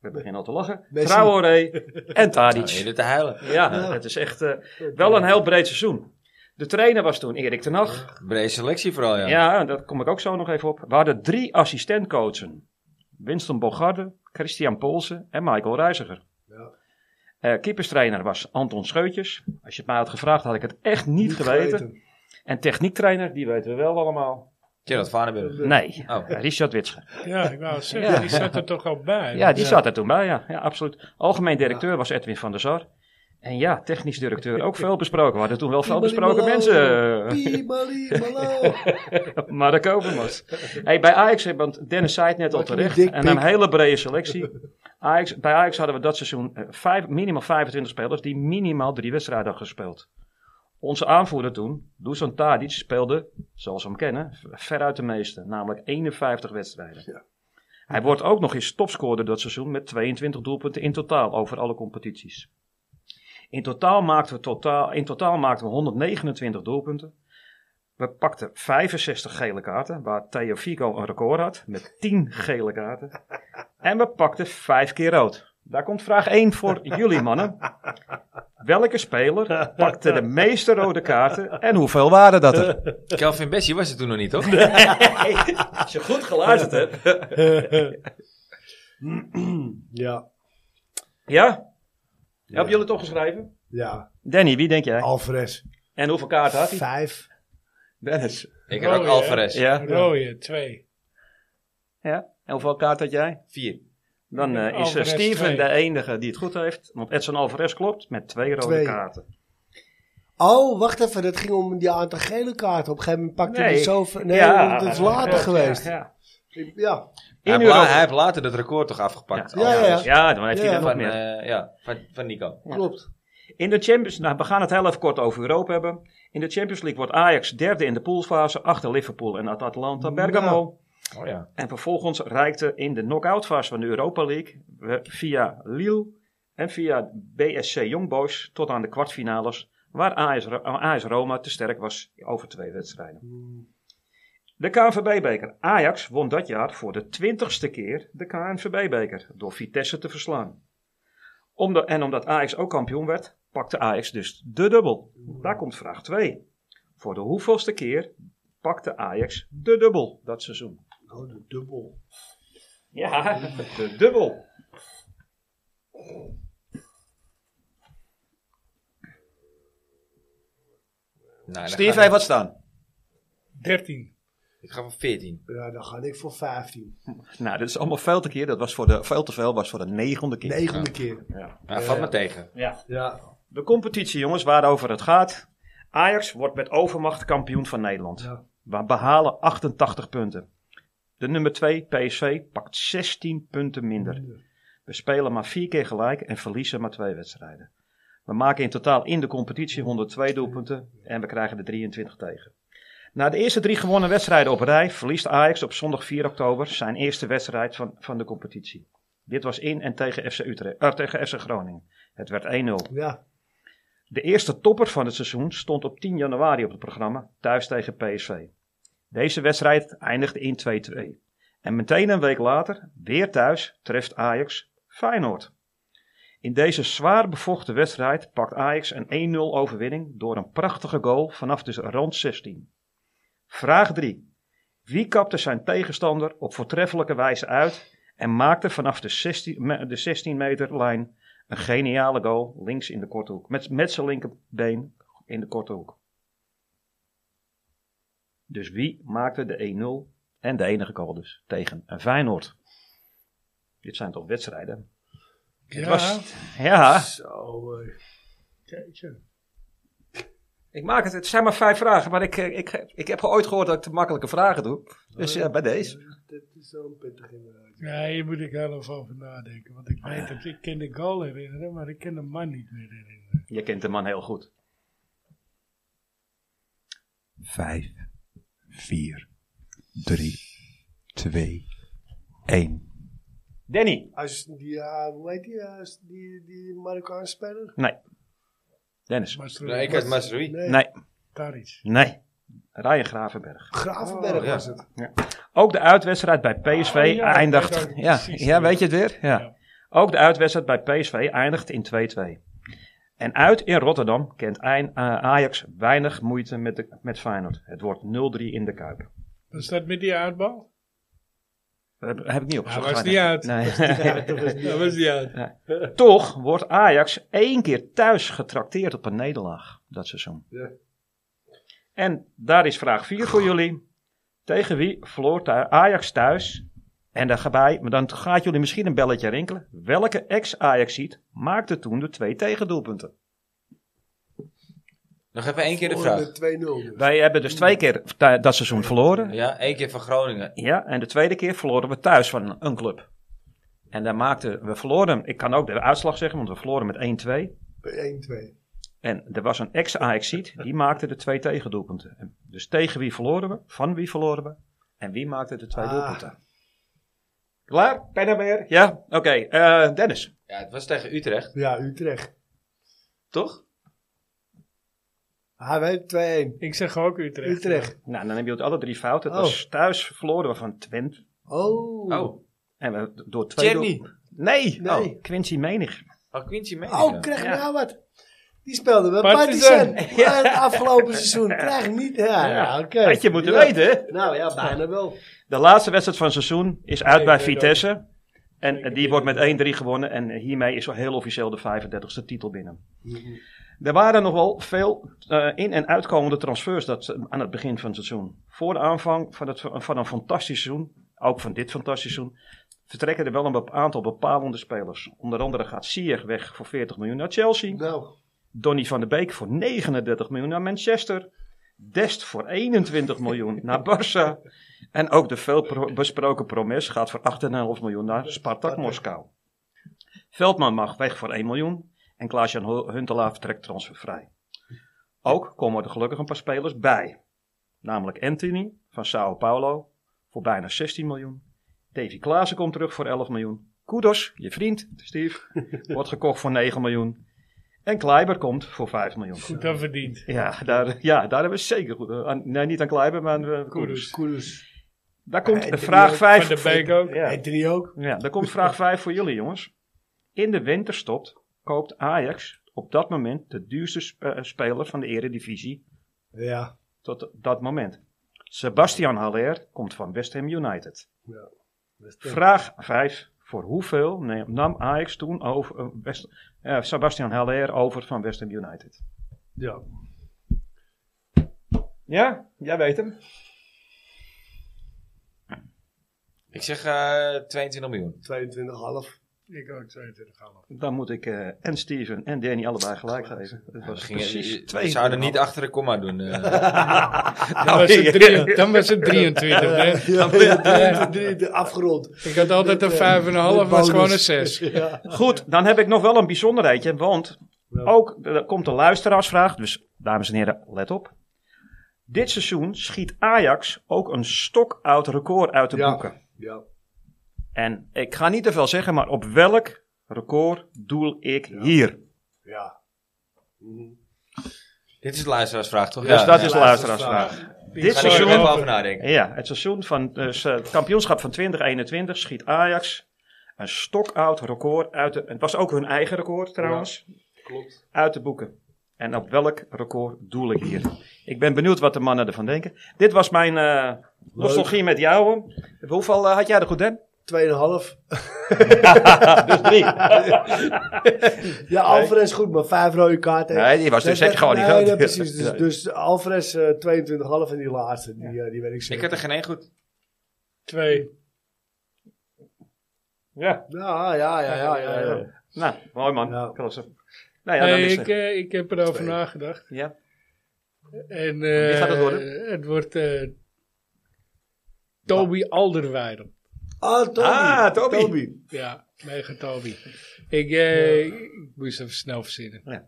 Speaker 4: We beginnen al te lachen.
Speaker 3: Messi.
Speaker 4: Traoré en
Speaker 1: Nou, je
Speaker 4: Tadic.
Speaker 1: zit te huilen.
Speaker 4: Ja, het is echt eh, wel een heel breed seizoen. De trainer was toen Erik ten Hag.
Speaker 1: Brede selectie vooral, ja.
Speaker 4: Ja, daar kom ik ook zo nog even op. We hadden drie assistentcoachen. Winston Bogarde, Christian Polsen en Michael Reiziger.
Speaker 3: Ja.
Speaker 4: Eh, keeperstrainer was Anton Scheutjes. Als je het mij had gevraagd, had ik het echt niet, geweten. En techniektrainer, die weten we wel allemaal.
Speaker 1: Gerard Vaneburg.
Speaker 4: Nee,
Speaker 1: Oh.
Speaker 4: Richard Witsche.
Speaker 2: Ja, ik wou zeggen, die zat er toch al bij.
Speaker 4: Ja, die zat er toen bij, ja. ja absoluut. Algemeen directeur was Edwin van der Sar. En ja, technisch directeur, ook veel besproken. We hadden toen wel eh, veel besproken mensen.
Speaker 3: Piemali, malo.
Speaker 4: Mark Overmars. Hey, bij Ajax, eh, want Dennis zei het net al
Speaker 3: Wat een
Speaker 4: terecht,
Speaker 3: dik
Speaker 4: en een
Speaker 3: pik.
Speaker 4: hele brede selectie. Ajax, bij Ajax hadden we dat seizoen eh, vijf, minimaal 25 spelers die minimaal drie wedstrijden hadden gespeeld. Onze aanvoerder toen, Dusan Tadic, speelde, zoals we hem kennen, veruit de meeste, namelijk 51 wedstrijden. Hij wordt ook nog eens topscorer dat seizoen met 22 doelpunten in totaal over alle competities. In totaal maakten we, totaal, in totaal maakten we 129 doelpunten. We pakten 65 gele kaarten, waar Theo Fico een record had met 10 gele kaarten. En we pakten 5 keer rood. Daar komt vraag 1 voor jullie mannen. Welke speler pakte de meeste rode kaarten en hoeveel waren dat er?
Speaker 1: Kelvin Bessie was het toen nog niet, toch?
Speaker 4: Als je goed geluisterd hebt.
Speaker 3: Ja,
Speaker 4: Ja? Hebben jullie het opgeschreven?
Speaker 3: ja.
Speaker 6: Danny, wie denk jij?
Speaker 3: Alvarez.
Speaker 4: En hoeveel kaarten had hij?
Speaker 3: Vijf.
Speaker 4: Dennis.
Speaker 1: Ik had ook
Speaker 2: Oh, ja.
Speaker 1: Alvarez.
Speaker 6: Ja.
Speaker 2: Rooie, twee.
Speaker 6: ja. En hoeveel kaart had jij?
Speaker 1: Vier.
Speaker 4: Dan eh, is eh,
Speaker 2: Alvarez
Speaker 4: Steven
Speaker 2: twee.
Speaker 4: de enige die het goed heeft. Want Edson Alvarez klopt met twee rode
Speaker 3: Twee.
Speaker 4: kaarten.
Speaker 3: Oh, wacht even. Dat ging om die aantal gele kaarten. Op een gegeven moment pakte hij
Speaker 4: Nee.
Speaker 3: zoveel. Nee,
Speaker 4: Ja.
Speaker 3: dat is later
Speaker 4: Ja,
Speaker 3: geweest.
Speaker 4: Ja,
Speaker 3: Ja,
Speaker 4: ja.
Speaker 3: ja.
Speaker 1: Hij
Speaker 4: In
Speaker 1: heeft, la-
Speaker 4: Europa.
Speaker 1: hij heeft later dat record toch afgepakt.
Speaker 3: Ja, ja, ja.
Speaker 4: Ja, dan heeft hij
Speaker 3: Ja,
Speaker 4: er nog
Speaker 1: Van,
Speaker 4: meer.
Speaker 1: eh, ja, van, van Nico.
Speaker 3: klopt.
Speaker 4: In de Champions nou, we gaan het heel even kort over Europa hebben. In de Champions League wordt Ajax derde in de poolfase achter Liverpool en Atalanta Bergamo.
Speaker 1: Oh ja.
Speaker 4: En vervolgens reikte in de knock-out fase van de Europa League we via Lille en via BSC Young Boys tot aan de kwartfinales, waar AS, Ro- AS Roma te sterk was over twee wedstrijden. De KNVB-beker. Ajax won dat jaar voor de twintigste keer de KNVB-beker door Vitesse te verslaan. Omdat- en omdat Ajax ook kampioen werd, pakte Ajax dus de dubbel. Daar komt vraag 2. Voor de hoeveelste keer pakte Ajax de dubbel dat seizoen?
Speaker 3: Oh, de dubbel.
Speaker 4: Ja, de dubbel.
Speaker 1: Nou, dan
Speaker 6: Steve
Speaker 1: ga
Speaker 6: heeft wat staan.
Speaker 2: Dertien.
Speaker 1: ik- Ik ga voor 14.
Speaker 3: Ja, dan ga ik voor 15.
Speaker 6: Nou, dat is allemaal veel te keer. Dat was voor de, veel te veel was voor de negende keer.
Speaker 3: Negende keer.
Speaker 4: Eh,
Speaker 1: Maar valt me tegen.
Speaker 3: Ja.
Speaker 4: De competitie, jongens, waarover het gaat. Ajax wordt met overmacht kampioen van Nederland.
Speaker 3: Ja.
Speaker 4: We behalen 88 punten. De nummer 2, PSV, pakt 16 punten minder. We spelen maar vier keer gelijk en verliezen maar twee wedstrijden. We maken in totaal in de competitie 102 doelpunten en we krijgen er 23 tegen. Na de eerste drie gewonnen wedstrijden op rij verliest Ajax op zondag 4 oktober zijn eerste wedstrijd van, van de competitie. Dit was in en tegen FC, Utrecht, eh, tegen FC Groningen. Het werd 1-0.
Speaker 3: Ja.
Speaker 4: De eerste topper van het seizoen stond op 10 januari op het programma, thuis tegen PSV. Deze wedstrijd eindigde in 2-2. En meteen een week later, weer thuis, treft Ajax Feyenoord. In deze zwaar bevochten wedstrijd pakt Ajax een 1-0 overwinning door een prachtige goal vanaf de rond 16. Vraag 3. Wie kapte zijn tegenstander op voortreffelijke wijze uit en maakte vanaf de 16, me- de 16 meter lijn een geniale goal links in de korte hoek. Met, met zijn linkerbeen in de korte hoek. Dus wie maakte de 1-0 en de enige goal dus tegen een Feyenoord? Dit zijn toch wedstrijden?
Speaker 2: Ja,
Speaker 4: was- Ja,
Speaker 3: Zo. eh, Jeetje.
Speaker 6: Ik maak het. Het zijn maar vijf vragen, maar ik, eh, ik, ik heb ooit gehoord dat ik te makkelijke vragen doe.
Speaker 4: Oh,
Speaker 6: Dus ja, bij deze.
Speaker 3: Dit is zo'n pittig inderdaad.
Speaker 2: ja, hier moet ik heel even over nadenken. Want ik weet het, ik ken de goal herinneren, maar ik ken de man niet meer herinneren.
Speaker 4: je kent de man heel goed.
Speaker 6: Vijf, vier, drie, twee, één.
Speaker 4: Danny.
Speaker 3: Als die, ja, hoe heet die, ja, als die, die Marokkaanse speler?
Speaker 4: Nee. Dennis.
Speaker 2: Maestro
Speaker 1: Nee, ik had Masrui.
Speaker 3: Nee.
Speaker 4: Nee,
Speaker 2: Taric.
Speaker 4: nee. Ryan Gravenberg.
Speaker 3: Gravenberg
Speaker 1: Oh, ja.
Speaker 3: was het.
Speaker 4: Ook de uitwedstrijd bij PSV
Speaker 2: Ah, ja, ik
Speaker 4: eindigt.
Speaker 2: weet ook
Speaker 6: Ja,
Speaker 2: precies
Speaker 6: ja,
Speaker 2: wie.
Speaker 6: weet je het weer? Ja.
Speaker 2: Ja.
Speaker 4: Ook de uitwedstrijd bij PSV eindigt in 2-2. En uit in Rotterdam kent Ein- eh, Ajax weinig moeite met, de, met Feyenoord. Het wordt 0-3 in de Kuip.
Speaker 2: Was dat met die aardbal?
Speaker 6: Heb, heb ik niet
Speaker 2: Hij
Speaker 6: opgezocht.
Speaker 2: was
Speaker 6: Ga
Speaker 2: niet
Speaker 6: je-
Speaker 2: uit.
Speaker 6: Nee.
Speaker 2: Dat was die uit.
Speaker 4: Toch wordt Ajax één keer thuis getrakteerd op een nederlaag dat seizoen.
Speaker 3: Ja.
Speaker 4: En daar is vraag 4 voor jullie. Tegen wie verloor thu- Ajax thuis? En daarbij, maar dan gaat jullie misschien een belletje rinkelen. Welke ex-Ajaxiet maakte toen de twee tegendoelpunten?
Speaker 1: Nog even één keer de
Speaker 3: Oh,
Speaker 1: vraag.
Speaker 3: met 2-0.
Speaker 4: Wij hebben dus twee keer thu- dat seizoen verloren.
Speaker 1: Ja, één keer van Groningen.
Speaker 4: Ja, en de tweede keer verloren we thuis van een club. En daar maakten we verloren. Ik kan ook de uitslag zeggen, want we verloren met 1-2.
Speaker 3: 1-2.
Speaker 4: En er was een ex ajaxiet die maakte de twee tegendoelpunten. En Dus tegen wie verloren we? Van wie verloren we? En wie maakte de twee
Speaker 3: Ah.
Speaker 4: doelpunten? Klaar? Pen en weer? Ja? Oké. eh, Dennis.
Speaker 1: Ja, het was tegen Utrecht,
Speaker 3: Ja, Utrecht.
Speaker 1: toch?
Speaker 3: Hij weet 2-1.
Speaker 2: Ik zeg ook Utrecht.
Speaker 3: Utrecht.
Speaker 4: Nou, dan hebben jullie alle drie fouten. Het
Speaker 3: Oh.
Speaker 4: was thuis verloren we van Twente.
Speaker 3: Oh.
Speaker 1: Oh,
Speaker 4: En we door twee
Speaker 1: Cherny.
Speaker 4: doel- Nee.
Speaker 3: Nee.
Speaker 4: Oh, Quincy Menig.
Speaker 1: Oh, Quincy mee.
Speaker 3: Oh, krijg
Speaker 4: Ja.
Speaker 3: nou wat. Die speelde wel
Speaker 2: Partizan.
Speaker 3: Partizan. Maar het afgelopen seizoen. Krijg niet. Ja, ja, oké.
Speaker 4: Had je moeten
Speaker 3: Ja.
Speaker 4: weten.
Speaker 3: Nou ja, bijna wel.
Speaker 4: De laatste wedstrijd van het seizoen is uit
Speaker 2: Nee,
Speaker 4: bij
Speaker 2: nee,
Speaker 4: Vitesse. En eh, die wordt met 1-3 gewonnen. En eh, hiermee is al heel officieel de 35e titel binnen. Er waren nog wel veel eh, in- en uitkomende transfers dat, eh, aan het begin van het seizoen. Voor de aanvang van, het, van een fantastisch seizoen, ook van dit fantastisch seizoen, vertrekken er wel een bep- aantal bepalende spelers. Onder andere gaat Sier weg voor 40 miljoen naar Chelsea.
Speaker 3: Nou,
Speaker 4: Donny van der Beek voor 39 miljoen naar Manchester. Dest voor 21 miljoen naar Barça. En ook de veelbesproken Promes gaat voor 8,5 miljoen naar Spartak Moskou. Veldman mag weg voor 1 miljoen. En Klaas-Jan Hu- Huntelaar vertrekt transfervrij. Ook komen er gelukkig een paar spelers bij. Namelijk Anthony van Sao Paulo voor bijna 16 miljoen. Davy Klaassen komt terug voor 11 miljoen. Kudos, je vriend, Steve, wordt gekocht voor 9 miljoen. En Kleiber komt voor 5 miljoen.
Speaker 2: Goed dan verdiend.
Speaker 4: Ja, daar, ja, daar hebben we zeker goed. eh, aan- nee, niet aan Kleiber, maar aan eh, Kudus.
Speaker 2: Koeders.
Speaker 3: Koeders.
Speaker 4: Daar komt
Speaker 3: Ja,
Speaker 4: eh,
Speaker 3: die
Speaker 4: vraag
Speaker 3: ook
Speaker 4: 5.
Speaker 2: Van de Beek ook.
Speaker 4: Ja,
Speaker 3: Anthony ook.
Speaker 4: ja, daar komt vraag 5 voor jullie, jongens. In de winter stopt, koopt Ajax op dat moment de duurste sp- eh, speler van de Eredivisie
Speaker 3: Ja.
Speaker 4: tot dat moment. Sebastian Haller komt van West Ham United. Vraag 5. Voor hoeveel ne- nam Ajax toen over, eh, West, eh, Sebastian Haller over van West Ham United?
Speaker 3: Ja.
Speaker 6: Ja, jij weet hem.
Speaker 1: Ik zeg eh 22 miljoen.
Speaker 3: 22,5.
Speaker 2: Ik ook 22,5.
Speaker 4: Dan moet ik eh, en Steven en Danny allebei gelijk geven. Het was
Speaker 1: Ging,
Speaker 4: precies
Speaker 1: je- je zou er eh, niet achter de komma doen. eh.
Speaker 4: Ah,
Speaker 2: Dan was het drie- Dan was het 23, hè.
Speaker 3: Ja, ja, drie- drie- afgerond.
Speaker 2: Ik had altijd een 5,5,
Speaker 3: Met
Speaker 2: was gewoon een
Speaker 3: bonus.
Speaker 2: 6.
Speaker 3: Ja.
Speaker 4: Goed, dan heb ik nog wel een bijzonderheidje. Want ook er komt een luisteraarsvraag. Dus dames en heren, let op. Dit seizoen schiet Ajax ook een stokoud record uit de
Speaker 3: Ja.
Speaker 4: boeken.
Speaker 3: Ja.
Speaker 4: En ik ga niet te veel zeggen, maar op welk record doel ik hier?
Speaker 3: ja. Mhm.
Speaker 1: Dit is de luisteraarsvraag, toch?
Speaker 4: Dus dat is de
Speaker 3: ja.
Speaker 4: luisteraarsvraag. Dit
Speaker 1: Ga ik er
Speaker 4: seizoen
Speaker 1: even over nadenken.
Speaker 4: Ja, het seizoen van dus, eh, het kampioenschap van 2021 schiet Ajax een stokoud record uit de. Het was ook hun eigen record trouwens. klopt. Uit de boeken. En op welk record doel ik hier? Ik ben benieuwd wat de mannen ervan denken. Dit was mijn eh, nostalgie met jou. Hoeveel eh, had jij er goed in?
Speaker 3: 2,5.
Speaker 4: Dus drie.
Speaker 3: Ja, Alvarez goed, maar vijf rode kaarten.
Speaker 4: Nee, die was dus
Speaker 3: Dat-
Speaker 4: echt gewoon niet
Speaker 3: nee,
Speaker 4: goed.
Speaker 3: nee, precies.
Speaker 4: Ja.
Speaker 3: Dus, dus Alvarez eh 22,5 en die laatste, die, eh, die weet ik
Speaker 1: Ik
Speaker 3: zeker.
Speaker 1: had er geen één goed.
Speaker 2: 2.
Speaker 4: Ja,
Speaker 3: Ja, Nou, ja, ja, ja. ja, ja.
Speaker 4: nou, mooi man.
Speaker 3: Nou.
Speaker 4: Klasse. Nou ja, dan
Speaker 2: Nee,
Speaker 4: is
Speaker 2: ik,
Speaker 4: het.
Speaker 2: eh, ik heb erover
Speaker 3: Twee.
Speaker 2: nagedacht.
Speaker 4: Ja.
Speaker 2: En,
Speaker 4: Wie gaat het
Speaker 2: eh,
Speaker 4: worden?
Speaker 2: Het wordt eh Toby Alderweireld.
Speaker 3: Ah, Toby.
Speaker 4: Ah, Toby.
Speaker 2: Ja, mega Toby. Ik, eh, ik moest even snel verzinnen.
Speaker 3: Ja,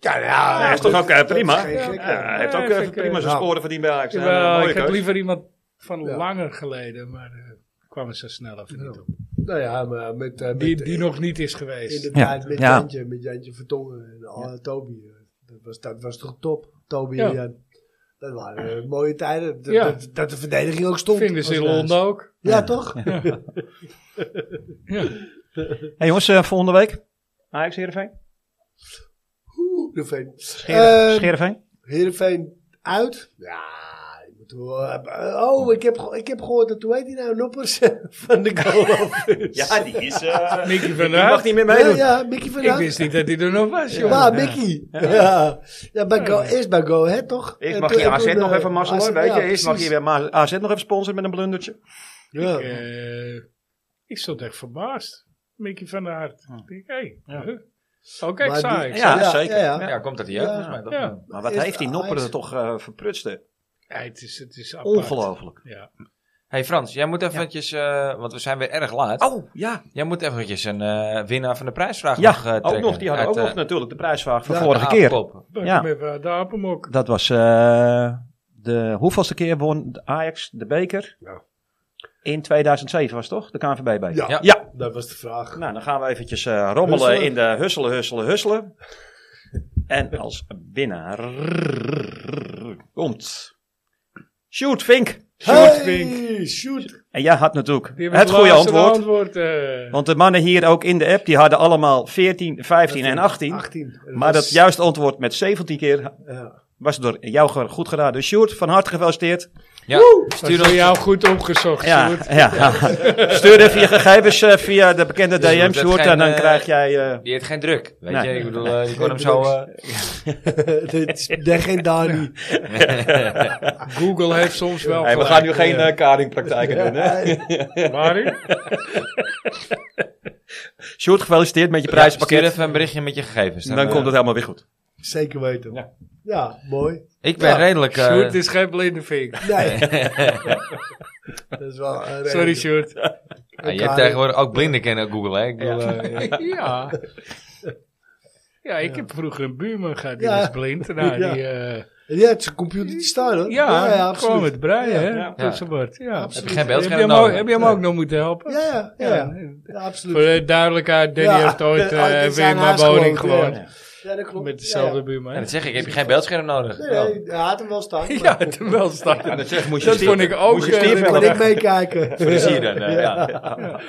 Speaker 3: ja,
Speaker 4: Ja, is toch ook eh, prima?
Speaker 3: geen gekke.
Speaker 4: Ja, hij heeft ook
Speaker 2: Ja,
Speaker 4: eh,
Speaker 2: vind ik,
Speaker 4: prima
Speaker 2: eh,
Speaker 4: zijn
Speaker 3: nou.
Speaker 4: scoren verdiend bij Ajax. Ja,
Speaker 2: Jawel,
Speaker 4: mooie
Speaker 2: ik had
Speaker 4: keus.
Speaker 2: liever iemand van
Speaker 3: Ja.
Speaker 2: langer geleden, maar eh kwam er zo snel even niet op.
Speaker 3: Nou ja, maar met... eh, met
Speaker 2: Die, die nog niet is geweest.
Speaker 3: Inderdaad,
Speaker 4: Ja.
Speaker 3: met
Speaker 4: Ja.
Speaker 3: Jantje, met Jantje Vertongen en ah, Toby. eh, Dat was, dat was toch top, Toby
Speaker 2: Ja.
Speaker 3: en Jan. Dat waren eh, mooie tijden. Dat,
Speaker 2: Ja.
Speaker 3: dat, dat de verdediging ook stond.
Speaker 2: Vinden ze in
Speaker 3: was nice.
Speaker 2: Londen ook.
Speaker 3: Ja, toch?
Speaker 4: Hey jongens, eh, volgende week. Ajax Heerenveen.
Speaker 3: Oeh, de Veen.
Speaker 4: Heeren-
Speaker 3: Eh,
Speaker 4: Heerenveen.
Speaker 3: Heerenveen uit. Ja, die moeten we wel hebben. Eh, Oh, ik heb, ge- ik heb gehoord dat, hoe heet die nou, Noppers van de goal af is.
Speaker 4: Ja, die is... eh,
Speaker 2: Mickey van
Speaker 4: die mag
Speaker 2: Raad.
Speaker 4: niet meer
Speaker 3: ja,
Speaker 4: meedoen.
Speaker 3: ja, Mickey van
Speaker 2: Ik
Speaker 3: Haag.
Speaker 2: wist niet dat hij er nog was, joh.
Speaker 3: Ja, Mickey. Ja, ja. bij Go, eerst bij Go Ahead, toch?
Speaker 4: Ik
Speaker 3: En
Speaker 4: mag
Speaker 3: toen-
Speaker 4: hier
Speaker 3: en
Speaker 4: AZ
Speaker 3: toen,
Speaker 4: nog
Speaker 3: eh,
Speaker 4: even mazzelen, hoor,
Speaker 3: AZ,
Speaker 4: weet
Speaker 3: ja,
Speaker 4: je. Eerst mag
Speaker 3: precies.
Speaker 4: hier weer Ma- AZ nog even sponsoren met een blundertje.
Speaker 3: Ja.
Speaker 2: Ik, eh, ik stond echt verbaasd. Mickey van der Hart. Ik denk, hey, huh? Oh, Ook
Speaker 3: Ah. Maar die-
Speaker 2: ex-Ajax.
Speaker 4: Ja,
Speaker 3: Ja,
Speaker 4: zeker.
Speaker 3: ja, ja.
Speaker 1: Ja, komt dat hier?
Speaker 3: Ja.
Speaker 1: Volgens mij toch?
Speaker 2: Ja.
Speaker 4: Maar wat
Speaker 3: Is
Speaker 4: heeft die
Speaker 3: Ajax-
Speaker 4: Nopperen toch eh verprutst, hè?
Speaker 2: Ja, het is, het is apart.
Speaker 4: Ongelooflijk.
Speaker 2: Ja.
Speaker 1: Hey Frans, jij moet eventjes, eh, want we zijn weer erg laat.
Speaker 4: Oh, ja.
Speaker 1: Jij moet eventjes een eh, winnaar van de prijsvraag
Speaker 4: Ja,
Speaker 1: nog eh, trekken.
Speaker 4: ook nog. Die hadden
Speaker 1: Uit,
Speaker 4: ook nog
Speaker 1: eh,
Speaker 4: natuurlijk de prijsvraag van
Speaker 3: ja,
Speaker 4: vorige
Speaker 1: de
Speaker 4: keer.
Speaker 1: Apenpop.
Speaker 2: Pak
Speaker 4: Ja.
Speaker 2: hem even uit de apenmok.
Speaker 4: Dat was eh, de hoeveelste keer won de Ajax de beker?
Speaker 3: Ja.
Speaker 4: In 2007 was het toch? De KNVB-beker.
Speaker 3: Ja.
Speaker 1: Ja.
Speaker 4: ja.
Speaker 3: Dat was de vraag.
Speaker 4: Nou, dan gaan we eventjes eh, rommelen
Speaker 3: Husselen.
Speaker 4: in de husselen, husselen, husselen. en als winnaar komt Shoot Vink.
Speaker 3: Shoot,
Speaker 2: Vink.
Speaker 3: Shoot.
Speaker 4: En jij had natuurlijk
Speaker 2: Die hebben
Speaker 4: het goede
Speaker 2: laatste
Speaker 4: antwoord.
Speaker 2: antwoord eh.
Speaker 4: Want de mannen hier ook in de app, die hadden allemaal 14, 15 en 18.
Speaker 3: 18. En
Speaker 4: Maar
Speaker 3: was-
Speaker 4: dat juiste antwoord met 17 keer
Speaker 3: Ja.
Speaker 4: was door jou ge- goed geraden. Dus Sjoerd, van harte gefeliciteerd.
Speaker 1: Ja,
Speaker 2: Dat is
Speaker 1: stuur
Speaker 2: door
Speaker 1: ons,
Speaker 2: jou goed opgezocht,
Speaker 4: Ja,
Speaker 2: Sjoerd.
Speaker 4: ja. Stuur even je gegevens eh, via de bekende
Speaker 1: Dus
Speaker 4: DM,
Speaker 1: dat
Speaker 4: Sjoerd,
Speaker 1: geen,
Speaker 4: en dan
Speaker 1: eh,
Speaker 4: krijg jij... eh
Speaker 1: die heeft geen druk. Weet
Speaker 4: Nee.
Speaker 1: je, ik bedoel, eh, je kon hem zo... eh,
Speaker 4: eh,
Speaker 3: Dit is legendarisch.
Speaker 2: Google heeft soms wel
Speaker 4: hey, we
Speaker 2: gelijk,
Speaker 4: gaan nu geen
Speaker 2: eh,
Speaker 4: eh, karingpraktijken doen, hè?
Speaker 2: waarin?
Speaker 4: Sjoerd, gefeliciteerd met je
Speaker 1: stuur
Speaker 4: prijspakket.
Speaker 1: even een berichtje met je gegevens.
Speaker 4: dan komt het
Speaker 1: eh,
Speaker 4: helemaal weer goed.
Speaker 3: Zeker weten. Ja, mooi.
Speaker 1: Ik ben
Speaker 3: Ja.
Speaker 1: redelijk... eh,
Speaker 2: Sjoerd is geen blinde vink.
Speaker 3: Nee. dat is wel... een
Speaker 2: Sorry,
Speaker 3: reden.
Speaker 2: Sjoerd.
Speaker 1: ah, je hebt tegenwoordig ook blinden kennen Google, hè? Ik bedoel, eh,
Speaker 2: Ja. Ja, ik heb vroeger een buurman gehad, die
Speaker 3: Ja.
Speaker 2: was blind. Nou,
Speaker 3: Ja.
Speaker 2: die, eh,
Speaker 3: Ja, het is een computer die staat hoor.
Speaker 2: ja, gewoon
Speaker 3: absoluut.
Speaker 2: met breien, hè?
Speaker 3: Ja,
Speaker 1: ja.
Speaker 2: Toetsenbord, ja.
Speaker 1: heb je
Speaker 3: Absoluut.
Speaker 1: geen
Speaker 2: Heb je,
Speaker 1: beeldscherm
Speaker 2: hem
Speaker 1: nodig?
Speaker 2: ook, heb je hem ook nog moeten helpen?
Speaker 3: Ja, ja, ja, ja. Ja,
Speaker 2: Voor
Speaker 3: absoluut.
Speaker 2: de duidelijkheid, Danny
Speaker 3: Ja, Oh,
Speaker 2: heeft ooit
Speaker 3: de-
Speaker 2: eh,
Speaker 3: ooit in
Speaker 2: even
Speaker 3: zijn
Speaker 2: in mijn
Speaker 3: huis
Speaker 2: woning
Speaker 3: gewoond,
Speaker 2: gewoond.
Speaker 3: Ja, dat klopt.
Speaker 2: Met dezelfde buurman.
Speaker 1: Ja, dat zeg ik, heb je geen beeldscherm nodig?
Speaker 3: Ja, ja. Nee, nee, hij had hem wel staan.
Speaker 2: Ja,
Speaker 3: maar-
Speaker 2: terwijl staat
Speaker 4: dat zeg, moest
Speaker 2: Dat vond ik ook... eh,
Speaker 3: Dan kon ik meekijken.
Speaker 1: Zie je dan, eh, ja.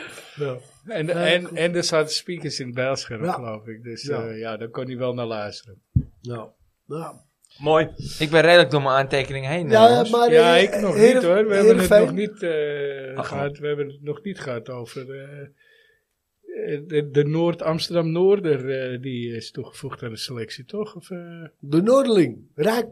Speaker 2: en, en, en er zaten speakers in het beeldscherm,
Speaker 3: Ja.
Speaker 2: geloof ik. Dus
Speaker 3: Ja.
Speaker 2: eh, ja, daar kon hij wel naar luisteren.
Speaker 3: Nou. Nou.
Speaker 4: Mooi.
Speaker 1: Ik ben redelijk door mijn aantekeningen heen. eh,
Speaker 3: Ja, ja,
Speaker 1: jongens.
Speaker 3: maar
Speaker 2: ja,
Speaker 3: eh,
Speaker 2: ik nog
Speaker 3: Heeren-
Speaker 2: niet hoor. We hebben het
Speaker 3: Heerenveen-
Speaker 2: nog niet, eh,
Speaker 1: oh.
Speaker 2: gehad, we hebben het nog niet gehad over eh, eh, de, de Noord-Amsterdam-Noorder. eh, die is toegevoegd aan de selectie, toch? Of, eh,
Speaker 3: De Noordeling. Rijk.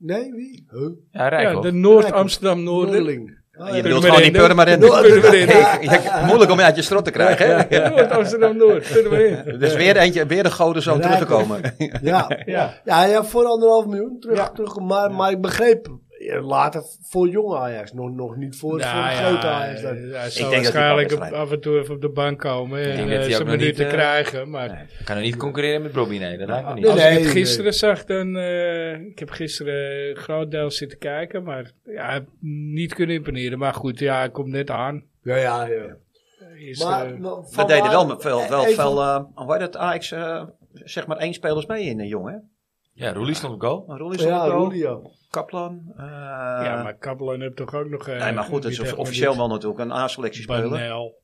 Speaker 3: Nee, wie? Huh?
Speaker 1: Ja, Rijkoff.
Speaker 2: ja, de Noord-Amsterdam-Noorder.
Speaker 3: Noordeling. Ah,
Speaker 4: Je
Speaker 3: ja.
Speaker 4: bedoelt
Speaker 2: Purmerend.
Speaker 4: gewoon die Purmerend.
Speaker 3: Purmerend.
Speaker 4: Ja, Moeilijk om je uit je strot te krijgen, hè?
Speaker 2: Noord-Amsterdam-Noord, kunnen we in.
Speaker 4: Dus weer, eentje, weer de goden zo
Speaker 3: Rijkoff.
Speaker 4: teruggekomen.
Speaker 3: Ja.
Speaker 2: Ja.
Speaker 3: Ja, ja, voor anderhalf miljoen terug. terug maar, maar ik begreep eh, later voor jonge Ajax. Nog, nog niet voor, voor
Speaker 2: Nou
Speaker 3: de
Speaker 2: ja,
Speaker 3: grote Ajax. dan.
Speaker 2: eh, hij zal
Speaker 4: denk dat hij
Speaker 2: waarschijnlijk
Speaker 4: wel wedstrijd-
Speaker 2: af en toe even op de bank komen
Speaker 1: denk
Speaker 2: en
Speaker 1: dat
Speaker 2: eh,
Speaker 1: hij ook
Speaker 2: zijn
Speaker 1: nog
Speaker 2: minuten
Speaker 1: niet, eh,
Speaker 2: krijgen. Maar
Speaker 1: Ik kan er niet concurreren met Robbie, nee, dat lijkt me niet.
Speaker 3: Nee,
Speaker 2: Als
Speaker 3: nee.
Speaker 2: ik het gisteren zag, dan... eh, ik heb gisteren een groot deel zitten kijken, maar ja, heb niet kunnen imponeren. Maar goed, ja, hij komt net aan.
Speaker 3: Ja, ja, ja.
Speaker 2: Hij Is,
Speaker 3: Maar,
Speaker 2: eh,
Speaker 3: maar
Speaker 4: We
Speaker 3: van
Speaker 4: deden
Speaker 3: waar-
Speaker 4: wel veel, wel
Speaker 3: even-
Speaker 4: veel eh, hoe heet dat, AX, eh, zeg maar één spelers mee in, eh, jong, hè?
Speaker 1: Ja, Roelie stond op goal.
Speaker 4: Rolly
Speaker 3: Ja,
Speaker 4: Zonnebrand,
Speaker 3: Julio.
Speaker 4: Kaplan. eh,
Speaker 2: ja, maar Kabbelan heeft toch ook nog... eh,
Speaker 4: nee, maar goed, het
Speaker 2: niet
Speaker 4: is
Speaker 2: echt
Speaker 4: officieel
Speaker 2: maar
Speaker 4: wel natuurlijk een A-selectie
Speaker 2: dit
Speaker 4: speler.
Speaker 2: Banel,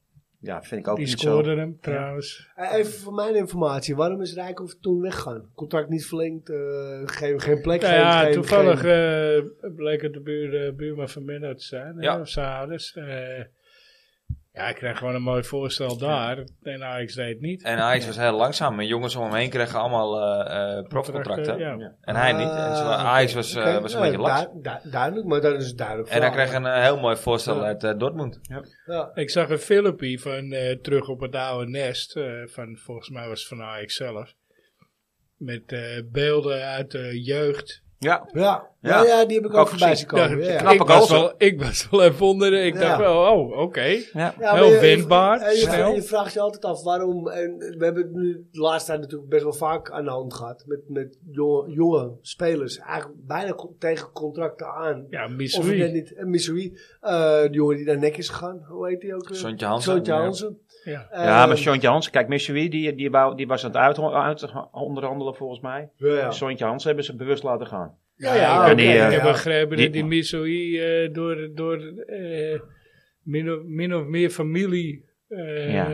Speaker 4: Ja, vind ik ook
Speaker 2: eh, die
Speaker 4: niet zo.
Speaker 2: scoorde hem trouwens.
Speaker 3: Eh, Even voor mijn informatie, waarom is Rijkoff toen weggegaan? Contract niet verlengd, eh, geen, geen plek.
Speaker 2: Nou
Speaker 3: geen-
Speaker 2: ja,
Speaker 3: geen-
Speaker 2: toevallig
Speaker 3: geen-
Speaker 2: eh, bleek het de buur, eh, buurman van Menno te zijn, hè,
Speaker 1: Ja.
Speaker 2: of zijn ouders. Eh, ja, ik kreeg gewoon een mooi voorstel daar. En Ajax deed het niet.
Speaker 1: En Ajax was heel langzaam. En jongens om hem heen kregen allemaal eh, eh, profcontracten.
Speaker 2: Contracten, ja.
Speaker 1: En hij niet. En zo-
Speaker 3: Ah,
Speaker 1: Ajax was, eh,
Speaker 3: oké.
Speaker 1: was een
Speaker 3: Ja,
Speaker 1: beetje laks.
Speaker 3: du- du- duidelijk, maar dat is een duidelijk.
Speaker 1: En hij
Speaker 3: verhaal.
Speaker 1: kreeg een eh, heel mooi voorstel
Speaker 3: Ja.
Speaker 1: uit eh, Dortmund.
Speaker 3: Ja.
Speaker 2: Ik zag een filmpje van eh, terug op het oude nest. eh, van, volgens mij was het van Ajax zelf. Met eh, beelden uit de jeugd.
Speaker 4: Ja,
Speaker 3: Ja.
Speaker 4: Ja.
Speaker 3: Ja. ja, die heb ik ook,
Speaker 4: Ook
Speaker 3: voorbij
Speaker 4: gezien.
Speaker 3: zien komen.
Speaker 2: Ja,
Speaker 3: Ja, ja.
Speaker 4: knap.
Speaker 2: ik,
Speaker 4: Knappe
Speaker 2: was
Speaker 4: goals,
Speaker 2: wel, ik was wel even onder. Ik
Speaker 3: Ja.
Speaker 2: dacht wel, oh, oké.
Speaker 4: ja.
Speaker 3: Ja,
Speaker 2: Wel
Speaker 3: maar je-
Speaker 2: wendbaar,
Speaker 3: en Je,
Speaker 2: snel.
Speaker 3: Je vraagt je altijd af waarom. En we hebben het nu de laatste tijd natuurlijk best wel vaak aan de hand gehad. Met, met jonge, jonge spelers. Eigenlijk bijna co- tegen contracten aan.
Speaker 2: Ja,
Speaker 3: Of ik net
Speaker 2: miserie.
Speaker 3: niet. En Missouri, eh die jongen die naar nek is gegaan. Hoe heet die ook? eh?
Speaker 1: Sontje Hansen.
Speaker 3: Sontje Hansen.
Speaker 2: Ja.
Speaker 3: Eh,
Speaker 4: ja, maar Sontje Hansen, kijk, Missouri, die, die, wou- die was aan het uit, uit onderhandelen volgens mij.
Speaker 3: ja, ja.
Speaker 4: Sontje Hansen hebben ze bewust laten gaan.
Speaker 3: Ja, ja,
Speaker 2: ik,
Speaker 3: Ah, oké,
Speaker 4: die, eh,
Speaker 2: ik heb
Speaker 3: ja.
Speaker 2: begrepen
Speaker 4: die-
Speaker 2: dat die Missouri eh, door, door eh, min, of, min of meer familie... eh
Speaker 4: Ja.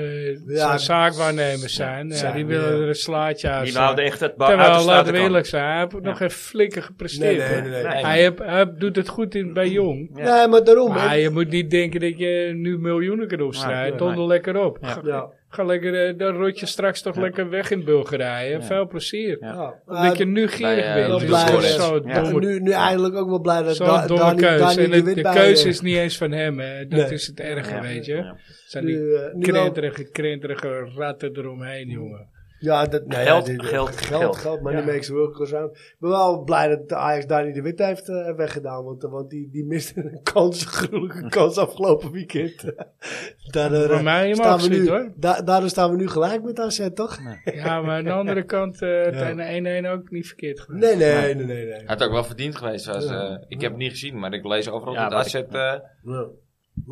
Speaker 3: Ja.
Speaker 2: zaakwaarnemers zijn. Ja,
Speaker 3: Zijn,
Speaker 2: die willen
Speaker 3: ja.
Speaker 2: er een slaatje aan
Speaker 4: Die
Speaker 2: zetten.
Speaker 4: wouden echt het ba- uit de
Speaker 2: Terwijl,
Speaker 4: straat
Speaker 2: laten we
Speaker 4: komen.
Speaker 2: eerlijk zijn, hij heeft nog geen flikker gepresteerd.
Speaker 3: Nee, nee, nee. nee.
Speaker 4: Nee.
Speaker 2: Hij, heb- hij doet het goed in, bij Jong.
Speaker 4: Ja.
Speaker 3: Nee, maar daarom.
Speaker 2: Maar
Speaker 3: hè.
Speaker 2: je moet niet denken dat je nu miljoenen kan opstrijden.
Speaker 4: Nee,
Speaker 2: Donder
Speaker 4: nee.
Speaker 2: lekker op.
Speaker 4: Ja.
Speaker 2: Ga,
Speaker 3: Ja.
Speaker 2: ga lekker, eh, dan rot je straks toch lekker weg in Bulgarije. Veel plezier.
Speaker 4: Ja.
Speaker 3: Ja.
Speaker 2: Omdat je nu gierig
Speaker 1: eh,
Speaker 2: bent.
Speaker 3: dat
Speaker 2: Dat is
Speaker 3: blijft-
Speaker 2: gewoon
Speaker 3: Ja.
Speaker 2: zo'n
Speaker 4: Ja.
Speaker 3: Eh,
Speaker 2: domme,
Speaker 3: nu, nu eindelijk ook wel blij dat
Speaker 2: zo'n
Speaker 3: da,
Speaker 2: domme
Speaker 3: Dani-
Speaker 2: keuze.
Speaker 3: Dani
Speaker 2: en het- de
Speaker 3: Wit bij,
Speaker 2: keuze
Speaker 3: eh,
Speaker 2: is niet eens van hem. Hè. Dat
Speaker 3: Nee.
Speaker 2: is het erge,
Speaker 4: Ja.
Speaker 2: weet je.
Speaker 4: Ja.
Speaker 2: Zijn die
Speaker 3: nu, eh, nu wel-
Speaker 2: krenterige, krenterige ratten eromheen, jongen.
Speaker 3: Ja, dat, nou
Speaker 4: Geld,
Speaker 3: ja, dit-
Speaker 4: geld,
Speaker 3: geld,
Speaker 4: geld.
Speaker 3: geld, Maar die makes the world goes round. Ik ben wel blij dat de Ajax Dani de Wit heeft eh, weggedaan. Want, eh, want die, die miste een kans, een gruwelijke kans afgelopen weekend. Daardoor, eh,
Speaker 2: Voor mij helemaal
Speaker 3: staan we
Speaker 2: absoluut
Speaker 3: nu,
Speaker 2: hoor.
Speaker 3: da- daardoor staan we nu gelijk met AZ, toch?
Speaker 2: Ja, maar aan de andere kant, eh het 1-1 ook niet verkeerd gedaan.
Speaker 3: Nee, nee, nee, nee. nee.
Speaker 1: Had ook wel verdiend geweest. Was, eh, ik heb het niet gezien, maar ik lees overal
Speaker 4: Ja,
Speaker 1: dat
Speaker 4: wat
Speaker 1: AZ
Speaker 4: ik-
Speaker 1: eh,
Speaker 3: Ja.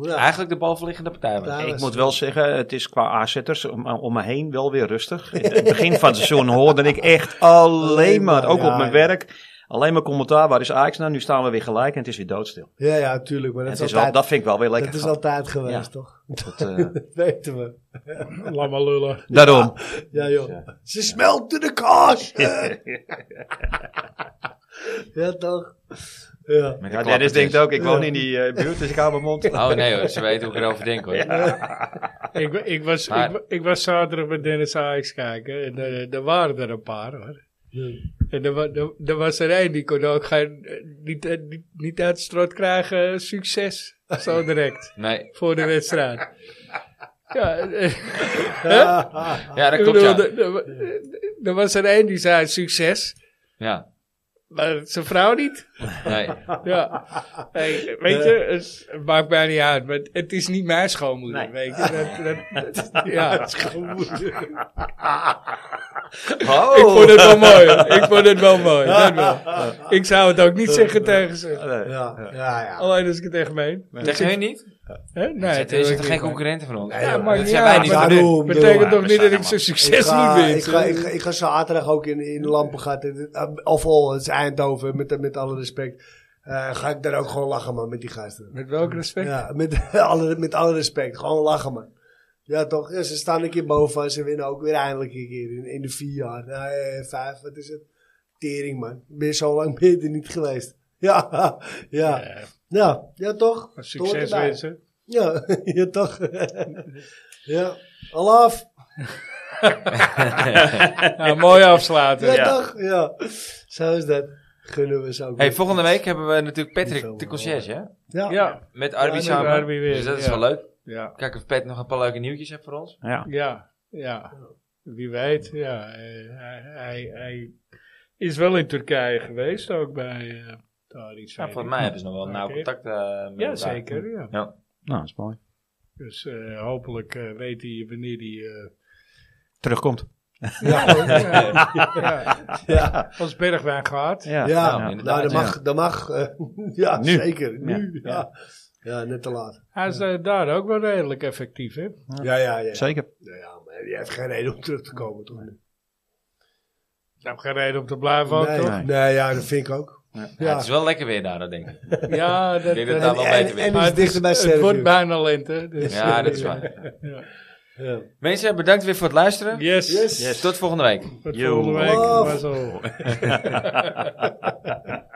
Speaker 3: Ja.
Speaker 1: eigenlijk de balverliggende partij was.
Speaker 3: Ja.
Speaker 4: Ik moet wel zeggen, het is qua aanzetters om, om me heen wel weer rustig. In het begin van het seizoen hoorde ik echt alleen maar, ook op mijn
Speaker 3: Ja, ja.
Speaker 4: werk, alleen maar commentaar. Waar is Ajax nou? Nu staan we weer gelijk en het is weer doodstil.
Speaker 3: ja, ja, tuurlijk. Maar
Speaker 4: Dat,
Speaker 3: dat,
Speaker 4: het
Speaker 3: is
Speaker 4: is wel,
Speaker 3: altijd,
Speaker 4: dat vind ik wel weer
Speaker 3: dat
Speaker 4: lekker.
Speaker 3: is
Speaker 4: gehad.
Speaker 3: altijd geweest,
Speaker 4: Ja.
Speaker 3: toch?
Speaker 4: Dat, eh,
Speaker 3: Dat weten we.
Speaker 2: Lama lullen.
Speaker 4: daarom. Dus,
Speaker 3: Ja, joh. Ze smelten de kaas! Eh. ja, toch? Ja.
Speaker 1: Met
Speaker 6: Ja,
Speaker 1: de klappertjes.
Speaker 6: Dennis denkt ook, ik woon in die eh, buurt, dus ik hou mijn mond.
Speaker 1: Oh nee hoor, ze weten hoe ik erover denk hoor.
Speaker 2: Ik, wa- ik, was,
Speaker 1: Maar-
Speaker 2: ik, wa- ik was zaterdag met Dennis Ajax kijken. En eh, er waren er een paar hoor. En er, wa- er, er was er één die kon ook geen, eh, niet, eh, niet, niet uit het strot krijgen. eh, Succes. Zo direct.
Speaker 1: Nee.
Speaker 2: voor de wedstrijd. Ja, eh,
Speaker 1: Ja, dat
Speaker 2: ik
Speaker 1: klopt
Speaker 2: bedoel,
Speaker 1: ja.
Speaker 2: er, er- er was er één die zei succes.
Speaker 1: Ja,
Speaker 2: Maar zijn vrouw niet.
Speaker 1: nee.
Speaker 2: Ja. Hey, weet je, het maakt mij niet uit. Maar het is niet mijn
Speaker 6: Nee.
Speaker 2: schoonmoeder. Weet je, dat, dat, ja, schoonmoeder.
Speaker 6: Oh.
Speaker 2: Ik vond het wel mooi. Ik vond het wel mooi. Dat wel. Ik zou het ook niet zeggen tegen
Speaker 4: Oh.
Speaker 2: ze.
Speaker 6: Nee.
Speaker 3: Ja, ja, ja.
Speaker 2: Alleen als ik het echt meen.
Speaker 1: Tegen hun niet?
Speaker 2: Hè? Nee,
Speaker 1: Nee,
Speaker 2: natuurlijk
Speaker 1: er zitten geen
Speaker 2: niet, maar-
Speaker 1: concurrenten van ons.
Speaker 2: Ja,
Speaker 3: joh,
Speaker 2: maar
Speaker 1: dat
Speaker 2: niet
Speaker 1: zijn
Speaker 2: uit,
Speaker 1: wij niet
Speaker 2: maar
Speaker 1: van
Speaker 3: nu.
Speaker 2: dat betekent toch niet dat ik zijn
Speaker 3: Ik
Speaker 2: succes
Speaker 3: ga,
Speaker 2: niet
Speaker 3: ik, ga,
Speaker 2: win.
Speaker 3: ik, ga, ik ga zaterdag ook in, in Lampengat, in- eh, of al, het is Eindhoven, met, met alle respect. eh, ga ik daar ook gewoon lachen, man, met die gasten.
Speaker 2: Met welk respect?
Speaker 3: Ja, met, alle, met alle respect, gewoon lachen, man. Ja, toch? Ja, ze staan een keer boven en ze winnen ook weer eindelijk een keer in, in de vier jaar. Nou, eh, vijf, wat is het? Tering, man. Ben je zo lang ben je er niet geweest? Ja, ja.
Speaker 2: Ja,
Speaker 3: Ja, ja toch? Het hoort
Speaker 2: Succes
Speaker 3: erbij.
Speaker 2: wensen.
Speaker 3: Ja, ja toch? ja, al af.
Speaker 2: Nou, mooi afsluiten.
Speaker 3: Ja, toch? Ja. Zo is dat. Gunnen we ze ook.
Speaker 1: Hey,
Speaker 3: weer.
Speaker 1: volgende week hebben we natuurlijk Patrick
Speaker 3: Niet
Speaker 1: de
Speaker 3: zo,
Speaker 1: conciërge, hè?
Speaker 3: Ja.
Speaker 2: Ja,
Speaker 1: Met Arby
Speaker 3: Ja, met
Speaker 1: samen.
Speaker 2: Arby weer,
Speaker 1: dus dat is
Speaker 2: ja.
Speaker 1: wel leuk.
Speaker 2: ja,
Speaker 1: Kijk of Pet nog een paar leuke nieuwtjes heeft voor ons.
Speaker 6: Ja.
Speaker 2: ja, ja. Wie weet, ja. eh, hij, hij, hij is wel in Turkije geweest, ook bij eh Tariq
Speaker 1: Ja,
Speaker 2: Zaidi.
Speaker 1: volgens mij hebben ze nog wel nauw
Speaker 2: Oké.
Speaker 1: contact eh, met
Speaker 2: Ja,
Speaker 1: elkaar.
Speaker 2: zeker, ja.
Speaker 6: Nou, dat is mooi.
Speaker 2: Dus eh, hopelijk eh, weet hij wanneer hij... eh
Speaker 6: Terugkomt.
Speaker 2: ja, hoor, ja, ja.
Speaker 3: Ja,
Speaker 2: Als Bergwijn gaat.
Speaker 6: Ja.
Speaker 3: ja.
Speaker 1: ja,
Speaker 3: nou,
Speaker 1: inderdaad,
Speaker 3: dat mag. Dat mag eh, ja,
Speaker 6: Nu.
Speaker 3: zeker. Nu. Ja. Ja. net te laat.
Speaker 2: Hij is eh, daar ook wel redelijk effectief, hè?
Speaker 3: Ja, ja, ja.
Speaker 6: Zeker.
Speaker 3: Ja, Nou ja, maar je hebt geen reden om terug te komen, toch? Nee,
Speaker 2: Ik heb geen reden om te blijven ook,
Speaker 3: nee.
Speaker 2: toch?
Speaker 6: toch?
Speaker 3: Nee, ja, dat vind ik ook. Ja,
Speaker 1: Ja, het is wel lekker weer daar, dat denk ik.
Speaker 2: Ja, dat,
Speaker 1: denk
Speaker 2: dat-
Speaker 1: dat daar wel
Speaker 3: En- en-
Speaker 1: beter
Speaker 3: en-
Speaker 1: weer.
Speaker 2: maar
Speaker 3: is
Speaker 2: het, is-
Speaker 3: dichter bij
Speaker 2: het
Speaker 3: Servië.
Speaker 2: wordt bijna lente. Dus,
Speaker 1: Ja,
Speaker 2: eh,
Speaker 1: dat is waar.
Speaker 3: ja.
Speaker 1: Mensen, bedankt weer voor het luisteren.
Speaker 2: Yes.
Speaker 3: Yes.
Speaker 1: Tot volgende week.
Speaker 2: Tot
Speaker 6: Yo.
Speaker 2: volgende week.
Speaker 3: Love.
Speaker 2: Maar zo.